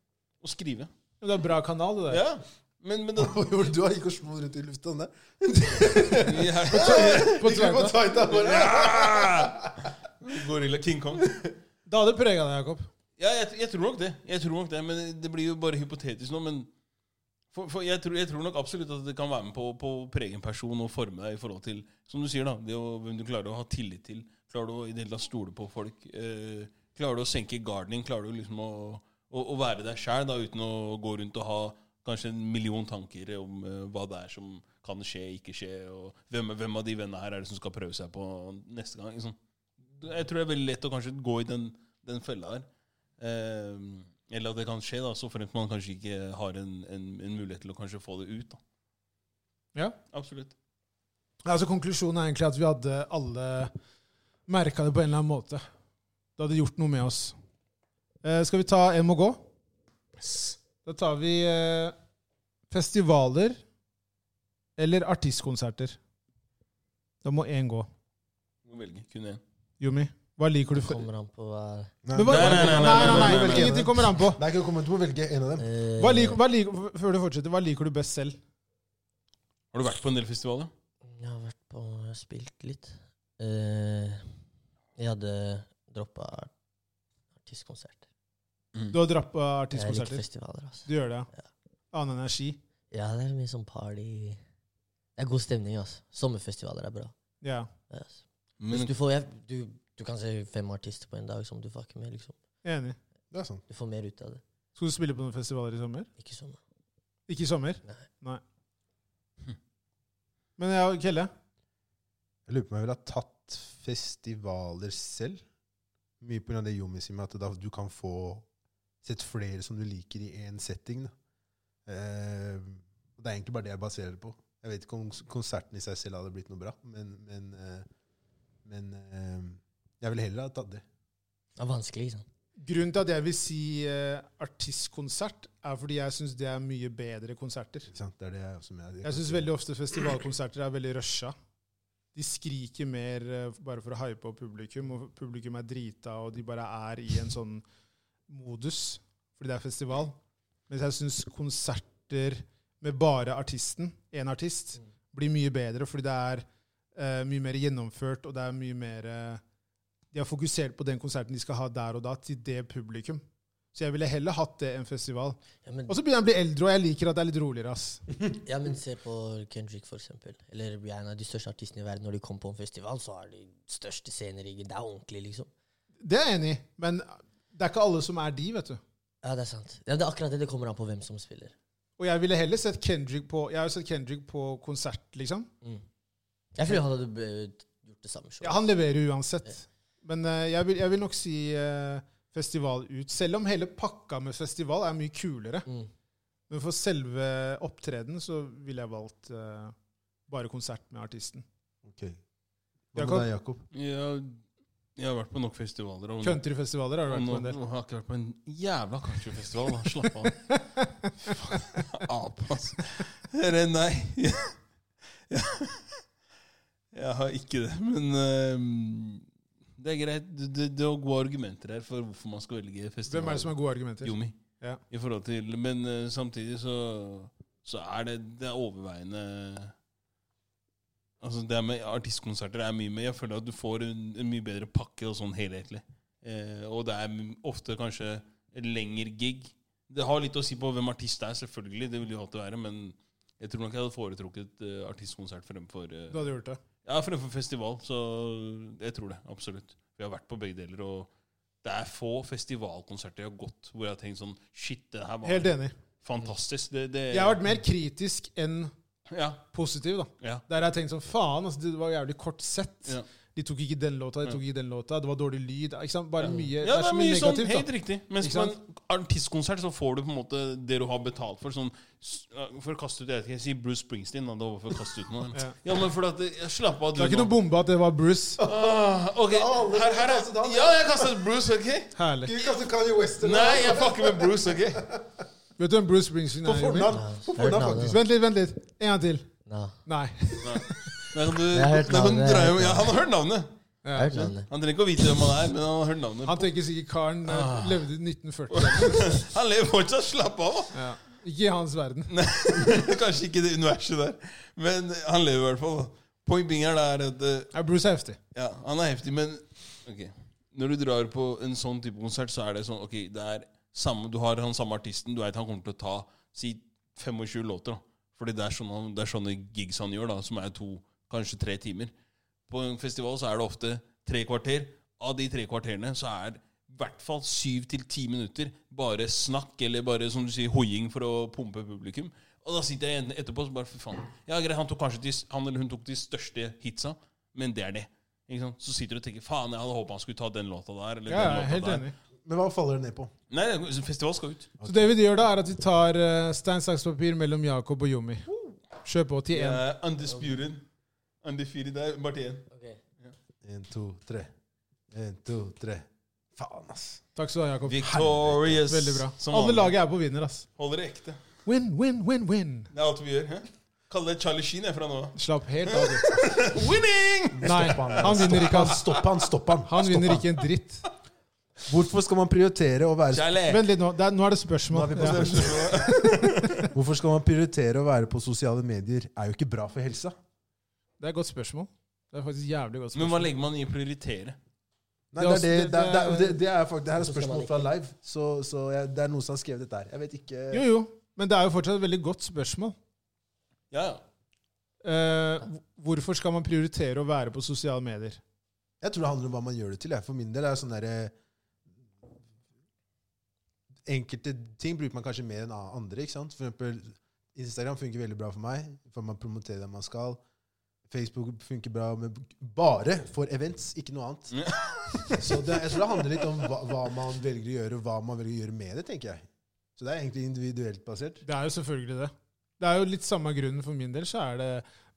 Speaker 2: Å skrive.
Speaker 1: Ja, Det er bra kanal, det der.
Speaker 2: Ja. Men, men det
Speaker 3: Hvor Du har ikke små rundt i lufta, det.
Speaker 2: ja.
Speaker 1: På
Speaker 3: Ikke på
Speaker 1: Tveita.
Speaker 3: tighta, bare.
Speaker 2: Gorilla King Kong.
Speaker 1: Det hadde prega deg, Jakob.
Speaker 2: Ja, jeg, jeg tror nok det. Jeg tror nok det, Men det blir jo bare hypotetisk nå. Men for, for jeg, tror, jeg tror nok absolutt at det kan være med på, på å prege en person og forme deg i forhold til Som du sier, da. Det å, hvem du klarer å ha tillit til. Klarer du å i det hele tatt stole på folk? Eh, klarer du å senke garden din? Klarer du liksom å, å, å være deg sjæl uten å gå rundt og ha kanskje en million tanker om eh, hva det er som kan skje, ikke skje, og hvem, hvem av de vennene her er det som skal prøve seg på neste gang? Liksom. Jeg tror det er veldig lett å kanskje gå i den, den fella der. Eh, eller at det kan skje, da, så fremt man kanskje ikke har en, en, en mulighet til å kanskje få det ut. da.
Speaker 1: Ja.
Speaker 2: Absolutt.
Speaker 1: Altså, konklusjonen er egentlig at vi hadde alle merka det på en eller annen måte. Det hadde gjort noe med oss. Eh, skal vi ta en må gå? Da tar vi eh, festivaler eller artistkonserter. Da må én gå.
Speaker 2: Du må velge kun én.
Speaker 1: Jumi, hva liker du?
Speaker 4: Det
Speaker 1: før?
Speaker 4: Kommer an på hva
Speaker 1: Men hva,
Speaker 2: Nei, nei, nei, nei, nei, nei, nei.
Speaker 1: Ingenting kommer an på.
Speaker 3: Det er ikke kommet til å velge en av dem.
Speaker 4: eh,
Speaker 1: Hva liker, hva liker, før du fortsetter, hva liker du best selv?
Speaker 2: Har du vært på en del festivaler?
Speaker 4: Eh, Jeg har vært på Jeg har spilt litt. Eh, jeg hadde droppa artistkonsert.
Speaker 1: Du har dratt på
Speaker 4: Jeg liker
Speaker 1: artistkonserter.
Speaker 4: festivaler, altså.
Speaker 1: Du gjør det,
Speaker 4: Ja.
Speaker 1: ja. Annen energi.
Speaker 4: Ja, det er mye sånn party Det er god stemning, altså. Sommerfestivaler er bra.
Speaker 1: Ja.
Speaker 4: Yes.
Speaker 2: Men,
Speaker 4: Hvis du, får, jeg, du, du kan se fem artister på en dag som du fucker med, liksom.
Speaker 1: Enig.
Speaker 3: Det er sant.
Speaker 4: Du får mer ut av det.
Speaker 1: Skal du spille på noen festivaler i sommer?
Speaker 4: Ikke sånn.
Speaker 1: Ikke i sommer?
Speaker 4: Nei.
Speaker 1: Nei. Men ja, Kelle,
Speaker 3: Jeg lurer på om jeg ville ha tatt festivaler selv. Mye pga. det Jomi sier med at da du kan få sett flere som du liker i én setting. Da. Eh, og det er egentlig bare det jeg baserer det på. Jeg vet ikke om kons- konserten i seg selv hadde blitt noe bra, men, men, eh, men eh, jeg ville heller ha tatt det.
Speaker 4: Det er vanskelig, ikke sant.
Speaker 1: grunnen til at jeg vil si eh, artistkonsert, er fordi jeg syns det er mye bedre konserter.
Speaker 3: Ikke sant? Det er det jeg, som jeg,
Speaker 1: Jeg syns veldig ofte festivalkonserter er veldig rusha. De skriker mer eh, bare for å hype opp publikum, og publikum er drita, og de bare er i en sånn modus fordi det er festival. Mens jeg syns konserter med bare artisten, én artist, blir mye bedre fordi det er eh, mye mer gjennomført, og det er mye mer eh, De har fokusert på den konserten de skal ha der og da, til det publikum. Så jeg ville heller hatt det enn festival.
Speaker 4: Ja, men,
Speaker 1: Og så begynner jeg å bli eldre, og jeg liker at det er litt roligere, ass.
Speaker 4: ja, men se på Kendrick, for eksempel. Eller Rihanna, de største artistene i verden. Når de kommer på en festival, så har de største scener. i- Det er ordentlig, liksom.
Speaker 1: Det er jeg enig i, men det er ikke alle som er de, vet du.
Speaker 4: Ja, det er sant. Ja, det er akkurat det. Det kommer an på hvem som spiller.
Speaker 1: Og jeg ville heller sett Kendrick på Jeg har jo sett Kendrick på konsert, liksom.
Speaker 4: Mm. Jeg tror han hadde eh, gjort det samme showet.
Speaker 1: Ja, han leverer uansett. Men eh, jeg, vil, jeg vil nok si eh, festival ut. Selv om hele pakka med festival er mye kulere.
Speaker 4: Mm.
Speaker 1: Men for selve opptredenen så ville jeg valgt eh, bare konsert med artisten.
Speaker 3: Ok. Hva med
Speaker 1: Jakob?
Speaker 3: deg, Jakob?
Speaker 2: ja, Jeg har vært på nok festivaler. Og
Speaker 1: Countryfestivaler har
Speaker 2: og
Speaker 1: du vært
Speaker 2: nå,
Speaker 1: på en del.
Speaker 2: nå har jeg ikke vært på en jævla countryfestival. da. Slapp av. Faen, Ape, altså. Herre, nei. Jeg har ikke det. Men eh, det er greit. Det, det, det er gode argumenter her for hvorfor man skal velge festival.
Speaker 1: Hvem er det som har gode argumenter?
Speaker 2: Jomi.
Speaker 1: Ja.
Speaker 2: I forhold til, men eh, samtidig så, så er det, det er overveiende Altså det er med Artistkonserter er mye mer Jeg føler at du får en, en mye bedre pakke og sånn helhetlig. Eh, og det er m- ofte kanskje et lengre gig. Det har litt å si på hvem artist det er, selvfølgelig. Det vil jo alltid være. Men jeg tror nok jeg hadde foretrukket eh, artistkonsert fremfor eh,
Speaker 1: Du hadde gjort det.
Speaker 2: ja, fremfor festival. Så jeg tror det. Absolutt. Vi har vært på begge deler, og det er få festivalkonserter jeg har gått hvor jeg har tenkt sånn Shit, det her var
Speaker 1: Helt enig.
Speaker 2: fantastisk. Det, det,
Speaker 1: Jeg har vært mer kritisk enn
Speaker 2: Ja,
Speaker 1: positiv, da.
Speaker 2: ja,
Speaker 1: Der har jeg tenkt sånn Faen, altså, det var jævlig kort sett.
Speaker 2: ja.
Speaker 1: De tok ikke den låta, de tok ikke den låta. Det var dårlig lyd. Ikke sant? Bare mye
Speaker 2: ja, det er mye sånn,
Speaker 1: negativt.
Speaker 2: helt
Speaker 1: da.
Speaker 2: riktig. Mens
Speaker 1: Ikke
Speaker 2: på en artistkonsert så får du på en måte det du har betalt for. Sånn, s- ja, for å kaste ut Jeg vet ikke, jeg sier Bruce Springsteen. Da, det var for å kaste ut noe.
Speaker 1: Ja.
Speaker 2: ja. men for at det- jeg Slapp av, du.
Speaker 1: Det er ikke
Speaker 2: nå.
Speaker 1: noe bombe at det var Bruce.
Speaker 2: Ah, ok,
Speaker 3: alle
Speaker 2: her, her
Speaker 3: kastet
Speaker 2: er
Speaker 3: han.
Speaker 2: Ja, jeg kastet Bruce, OK?
Speaker 1: Herlig.
Speaker 2: Nei, jeg fucker med Bruce, OK?
Speaker 1: Vet du hvem Bruce Springsteen
Speaker 3: På
Speaker 1: er? Jimmy?
Speaker 3: fornavn, på fornavn
Speaker 4: Hørte
Speaker 3: faktisk.
Speaker 4: navnet.
Speaker 1: Vent litt, vent litt. En gang til.
Speaker 4: Nei,
Speaker 1: Nei.
Speaker 2: Da kan du,
Speaker 4: Jeg har hørt
Speaker 2: da kan du
Speaker 4: navnet, jeg
Speaker 2: dra
Speaker 4: har
Speaker 2: hjem.
Speaker 4: hørt
Speaker 2: Ja, han har hørt navnet.
Speaker 4: jeg har hørt navnet. Mm.
Speaker 2: Han trenger ikke å vite hvem han er, men han har hørt navnet.
Speaker 1: Han tenker sikkert karen
Speaker 2: Ah.
Speaker 1: eh, levde i 1940.
Speaker 2: Han lever fortsatt. Slapp av. da.
Speaker 1: Ja. Ikke i hans verden.
Speaker 2: Kanskje ikke det universet der, men eh, han lever i hvert fall. da. Point being er det er at eh,
Speaker 1: Ja, Bruce er heftig.
Speaker 2: ja, han er heftig, men ok. Når du drar på en sånn type konsert, så er det sånn Ok, det er samme, du har han samme artisten. Du vet han kommer til å ta si 25 låter. da. Fordi det er, sånne, det er sånne gigs han gjør, da, som er to, kanskje tre timer. På en festival så er det ofte tre kvarter. Av de tre kvarterene så er i hvert fall syv til ti minutter bare snakk, eller bare som du sier, hoiing for å pumpe publikum. Og da sitter jeg igjen etterpå og bare fy faen. Ja, greit, han, tok kanskje de, han eller hun tok de største hitsa, men det er det. Ikke sant? Så sitter du og tenker faen, jeg hadde håpa han skulle ta den låta der. Eller
Speaker 1: Ja, jeg
Speaker 2: den
Speaker 1: er
Speaker 2: låta
Speaker 1: helt
Speaker 2: der.
Speaker 1: enig.
Speaker 3: Men hva faller det ned på?
Speaker 2: Nei, nei, festival skal ut.
Speaker 1: Så det vi gjør da, er at vi tar eh, stein, saks, papir mellom Jakob og Jommi. Kjør på til én.
Speaker 2: Eh, undisputed. Undefeated er bare én.
Speaker 4: Ok.
Speaker 3: En, to, tre. En, to, tre. Faen, ass.
Speaker 1: Takk skal du ha, Jakob.
Speaker 2: Victorious.
Speaker 1: Veldig bra.
Speaker 2: Som
Speaker 1: Alle
Speaker 2: vanlig.
Speaker 1: laget er på vinner, ass.
Speaker 2: Holder det ekte.
Speaker 1: Win, win, win, win.
Speaker 2: Det er alt vi gjør. Hæ? Kaller det Charlie Sheen jeg, fra nå av.
Speaker 1: Slapp helt av. du.
Speaker 2: Winning!
Speaker 1: Nei, han vinner ikke, ass.
Speaker 3: Stopp han, stopp han.
Speaker 1: Han
Speaker 3: Stopp
Speaker 1: vinner ikke en dritt.
Speaker 3: Hvorfor skal man prioritere å være
Speaker 2: Kjærlighet.
Speaker 1: Vent litt nå. Det er, nå er det
Speaker 3: Nå er
Speaker 1: spørsmål.
Speaker 3: vi på
Speaker 1: Ja.
Speaker 3: spørsmål. Hvorfor skal man prioritere å være på sosiale medier? Er jo ikke bra for helsa.
Speaker 1: Det er et godt spørsmål. Det er faktisk jævlig godt
Speaker 2: Men hva
Speaker 1: spørsmål.
Speaker 2: legger man i å prioritere?
Speaker 3: Nei,
Speaker 1: Det er
Speaker 3: det, er det,
Speaker 1: også-
Speaker 3: det,
Speaker 1: altså, det-
Speaker 3: er- det, er- det, det er faktisk, det her er
Speaker 4: Hvorfor skal man
Speaker 3: spørsmål fra live, så, så jeg, det er noen som har skrevet dette her. Jeg vet ikke
Speaker 1: Jo, jo. Men det er jo fortsatt et veldig godt spørsmål.
Speaker 2: Ja, ja.
Speaker 1: Eh, hvorfor skal man prioritere å være på sosiale medier?
Speaker 3: Jeg tror det handler om hva man gjør det til. Jeg. For min del er det sånn derre Enkelte ting bruker man kanskje mer enn a- andre. ikke sant? For eksempel Instagram funker veldig bra for meg, for man promoterer det man skal. Facebook funker bra med bare for events, ikke noe annet. Så det, jeg tror det handler litt om hva, hva man velger å gjøre, og hva man velger å gjøre med det, tenker jeg. Så det er egentlig individuelt basert.
Speaker 1: Det er jo selvfølgelig det. Det er jo litt samme grunnen for min del, så er det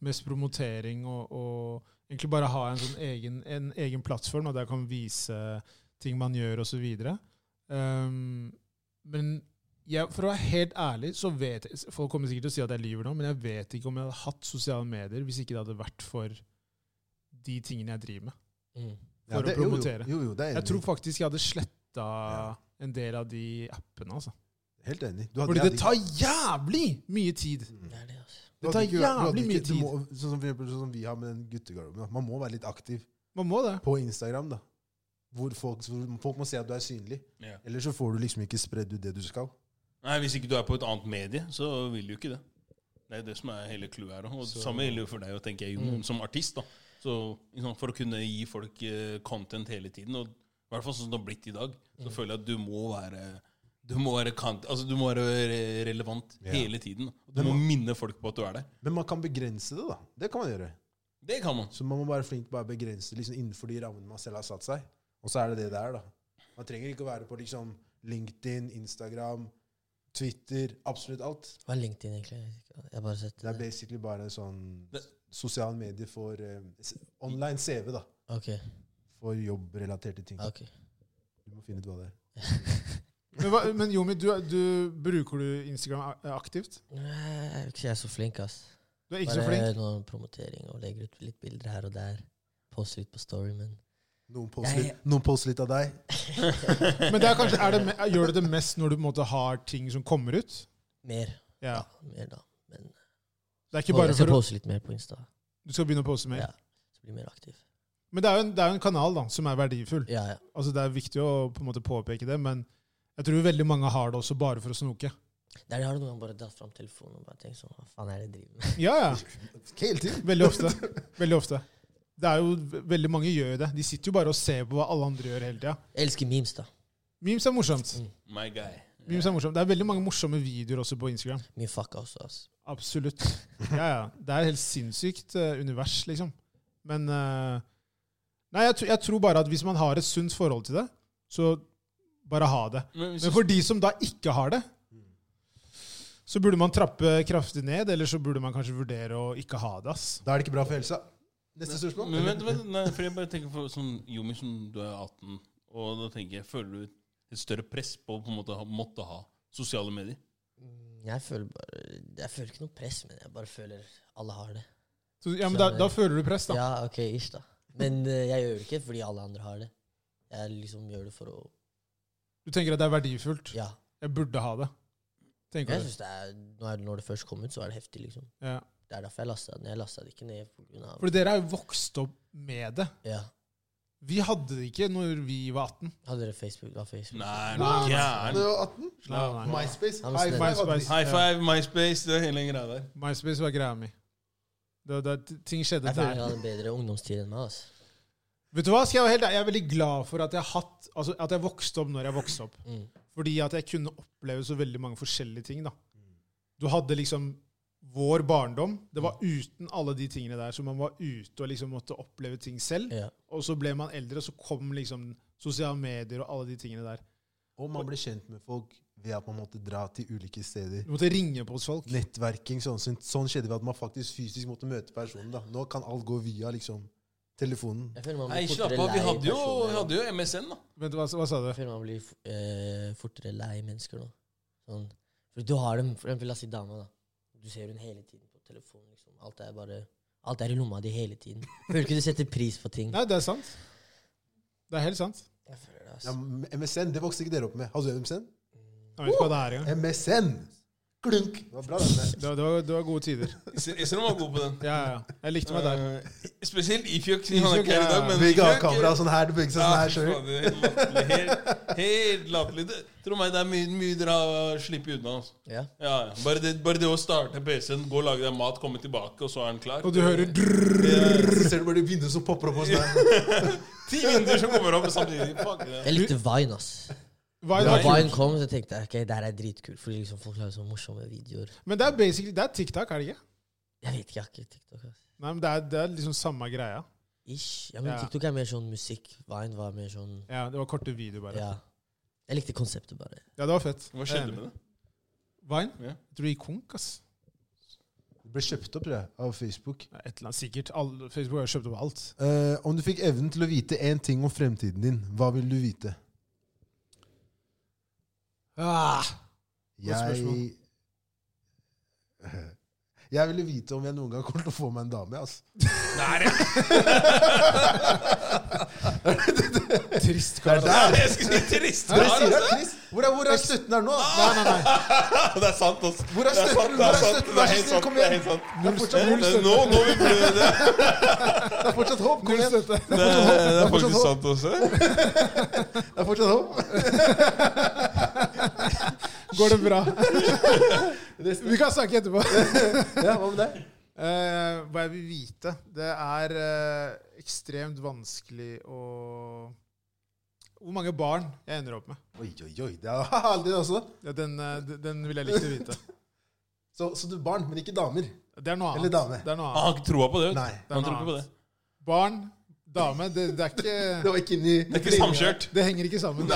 Speaker 1: mest promotering og, og egentlig bare ha en sånn egen, en egen plattform og der jeg kan vise ting man gjør, osv. Um, men jeg, for å være helt ærlig, så vet jeg Folk kommer sikkert til å si at jeg lyver nå, men jeg vet ikke om jeg hadde hatt sosiale medier hvis ikke det hadde vært for de tingene jeg driver med.
Speaker 4: Mm.
Speaker 1: For å
Speaker 3: det- jo, jo.
Speaker 1: promotere.
Speaker 3: Jo, jo, det er
Speaker 1: Jeg
Speaker 3: enig.
Speaker 1: tror faktisk jeg hadde sletta
Speaker 3: Ja.
Speaker 1: en del av de appene. altså.
Speaker 3: Helt enig. Du hadde-
Speaker 1: Fordi
Speaker 3: jeg
Speaker 1: det
Speaker 3: hadde-
Speaker 1: tar jævlig mye tid!
Speaker 4: Det er det, altså.
Speaker 3: Du
Speaker 1: Det tar
Speaker 3: hadde ikke- du hadde
Speaker 1: jævlig
Speaker 3: ikke-
Speaker 1: mye
Speaker 3: du
Speaker 1: tid.
Speaker 3: må- Sånn som, for eksempel, sånn som vi har med den guttegarderoben. da. Man må være litt aktiv.
Speaker 1: Man må det.
Speaker 3: på Instagram, da. Hvor folk, hvor folk må se at du er synlig.
Speaker 2: Ja.
Speaker 3: Ellers så får du liksom ikke spredd ut det du skal.
Speaker 2: Nei, Hvis ikke du er på et annet medie, så vil du ikke det. Det er det som er hele clouet her. Og det samme gjelder jo for deg, og tenker jeg,
Speaker 3: Mm.
Speaker 2: Jon, som artist. da. Så liksom, For å kunne gi folk eh, content hele tiden, og i hvert fall sånn som det har blitt i dag, så
Speaker 3: Mm.
Speaker 4: Mm.
Speaker 2: føler jeg at du må være du må være, kant, altså du må være re- relevant
Speaker 3: Ja.
Speaker 2: hele tiden. da. Du må minne folk på at du er der.
Speaker 3: Men man kan begrense det, da. Det kan man gjøre.
Speaker 2: Det kan man.
Speaker 3: Så man må være flink til å bare begrense det liksom innenfor de rammene man selv har satt seg. Og så er det det der, da. Man trenger ikke å være på liksom LinkedIn, Instagram, Twitter, absolutt alt.
Speaker 4: Hva er LinkedIn, egentlig? Jeg vet ikke. Jeg har bare sett
Speaker 3: Det er basically bare en sånn
Speaker 2: Det-
Speaker 3: sosiale medier for eh, s- online CV, da.
Speaker 4: Ok.
Speaker 3: for jobbrelaterte ting.
Speaker 4: Ok.
Speaker 3: Du må finne ut hva det er.
Speaker 1: Men, hva, men Yomi, du, du, bruker du Instagram a- aktivt?
Speaker 4: Nei, ikke jeg er så flink, ass.
Speaker 1: Du er ikke så flink.
Speaker 4: Bare noen promotering og legger ut litt bilder her og der. Poster litt på story, men
Speaker 3: Noen poster,
Speaker 4: Jeg-
Speaker 3: litt, noen poster litt av deg.
Speaker 1: Men det er kanskje, er det, me- gjør du det mest når du på en måte har ting som kommer ut?
Speaker 4: mer.
Speaker 1: Ja.
Speaker 4: Ja, mer da. Men
Speaker 1: Det er ikke bare
Speaker 4: jeg skal
Speaker 1: for å,
Speaker 4: poste litt mer på Insta.
Speaker 1: Du skal begynne å poste mer.
Speaker 4: Ja, så bli mer aktiv.
Speaker 1: Men det er jo en, det er jo en kanal da, som er verdifull.
Speaker 4: Ja, ja.
Speaker 1: Altså Det er viktig å på en måte påpeke det, men jeg tror veldig mange har det også bare for å snoke.
Speaker 4: Der har du noen gang bare dratt fram telefonen og bare tenkt sånn Hva faen er det jeg driver med?
Speaker 1: Ja, ja.
Speaker 3: Hele tiden.
Speaker 1: Veldig ofte. Veldig ofte. Det er jo, ve- veldig mange gjør jo det. De sitter jo bare og ser på hva alle andre gjør hele tida.
Speaker 4: Jeg elsker memes, da.
Speaker 1: Memes er morsomt.
Speaker 4: Mm.
Speaker 2: My guy.
Speaker 1: Memes er morsomt. Det er veldig mange morsomme videoer også på Instagram.
Speaker 4: Mye fucka også, ass.
Speaker 1: Absolutt. Ja, ja. Det er et helt sinnssykt eh, univers, liksom. Men eh, Nei, jeg, tr- jeg tror bare at hvis man har et sunt forhold til det, så bare ha det.
Speaker 2: Men hvis
Speaker 1: Men
Speaker 2: du-
Speaker 1: for de som da ikke har det, så burde man trappe kraftig ned, eller så burde man kanskje vurdere å ikke ha det. ass.
Speaker 3: Da er det ikke bra for helsa. Neste spørsmål.
Speaker 2: Men vent, vent, nei, for jeg bare tenker på sånn Yomi, som du er 18, og da tenker jeg, føler du et større press på å på en måte ha, måtte ha sosiale medier?
Speaker 4: Mm, Jeg føler bare Jeg føler ikke noe press, men jeg bare føler alle har det.
Speaker 1: Så, ja, men da, da føler du press, da.
Speaker 4: Ja, ok, ish, da. Men eh, jeg gjør det ikke fordi alle andre har det. Jeg liksom gjør det for å
Speaker 1: Du tenker at det er verdifullt.
Speaker 4: Ja.
Speaker 1: Jeg burde ha det. Tenker
Speaker 4: Jeg
Speaker 1: du.
Speaker 4: synes det er, når, når det først kom ut, så er det heftig, liksom.
Speaker 1: Ja.
Speaker 4: Det er derfor jeg lasta den. Jeg lasta det ikke ned på grunn av
Speaker 1: Fordi dere er jo vokst opp med det.
Speaker 4: Ja.
Speaker 1: Vi hadde det ikke når vi var 18.
Speaker 4: Hadde dere Facebook? Det var Facebook.
Speaker 2: Nei,
Speaker 1: Nei, nei.
Speaker 3: Du
Speaker 2: gæren.
Speaker 3: var 18.
Speaker 1: Nei, nei.
Speaker 3: MySpace.
Speaker 4: Han var
Speaker 3: High five.
Speaker 1: snill.
Speaker 3: Adri.
Speaker 2: High five, MySpace, det er hele greia der.
Speaker 1: MySpace var greia mi. Det, det, ting skjedde
Speaker 4: Jeg føler
Speaker 1: der.
Speaker 4: dere hadde en bedre ungdomstid enn meg, ass.
Speaker 1: Vet du hva? Skal jeg, være helt, ærlig? jeg er veldig glad for at jeg, har hatt, altså, at jeg vokste opp når jeg vokste opp.
Speaker 4: Mm.
Speaker 1: Fordi at jeg kunne oppleve så veldig mange forskjellige ting. da. Du hadde liksom vår barndom. Det var uten alle de tingene der. Så man var ute og liksom måtte oppleve ting selv.
Speaker 4: Ja.
Speaker 1: Og så ble man eldre, og så kom liksom sosiale medier og alle de tingene der.
Speaker 3: Og man ble kjent med folk ved at man måtte dra til ulike steder.
Speaker 1: Du måtte ringe på hos folk.
Speaker 3: Nettverking. Sånn, sånn- sånn skjedde ved at man faktisk fysisk måtte møte personen. da. Nå kan alt gå via liksom, telefonen.
Speaker 4: Jeg føler man
Speaker 2: Nei,
Speaker 4: blir
Speaker 2: slapp
Speaker 4: fortere
Speaker 2: av,
Speaker 4: lei
Speaker 2: vi hadde jo,
Speaker 4: personer.
Speaker 2: vi hadde jo MSN, da.
Speaker 1: Vent, hva, hva sa du?
Speaker 4: Jeg føler man blir f- eh, fortere lei mennesker nå. Sånn. For du har dem, for eksempel la oss si dama, da. Du ser hun hele tiden på telefonen. Liksom. Alt er bare Alt er i lomma di hele tiden. Føler ikke du setter pris på ting.
Speaker 1: Nei, det er sant. Det er helt sant.
Speaker 4: Jeg føler det, ass.
Speaker 3: Ja,
Speaker 4: Mm.
Speaker 3: men MSN, det vokste ikke dere opp med. Hadde du MSN?
Speaker 1: Jeg vet ikke hva det er engang.
Speaker 3: MSN! Klunk! Det var bra, den der.
Speaker 1: Det, var- det, var- det var gode tider.
Speaker 2: Esen var god på den.
Speaker 1: Ja, ja. ja. Jeg likte meg der.
Speaker 2: Eh, Spesielt Ifjøk. Han er ikke her i dag, men
Speaker 3: Begge har
Speaker 2: Ifjøk-
Speaker 3: kamera sånn her. Du beveger seg sånn her
Speaker 2: Ja,
Speaker 3: sjøl.
Speaker 2: faen, det er helt latterlig. Helt- Helt latterlig. Det- Tro meg, det er mye, mye dere har sluppet unna. Altså.
Speaker 4: Ja.
Speaker 2: Ja, ja. bare, det, bare det å starte PC-en, gå og lage deg mat, komme tilbake, og så er den klar.
Speaker 1: Og du hører drrrr.
Speaker 3: Så ser du bare det vinduet som popper opp. og sånn her.
Speaker 2: Ti vinduer som kommer opp sånn samtidig. Fuck det.
Speaker 4: Jeg likte Vine, ass.
Speaker 1: Hva er
Speaker 4: Da
Speaker 1: det?
Speaker 2: Vine.
Speaker 4: Vine kom, så tenkte jeg ok, det her er dritkult, fordi liksom folk lager sånne morsomme videoer.
Speaker 1: Men det er basically, det er TikTok, er det ikke?
Speaker 4: Jeg vet ikke, jeg har ikke TikTok. ass.
Speaker 1: Nei, men det er, det er liksom samme greia.
Speaker 4: Ish. Ja, men
Speaker 1: Ja.
Speaker 4: TikTok er mer sånn musikk. Vine var mer sånn
Speaker 1: Ja, Det var korte videoer, bare. Ja.
Speaker 4: Ja. Jeg likte konseptet, bare.
Speaker 1: det var fett. Eh,
Speaker 2: Hva skjedde med det?
Speaker 1: Vine?
Speaker 2: Ja.
Speaker 1: Jeg tror det gikk konk, ass.
Speaker 3: Det ble kjøpt opp tror jeg, av Facebook.
Speaker 1: Nei, Et eller annet, sikkert. Alle, Facebook har jo kjøpt opp alt.
Speaker 3: Eh, om du fikk evnen til å vite én ting om fremtiden din, hva ville du vite?
Speaker 1: Ah, Godt
Speaker 3: Jeg Jeg ville vite om jeg noen gang kommer til å få meg en dame. ass.
Speaker 1: trist kar.
Speaker 3: Det er
Speaker 2: Jeg skulle si trist.
Speaker 3: Dere
Speaker 2: Ja,
Speaker 3: sier det,
Speaker 2: altså.
Speaker 3: Chris. Hvor er, hvor er støtten her nå? Nei, nei, nei.
Speaker 2: Det er sant, altså.
Speaker 3: Hvor er
Speaker 2: Det er sant,
Speaker 3: støtten?
Speaker 2: det
Speaker 3: Hvor
Speaker 2: er
Speaker 3: er
Speaker 2: sant.
Speaker 3: støtten?
Speaker 2: Det er
Speaker 3: Vær
Speaker 2: helt
Speaker 3: så snill,
Speaker 2: sant.
Speaker 3: kom
Speaker 2: Det er
Speaker 3: igjen.
Speaker 2: helt sant.
Speaker 3: Det er fortsatt null
Speaker 2: Det er-
Speaker 3: støtte.
Speaker 2: Nå, nå vil du det.
Speaker 3: Det er fortsatt håp. Kom
Speaker 1: Null
Speaker 3: igjen.
Speaker 1: støtte.
Speaker 2: Det er, det er
Speaker 3: fortsatt
Speaker 2: faktisk
Speaker 3: håp.
Speaker 2: sant også.
Speaker 3: Det er fortsatt håp.
Speaker 1: Går det bra? Vi kan snakke etterpå.
Speaker 3: Ja, hva med deg?
Speaker 1: Eh, hva jeg vil vite Det er eh, ekstremt vanskelig å Hvor mange barn jeg ender opp med.
Speaker 3: Oi, oi, oi. Det er aldri også.
Speaker 1: Ja, den, eh, d- den vil jeg likt å vite.
Speaker 3: Så, så du er barn, men ikke damer.
Speaker 1: Det er noe annet.
Speaker 3: Eller dame.
Speaker 1: Det er noe
Speaker 2: Han
Speaker 1: annet.
Speaker 2: har ikke troa på det. vet du.
Speaker 3: Nei.
Speaker 2: Han
Speaker 1: Det er
Speaker 2: Ah, tror
Speaker 1: noe
Speaker 2: ikke på det.
Speaker 1: Barn, dame, det, det er ikke
Speaker 3: Det var ikke inni
Speaker 2: Det er ikke samkjørt.
Speaker 1: Det henger ikke sammen.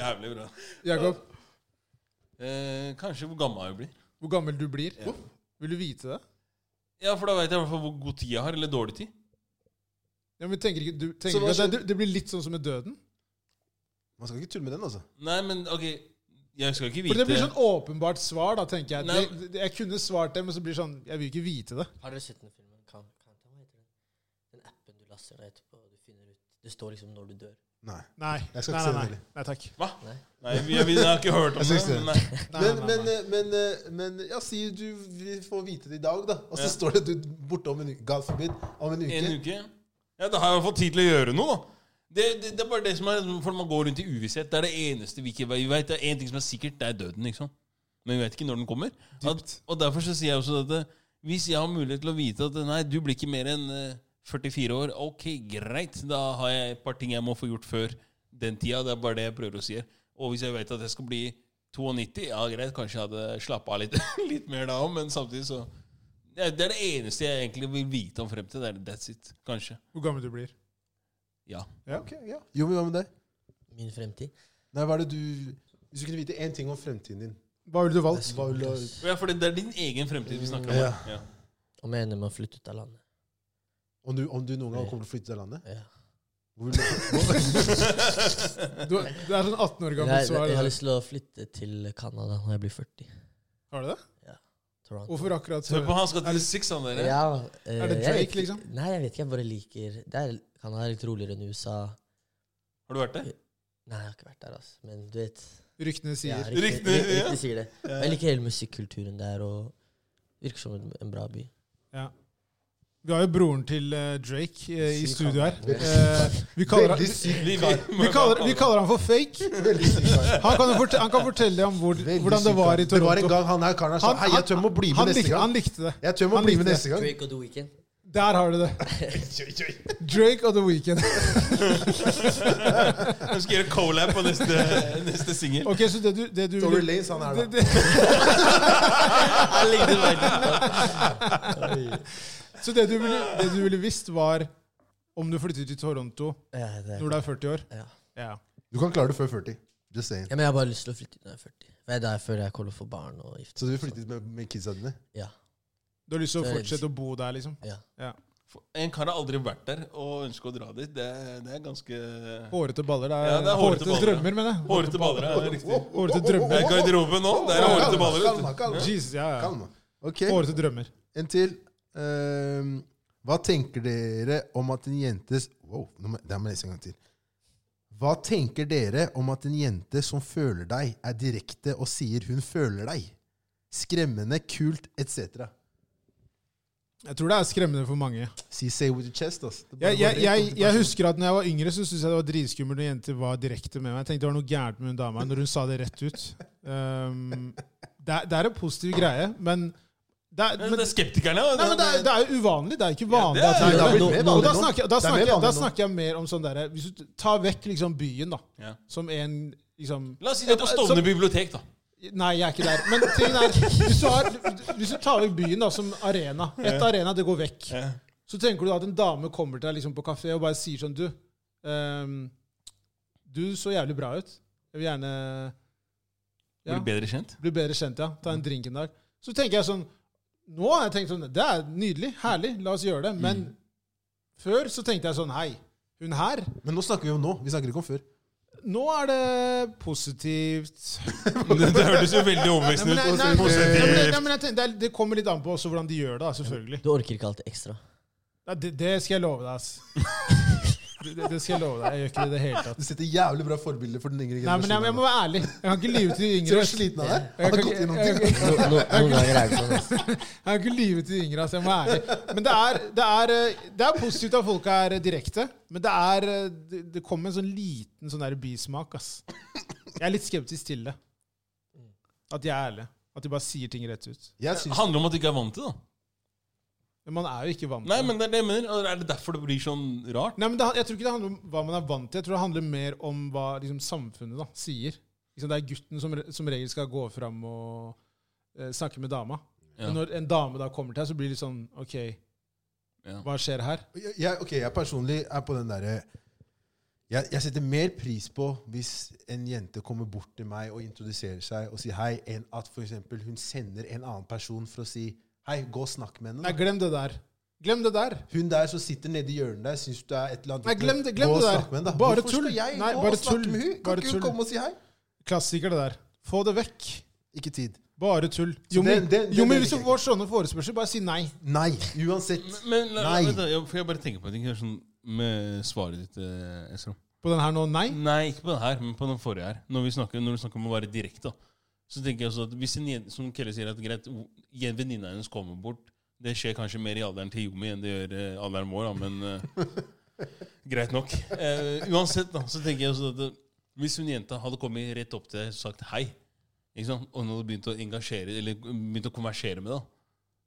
Speaker 2: Jævlig bra.
Speaker 1: Jakob,
Speaker 2: Eh, kanskje hvor gammel jeg blir.
Speaker 1: hvor gammel du blir? Vil du vite det?
Speaker 2: Ja, for da vet jeg i hvert fall hvor god tid jeg har, eller dårlig tid.
Speaker 1: Ja, men tenker ikke, du
Speaker 2: Så
Speaker 1: tenker
Speaker 2: hva
Speaker 1: ikke at det, det blir litt sånn som med døden?
Speaker 3: Man skal ikke tulle med den, altså.
Speaker 2: Nei, men ok, jeg skal ikke
Speaker 1: For det
Speaker 2: vite
Speaker 1: blir sånn åpenbart svar, da, tenker jeg.
Speaker 2: Nei.
Speaker 1: Det, det, jeg kunne svart det, men så blir det sånn Jeg vil ikke vite det.
Speaker 4: Har dere sett den filmen? Kan, kan, hva heter den? den appen du laster deg etterpå, og du finner ut Det står liksom når du dør.
Speaker 3: Nei.
Speaker 1: Nei, nei,
Speaker 3: Jeg skal ikke
Speaker 1: nei,
Speaker 3: se den
Speaker 1: nei.
Speaker 3: heller.
Speaker 1: nei takk.
Speaker 4: Nei?
Speaker 2: Nei, vi- jeg, jeg har ikke hørt om
Speaker 3: Jeg
Speaker 2: det.
Speaker 3: synes det.
Speaker 2: Men nei.
Speaker 1: Nei, nei,
Speaker 3: Men,
Speaker 1: nei,
Speaker 3: men,
Speaker 1: nei.
Speaker 3: men, eh, men ja, si du vi får vite det i dag, da. Og så
Speaker 2: Ja.
Speaker 3: står det du borte om en uke. God forbid. Om en uke.
Speaker 2: En uke? Ja, da har jeg i hvert fall tid til å gjøre noe, da. Det, det, det er bare det som er For man går rundt i uvisshet. Det er det eneste vi ikke vi vet. Det er én ting som er sikkert, det er døden, ikke sant. Men vi vet ikke når den kommer. At, og derfor så sier jeg også dette. Hvis jeg har mulighet til å vite at nei, du blir ikke mer enn eh, 44 år, ok, greit. Da har jeg et par ting jeg må få gjort før den tida. Det er bare det jeg prøver å si. her. Og hvis jeg vet at jeg skal bli 92, ja greit, kanskje jeg hadde slappa av litt, litt mer da òg, men samtidig så det er, det er det eneste jeg egentlig vil vite om frem til. Det er that's it, kanskje.
Speaker 1: Hvor gammel du blir.
Speaker 2: Ja.
Speaker 3: Ok, ja. Jo, men hva med deg?
Speaker 4: Min fremtid.
Speaker 3: Nei, hva er det du Hvis du kunne vite én ting om fremtiden din
Speaker 1: Hva ville du valgt?
Speaker 3: Hva vil du
Speaker 4: ass.
Speaker 2: ja for det, det er din egen fremtid vi snakker om.
Speaker 3: Ja.
Speaker 2: her. Ja.
Speaker 4: Om jeg ender med å flytte ut av landet.
Speaker 3: om du, om du noen gang kommer til å flytte til landet?
Speaker 4: Ja.
Speaker 3: Hvor vil du,
Speaker 1: Du, det er sånn 18 år
Speaker 4: Nei,
Speaker 1: gammelt svar.
Speaker 4: jeg har
Speaker 1: det der.
Speaker 4: lyst til å flytte til Canada når jeg blir 40.
Speaker 1: Har du det?
Speaker 4: Toronto.
Speaker 1: Hvorfor akkurat så?
Speaker 2: Hør på, han skal til six, han der.
Speaker 4: Ja, eh,
Speaker 1: Er det Drake,
Speaker 4: jeg vet ikke-
Speaker 1: liksom?
Speaker 4: Nei, jeg vet ikke. Jeg bare liker Det er, Canada er litt roligere enn USA.
Speaker 2: Har du vært der?
Speaker 4: Nei, jeg har ikke vært der, altså. Men du vet
Speaker 1: eh, Ryktene
Speaker 4: ja,
Speaker 1: sier.
Speaker 4: riktig,
Speaker 2: Riktig,
Speaker 4: ri-
Speaker 2: ja.
Speaker 4: riktig sier det. Men jeg liker hele musikkulturen der, og virker som en, en bra by.
Speaker 1: Vi har jo broren til eh, Drake eh, i
Speaker 3: Syk
Speaker 1: studio her.
Speaker 3: han. Veldig
Speaker 1: Eh, vi, kaller,
Speaker 3: Veldig
Speaker 1: han-
Speaker 3: syk
Speaker 2: Vi,
Speaker 1: vi, kaller, vi kaller han for fake.
Speaker 3: Veldig syk kar.
Speaker 1: Han kan, jo fortelle, han kan fortelle deg om hvor,
Speaker 3: Veldig
Speaker 1: hvordan det
Speaker 3: syk
Speaker 1: var
Speaker 3: kar.
Speaker 1: i
Speaker 3: Det var en
Speaker 1: Toronto.
Speaker 3: gang han her karen her sa
Speaker 1: Han-
Speaker 3: Hei, jeg tør må bli
Speaker 1: Han
Speaker 3: med neste
Speaker 1: likte, han
Speaker 3: gang.
Speaker 1: likte det.
Speaker 3: Jeg tør må
Speaker 1: han
Speaker 3: bli
Speaker 1: likte
Speaker 3: med
Speaker 1: det.
Speaker 3: neste gang.
Speaker 4: Drake og The Weeknd.
Speaker 1: Der har du det. Drake og The Weeknd.
Speaker 2: Jeg skal gjøre collab på neste, neste singel.
Speaker 1: Ok, så det du, det du
Speaker 3: Tory Lanez, han er
Speaker 1: det, det,
Speaker 3: da.
Speaker 4: Jeg likte det veldig godt.
Speaker 1: Så det du, ville, det du ville visst, var om du flyttet til Toronto
Speaker 4: Ja, det,
Speaker 1: når du er 40 år?
Speaker 4: ja.
Speaker 1: Ja.
Speaker 3: Du kan klare det før 40. Just saying.
Speaker 4: ja, men jeg har bare lyst til å flytte ut når jeg er 40. For Det er derfor jeg kommer til å få barn og gifte
Speaker 3: Så du flyttet med, med kidsa dine?
Speaker 4: Ja.
Speaker 1: Du har lyst til å
Speaker 4: Det er
Speaker 1: fortsette å bo der, liksom?
Speaker 4: ja.
Speaker 1: Ja.
Speaker 2: En kar har aldri vært der og ønsker å dra dit. Det, det er ganske
Speaker 1: Hårete baller. Det er,
Speaker 2: Ja, det er hårete
Speaker 1: hårete,
Speaker 2: baller, ja.
Speaker 1: drømmer, mener jeg.
Speaker 2: Hårete baller ja, det er riktig.
Speaker 1: Hårete drømmer.
Speaker 2: Det er garderoben nå. Der er hårete baller. vet
Speaker 3: Kalma,
Speaker 2: du.
Speaker 3: kalma.
Speaker 1: Jesus, ja, ja.
Speaker 3: Kalma. Ok,
Speaker 1: Hårete drømmer.
Speaker 3: en til. Ehm, hva tenker dere om at en jentes Wow, nå må- det må jeg lese en gang til. Hva tenker dere om at en jente som føler deg, er direkte og sier hun føler deg? Skremmende, kult, etc.
Speaker 1: Jeg tror det er skremmende for mange.
Speaker 3: Si say with your chest, ass. Det bare
Speaker 1: Jeg, jeg,
Speaker 3: går rett
Speaker 1: jeg,
Speaker 3: opp til
Speaker 1: jeg
Speaker 3: personen.
Speaker 1: husker at når jeg var yngre, så syntes jeg det var dritskummelt når jenter var direkte med meg. Jeg tenkte det var noe gærent med hun dama når hun sa det rett ut. Um, det, er, det er en positiv greie, men det er,
Speaker 2: Men
Speaker 1: men,
Speaker 2: Det er skeptikerne. ja.
Speaker 1: nei, men det, er, det er jo uvanlig. Det er ikke
Speaker 2: Ja,
Speaker 1: vanlig.
Speaker 2: det er-
Speaker 1: at
Speaker 3: Nei, det har blitt
Speaker 4: Nå-
Speaker 3: mer
Speaker 1: Og
Speaker 4: nå-
Speaker 3: vanlig
Speaker 1: da
Speaker 3: nå.
Speaker 1: snakker, da,
Speaker 3: Det er mer
Speaker 1: snakker, da
Speaker 3: vanlig nå.
Speaker 1: snakker jeg mer om sånn derre Hvis du tar vekk liksom byen, da,
Speaker 2: Ja.
Speaker 1: som en liksom
Speaker 2: La oss si det er på Stovner bibliotek, da.
Speaker 1: Nei, jeg er ikke der. Men tingen er, hvis du, har, hvis du tar vekk byen da som arena Et arena, det går vekk.
Speaker 2: Ja.
Speaker 1: Så tenker du da at en dame kommer til deg liksom på kafé og bare sier sånn Du, ehm, du så jævlig bra ut. Jeg vil gjerne ja,
Speaker 2: Blir bedre kjent.
Speaker 1: bli bedre kjent, ja. Ta en drink en dag. Så tenker jeg sånn Nå har jeg tenkt sånn Det er nydelig. Herlig. La oss gjøre det. Men før så tenkte jeg sånn Hei, hun her
Speaker 3: Men nå snakker vi om nå. Vi snakker ikke om før.
Speaker 1: Nå er det positivt.
Speaker 2: Det, det hørtes jo veldig
Speaker 1: Nei,
Speaker 2: overbevisende
Speaker 1: men, nei,
Speaker 2: ut.
Speaker 1: nei, nei, nei, nei, men jeg tenker, det, er- det kommer litt an på også hvordan de gjør det, da, selvfølgelig.
Speaker 4: Du orker ikke alt det ekstra.
Speaker 1: Nei, det, det skal jeg love deg, ass. Det, det- det skal jeg love deg. Jeg gjør ikke det i det hele tatt.
Speaker 3: Du setter jævlig bra forbilder for den yngre
Speaker 1: Nei, men jeg, jeg må være ærlig. Jeg kan ikke lyve til de
Speaker 3: Ser du
Speaker 1: yngre.
Speaker 3: hvor
Speaker 1: ass.
Speaker 3: sliten han er?
Speaker 1: Jeg
Speaker 3: Han har
Speaker 1: kan
Speaker 3: gått
Speaker 1: ikke-
Speaker 3: gjennom
Speaker 1: jeg-
Speaker 3: ting.
Speaker 1: jeg-
Speaker 4: No, no, noen ganger er det sånn. ass.
Speaker 1: Jeg kan ikke lyve til de yngre, ass. Jeg må være ærlig. Men det er, det er, eh, det er positivt at folk er eh, direkte, men det er eh, Det, det kommer en sånn liten sånn der bismak, ass. Jeg er litt skeptisk til det. At de er ærlige. At de bare sier ting rett ut.
Speaker 3: Jeg syns
Speaker 2: Det handler om at du ikke er vant til det. da.
Speaker 1: Men man er jo ikke vant til
Speaker 2: Nei,
Speaker 1: det.
Speaker 2: men det er det jeg mener. og Er det derfor det blir sånn rart?
Speaker 1: Nei, men det, Jeg tror ikke det handler om hva man er vant til. Jeg tror det handler mer om hva liksom, samfunnet da, sier. Liksom, det er gutten som, re- som regel skal gå fram og eh, snakke med dama.
Speaker 2: Ja.
Speaker 1: Men når en dame da kommer til deg, så blir det litt sånn OK,
Speaker 2: Ja.
Speaker 1: hva skjer her?
Speaker 3: jeg, jeg- ok, jeg personlig er på den derre jeg, jeg setter mer pris på hvis en jente kommer bort til meg og introduserer seg og sier hei, enn at for eksempel hun sender en annen person for å si hei, gå og snakk med henne.
Speaker 1: Nei,
Speaker 3: da.
Speaker 1: glem det der. Glem det der.
Speaker 3: Hun der som sitter nede i hjørnet der, syns du er et eller annet
Speaker 1: Nei, glem det- glem
Speaker 3: Gå og
Speaker 1: det der.
Speaker 3: snakk med henne, da.
Speaker 1: Bare
Speaker 3: Hvorfor
Speaker 1: tull.
Speaker 3: skal jeg
Speaker 1: Nei,
Speaker 3: gå
Speaker 1: bare
Speaker 3: og snakke
Speaker 1: tull.
Speaker 3: med henne? Kan
Speaker 1: Bare
Speaker 3: ikke
Speaker 1: tull.
Speaker 3: hun komme og si hei?
Speaker 1: Klassiker, det der. Få det vekk.
Speaker 3: Ikke tid.
Speaker 1: Bare tull. Jo,
Speaker 3: det-
Speaker 1: men
Speaker 3: det- det-
Speaker 1: jo, men
Speaker 3: det-
Speaker 1: hvis du får sånne forespørsler, bare si nei.
Speaker 3: Nei, uansett.
Speaker 2: Men la,
Speaker 3: Nei.
Speaker 2: Vent, da, jeg, for jeg bare tenker på en ting her, sånn, med svaret ditt, eh, Esra.
Speaker 1: På den her nå, nei.
Speaker 2: Nei, ikke på den her, men på den forrige her. Når, vi snakker, når du snakker om å være direkte, da. Så tenker jeg også at hvis en jente, som Kelle sier, at greit, o- jen- venninna hennes kommer bort Det skjer kanskje mer i alderen til Jumi enn det gjør eh, alderen vår, da, men eh, greit nok. Eh, uansett, da, så tenker jeg også at det- hvis hun jenta hadde kommet rett opp til deg og sagt hei, ikke sant? og hun hadde begynt å engasjere, eller begynt å konversere med deg,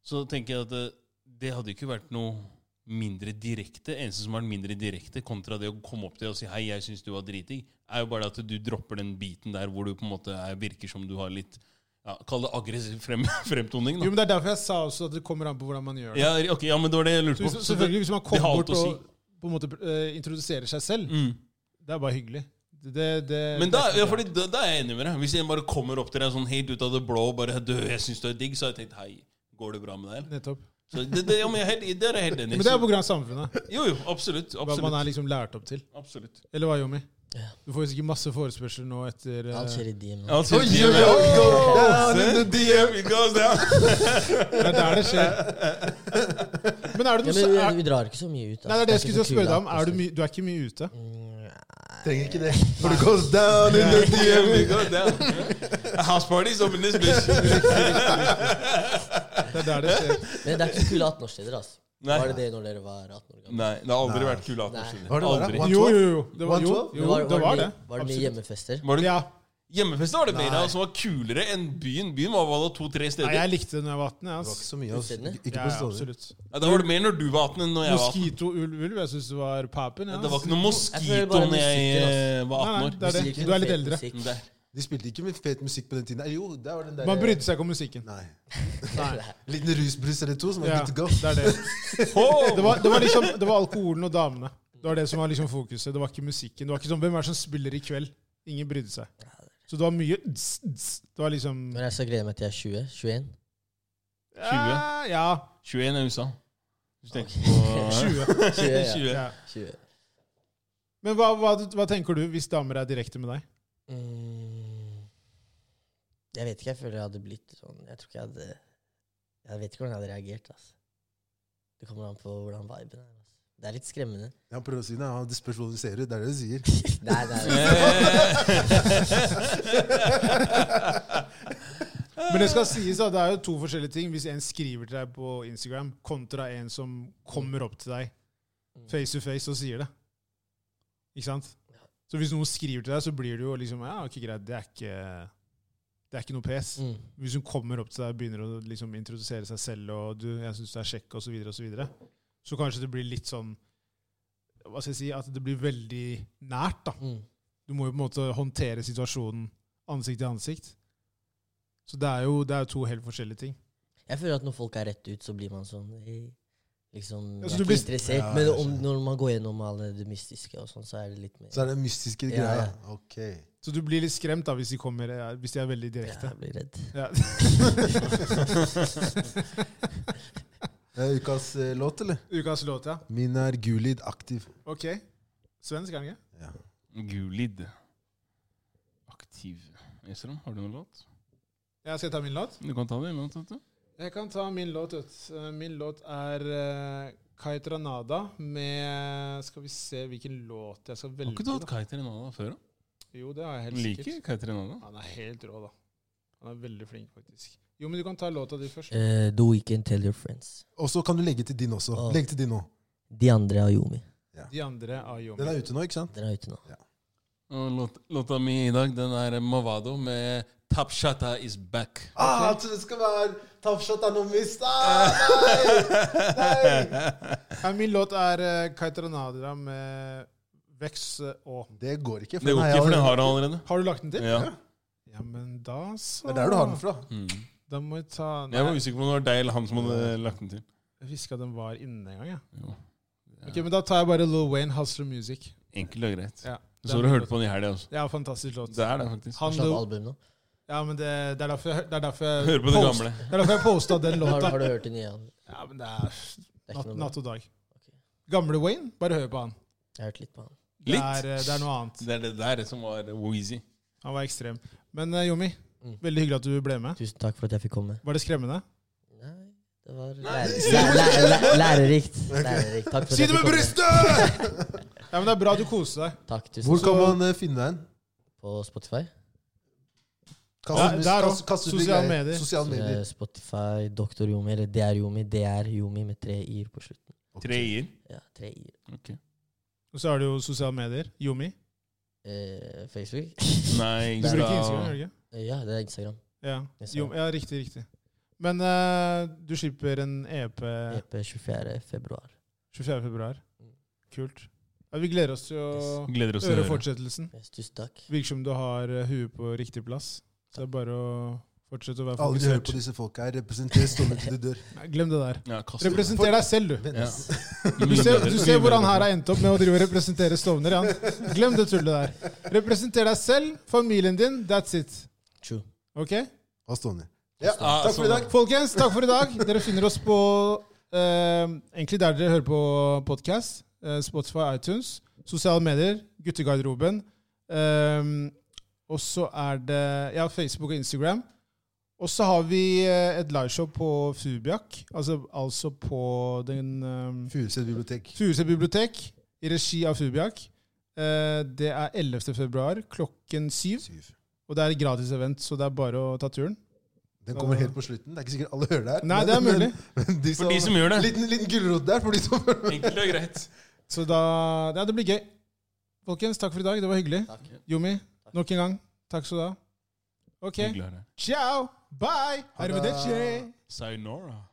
Speaker 2: så tenker jeg at det, det hadde ikke vært noe mindre direkte. Eneste som er mindre direkte, kontra det å komme opp til deg og si 'hei, jeg syns du var driting', er jo bare at du dropper den biten der hvor du på en måte er, virker som du har litt ja, Kall det aggressiv frem, fremtoning,
Speaker 1: Jo,
Speaker 2: da.
Speaker 1: men Det er derfor jeg sa også at det kommer an på hvordan man gjør det.
Speaker 2: Ja, ok, ja, men det var det jeg
Speaker 1: Så
Speaker 2: lurte
Speaker 1: hvis,
Speaker 2: på. Så det,
Speaker 1: selvfølgelig, hvis man
Speaker 2: det
Speaker 1: kommer
Speaker 2: har alt
Speaker 1: bort
Speaker 2: å
Speaker 1: og på en måte eh, introduserer seg selv,
Speaker 2: mm.
Speaker 1: det er bare hyggelig. Det, det,
Speaker 2: Men da,
Speaker 1: det er
Speaker 2: ja,
Speaker 1: ikke bra.
Speaker 2: fordi, da, da er jeg enig med deg. Hvis en bare kommer opp til deg sånn helt ut av det blå og bare 'du, jeg syns du er digg', så har jeg tenkt 'hei, går det bra med deg?' eller?»
Speaker 1: Nettopp.
Speaker 2: Så det, det, ja, men jeg er helt, der er jeg helt enig.
Speaker 1: Men det er på grunn av samfunnet.
Speaker 2: Så- Jo, jo, absolutt.
Speaker 1: Hva man
Speaker 2: Absolutt.
Speaker 1: er liksom lært opp til.
Speaker 2: absolutt.
Speaker 1: Eller hva, Yomi?
Speaker 4: Ja.
Speaker 1: Du får jo sikkert masse forespørsler nå etter eh,
Speaker 4: Alt skjer i DM.
Speaker 2: Ja, altså,
Speaker 3: Oi,
Speaker 2: de er-
Speaker 3: oi, oi, oi.
Speaker 2: Ja, the DM, it goes down.
Speaker 1: Det er der det skjer. Men er
Speaker 4: Ja,
Speaker 1: det
Speaker 4: men eh,
Speaker 1: noe
Speaker 4: vi,
Speaker 1: så- er,
Speaker 4: vi drar ikke så mye ut. altså.
Speaker 1: Nei, det er det jeg
Speaker 4: ikke
Speaker 1: skulle til å
Speaker 4: så
Speaker 1: spørre
Speaker 4: kul,
Speaker 1: deg om.
Speaker 4: da,
Speaker 1: Er du,
Speaker 4: på
Speaker 1: my, du er ikke mye ute?
Speaker 3: Trenger ikke det. For it goes down in the
Speaker 2: Yeah,
Speaker 3: DM.
Speaker 2: we go down. A house party's up in this bitch.
Speaker 1: Det er der det skjer.
Speaker 4: stedet. Men det er ikke så kule 18-årssteder, altså.
Speaker 2: Nei.
Speaker 4: Var det det når dere var 18 år gamle?
Speaker 2: Nei, det har aldri
Speaker 3: Nei.
Speaker 2: vært kul
Speaker 4: Nei.
Speaker 2: 18-årssteder.
Speaker 3: Var det det, da?
Speaker 2: Aldri.
Speaker 3: One-
Speaker 1: Jo, jo, jo. Det var, jo,
Speaker 3: 112?
Speaker 1: jo, det var det.
Speaker 4: mye- Var det mye
Speaker 1: Absolutt.
Speaker 4: hjemmefester?
Speaker 2: Var det
Speaker 1: Ja.
Speaker 2: Hjemmefest var det mer av
Speaker 3: Nei.
Speaker 2: som var kulere enn byen. Byen var bare to-tre
Speaker 1: Nei,
Speaker 2: steder.
Speaker 1: jeg likte det da jeg var 18.
Speaker 3: Det var ikke
Speaker 1: Altså.
Speaker 3: så mye. Altså.
Speaker 4: Utstedende?
Speaker 3: Ikke
Speaker 1: Ja,
Speaker 3: på
Speaker 1: ja,
Speaker 3: stående.
Speaker 1: absolutt.
Speaker 2: Ja, da var det mer når du var 18 enn når jeg var 18.
Speaker 1: Moskito, ulv, ulv. Jeg syns det var papen. Ja.
Speaker 2: Det var ikke noe
Speaker 4: Jeg tror det
Speaker 2: moskito
Speaker 4: bare er
Speaker 2: når jeg
Speaker 4: musikken,
Speaker 2: eh, var
Speaker 1: Nei, nei,
Speaker 2: 18 år.
Speaker 1: det er det.
Speaker 4: Musikken,
Speaker 1: Du er litt
Speaker 4: fet
Speaker 1: eldre.
Speaker 4: musikk.
Speaker 2: Der.
Speaker 3: De spilte ikke med fet musikk på den tiden. Eller jo, det var den der
Speaker 1: Man brydde seg ikke om musikken.
Speaker 3: Nei.
Speaker 1: Nei.
Speaker 3: Liten rusbrus eller to, som var
Speaker 1: Ja,
Speaker 3: good to go.
Speaker 1: det er det.
Speaker 2: Ho!
Speaker 1: Det var, det var liksom Det var alkoholen og damene. Det var det som var liksom fokuset. Det var ikke musikken. Det var ikke sånn Hvem er det som spiller i kveld? Ingen brydde seg. Så det var mye ds, ds. Det var liksom
Speaker 4: Men jeg skal glede meg til jeg er 20? 21?
Speaker 1: Ja, ja
Speaker 2: 21 er USA. Hvis du tenker på
Speaker 1: 20.
Speaker 4: 20, ja.
Speaker 2: 20.
Speaker 1: Ja.
Speaker 4: 20.
Speaker 1: Men hva, hva, hva tenker du hvis damer er direkte med deg?
Speaker 4: Mm. Jeg vet ikke. Jeg føler jeg hadde blitt sånn Jeg tror ikke jeg hadde Jeg vet ikke hvordan jeg hadde reagert. Altså. Det kommer an på hvordan viben er. Altså. Det er litt skremmende.
Speaker 3: Ja, prøv å si det. Ja, det spørs hvordan du ser ut. Det er det du sier.
Speaker 4: Nei, nei,
Speaker 2: Eh.
Speaker 1: Men det skal sies at det er jo to forskjellige ting. Hvis en skriver til deg på Instagram, kontra en som kommer opp til deg face to face og sier det. Ikke sant? Så hvis noen skriver til deg, så blir det jo liksom Ja, ok, greit, det er ikke Det er ikke noe pes.
Speaker 4: Mm.
Speaker 1: Hvis hun kommer opp til deg og begynner å liksom introdusere seg selv og du, 'jeg syns du er kjekk', osv., så, videre, og så, videre, så kanskje det blir litt sånn Hva skal jeg si At det blir veldig nært, da.
Speaker 4: Mm.
Speaker 1: Du må jo på en måte håndtere situasjonen ansikt til ansikt. Så det er jo det er jo to helt forskjellige ting.
Speaker 4: Jeg føler at når folk er rett ut, så blir man sånn «Hei», Liksom,
Speaker 1: Ja,
Speaker 4: jeg
Speaker 1: så du
Speaker 4: er ikke
Speaker 1: blir-
Speaker 4: interessert,
Speaker 3: Ja,
Speaker 4: men
Speaker 3: jeg
Speaker 4: om,
Speaker 3: skjønner.
Speaker 4: når man går gjennom alle det mystiske, og sånn, så er det litt mer
Speaker 3: Så er det den mystiske
Speaker 4: Ja,
Speaker 3: greia.
Speaker 4: ja.
Speaker 3: Ok.
Speaker 1: Så du blir litt skremt da hvis de kommer eh, Hvis de er veldig
Speaker 4: ja,
Speaker 1: direkte.
Speaker 4: Jeg blir redd.
Speaker 1: Ja.
Speaker 3: Det er ukas eh, låt, eller?
Speaker 1: Ukas låt, ja.
Speaker 3: Min er Gulid aktiv.
Speaker 1: Ok. Svensk, er den ikke?
Speaker 3: Ja.
Speaker 2: Gulid. Aktiv. Esram, har du noen låt?
Speaker 1: Ja, skal jeg ta min låt?
Speaker 2: Du kan ta det imellom. vet du.
Speaker 1: Jeg kan ta min låt ut. Eh, Min låt er uh, Kaitranada med Skal vi se hvilken låt jeg skal
Speaker 2: Har
Speaker 1: velge.
Speaker 2: ikke du hatt
Speaker 1: da.
Speaker 2: Kai Terenada før? da?
Speaker 1: Jo, det har jeg helt
Speaker 2: Liker
Speaker 1: sikkert.
Speaker 2: Kai Terenada.
Speaker 1: Han er helt rå, da. Han er veldig flink, faktisk. Jo, men du kan ta låta di først.
Speaker 4: Eh, the Weekend, Tell Your Friends.
Speaker 3: Og så kan du legge til din også.
Speaker 4: Ja.
Speaker 3: Legg til din nå.
Speaker 4: De andre av Yomi.
Speaker 1: De andre av Yomi.
Speaker 3: Den er ute nå, ikke sant?
Speaker 4: Den er ute nå.
Speaker 2: Og låt, låta mi i dag den er Mavado med Tapshata is back.
Speaker 3: Ah, jeg tror det skal være Tapshot Anomis. Ah, nei! nei!
Speaker 1: Nei, min låt er eh, Kaitranada med Vex og
Speaker 3: Det går ikke.
Speaker 2: Det går ikke, for den har han allerede.
Speaker 1: Har du lagt den til?
Speaker 2: Ja.
Speaker 1: Ja, men da så
Speaker 3: Det er der du har den fra.
Speaker 2: Mm.
Speaker 1: Da må jeg ta Nei,
Speaker 2: Jeg var usikker på om det var deg eller han som hadde lagt den til.
Speaker 1: Jeg visste ikke at den var inne engang. Ja.
Speaker 2: Jo.
Speaker 1: Ok, men Da tar jeg bare Lil Wayne, Hustler Music.
Speaker 2: Enkelt og greit.
Speaker 1: Ja,
Speaker 2: Så har du hørt på den i helga også.
Speaker 1: Ja, fantastisk låt.
Speaker 2: Det er sånn det, faktisk.
Speaker 1: Han,
Speaker 4: Slapp
Speaker 1: Lil-
Speaker 4: album nå.
Speaker 1: Ja, men det, det er derfor jeg, det er derfor jeg
Speaker 2: Hør på det
Speaker 1: post-
Speaker 2: gamle.
Speaker 1: Det er derfor jeg posta den
Speaker 4: Har,
Speaker 1: låta.
Speaker 4: har du hørt den nye?
Speaker 1: Ja, men det er Natt,
Speaker 4: Det er ikke noe
Speaker 1: natt og dag.
Speaker 4: Ok.
Speaker 1: Gamle Wayne, bare hør på han.
Speaker 4: Jeg har hørt litt på han.
Speaker 1: Det
Speaker 2: Litt.
Speaker 1: er, eh, det er noe annet.
Speaker 2: Det er det der som var Weezy.
Speaker 1: Han var ekstrem. Men eh, Jommi,
Speaker 4: Mm.
Speaker 1: veldig hyggelig at du ble med.
Speaker 4: Tusen takk for at jeg fikk komme.
Speaker 1: Var det skremmende?
Speaker 4: Nei, det var lære, læ- læ- læ- lærerikt. lærerikt. Takk for at
Speaker 1: Si
Speaker 4: jeg
Speaker 1: det med
Speaker 4: fikk komme.
Speaker 1: brystet! ja, men det er bra du koste deg.
Speaker 4: Takk, tusen
Speaker 3: Hvor
Speaker 4: takk.
Speaker 3: kan man eh, finne deg?
Speaker 4: På Spotify.
Speaker 1: Ja, der også. Sosiale medier.
Speaker 2: Eh,
Speaker 3: Sosiale
Speaker 4: Så det
Speaker 3: medier.
Speaker 4: er Spotify, Dr. Yomi, eller DR Yomi. DR Yomi med tre i-er på slutten.
Speaker 2: Treer.
Speaker 4: Ja, tre i-er.
Speaker 1: Og så er det jo sosiale medier. Jommi.
Speaker 4: Eh, Facebook?
Speaker 2: Nei,
Speaker 1: Du bruker Instagram, gjør
Speaker 2: Insta.
Speaker 1: du ikke?
Speaker 4: Eh, Ja, det er Instagram.
Speaker 1: Ja.
Speaker 4: Instagram.
Speaker 1: Jo, ja, riktig, riktig. Men eh, du slipper en EP
Speaker 4: EP 24. februar.
Speaker 1: 24. februar.
Speaker 4: Mm.
Speaker 1: Kult. Ja, vi gleder oss til å
Speaker 2: Gleder oss til
Speaker 1: høre
Speaker 2: å høre.
Speaker 1: fortsettelsen.
Speaker 4: Yes, Tusen takk.
Speaker 1: Virker som du har eh, huet på riktig plass. Så det er bare å fortsette å være
Speaker 3: Alle de hører på
Speaker 1: fokusert.
Speaker 3: disse folka her. Representer Ståle til du dør.
Speaker 1: Nei, Glem det der.
Speaker 2: Ja, kast det.
Speaker 1: Representer deg selv, du.
Speaker 2: Ja.
Speaker 1: Du ser, du ser hvor han her
Speaker 2: er.
Speaker 1: har endt opp med å drive og representere Stovner. Han. Glem det tullet der. Representer deg selv, familien din. That's it.
Speaker 4: True.
Speaker 1: Ok?
Speaker 3: Og Ståle.
Speaker 2: Ja,
Speaker 3: Takk for i dag.
Speaker 1: Folkens, takk for i dag. Dere finner oss på eh, egentlig der dere hører på podkast. Eh, Spotify, iTunes, sosiale medier, guttegarderoben. Eh, og så er det ja, Facebook og Instagram. Og så har vi eh, et liveshow på Fubiak, altså, altså på den eh,
Speaker 3: Furuset bibliotek.
Speaker 1: Furuset bibliotek i regi av Fubiak. Eh, det er 11. februar klokken syv.
Speaker 3: Syv.
Speaker 1: Og det er et gratis event, så det er bare å ta turen.
Speaker 3: Den kommer helt på slutten. Det er ikke sikkert alle hører det her.
Speaker 1: Nei, det er mulig.
Speaker 3: men de
Speaker 2: For de som gjør det.
Speaker 3: Liten, liten gulrot der for de som hører
Speaker 2: Enkelt og greit.
Speaker 1: Så da Ja, det blir gøy. Folkens, takk for i dag. Det var hyggelig.
Speaker 4: Takk.
Speaker 1: Jommi, nok en gang. Takk skal du ha. OK.
Speaker 2: Hyggelig å høre.
Speaker 1: Ciao. Bye.
Speaker 3: det.
Speaker 1: Arrivederci.
Speaker 2: Sayonara.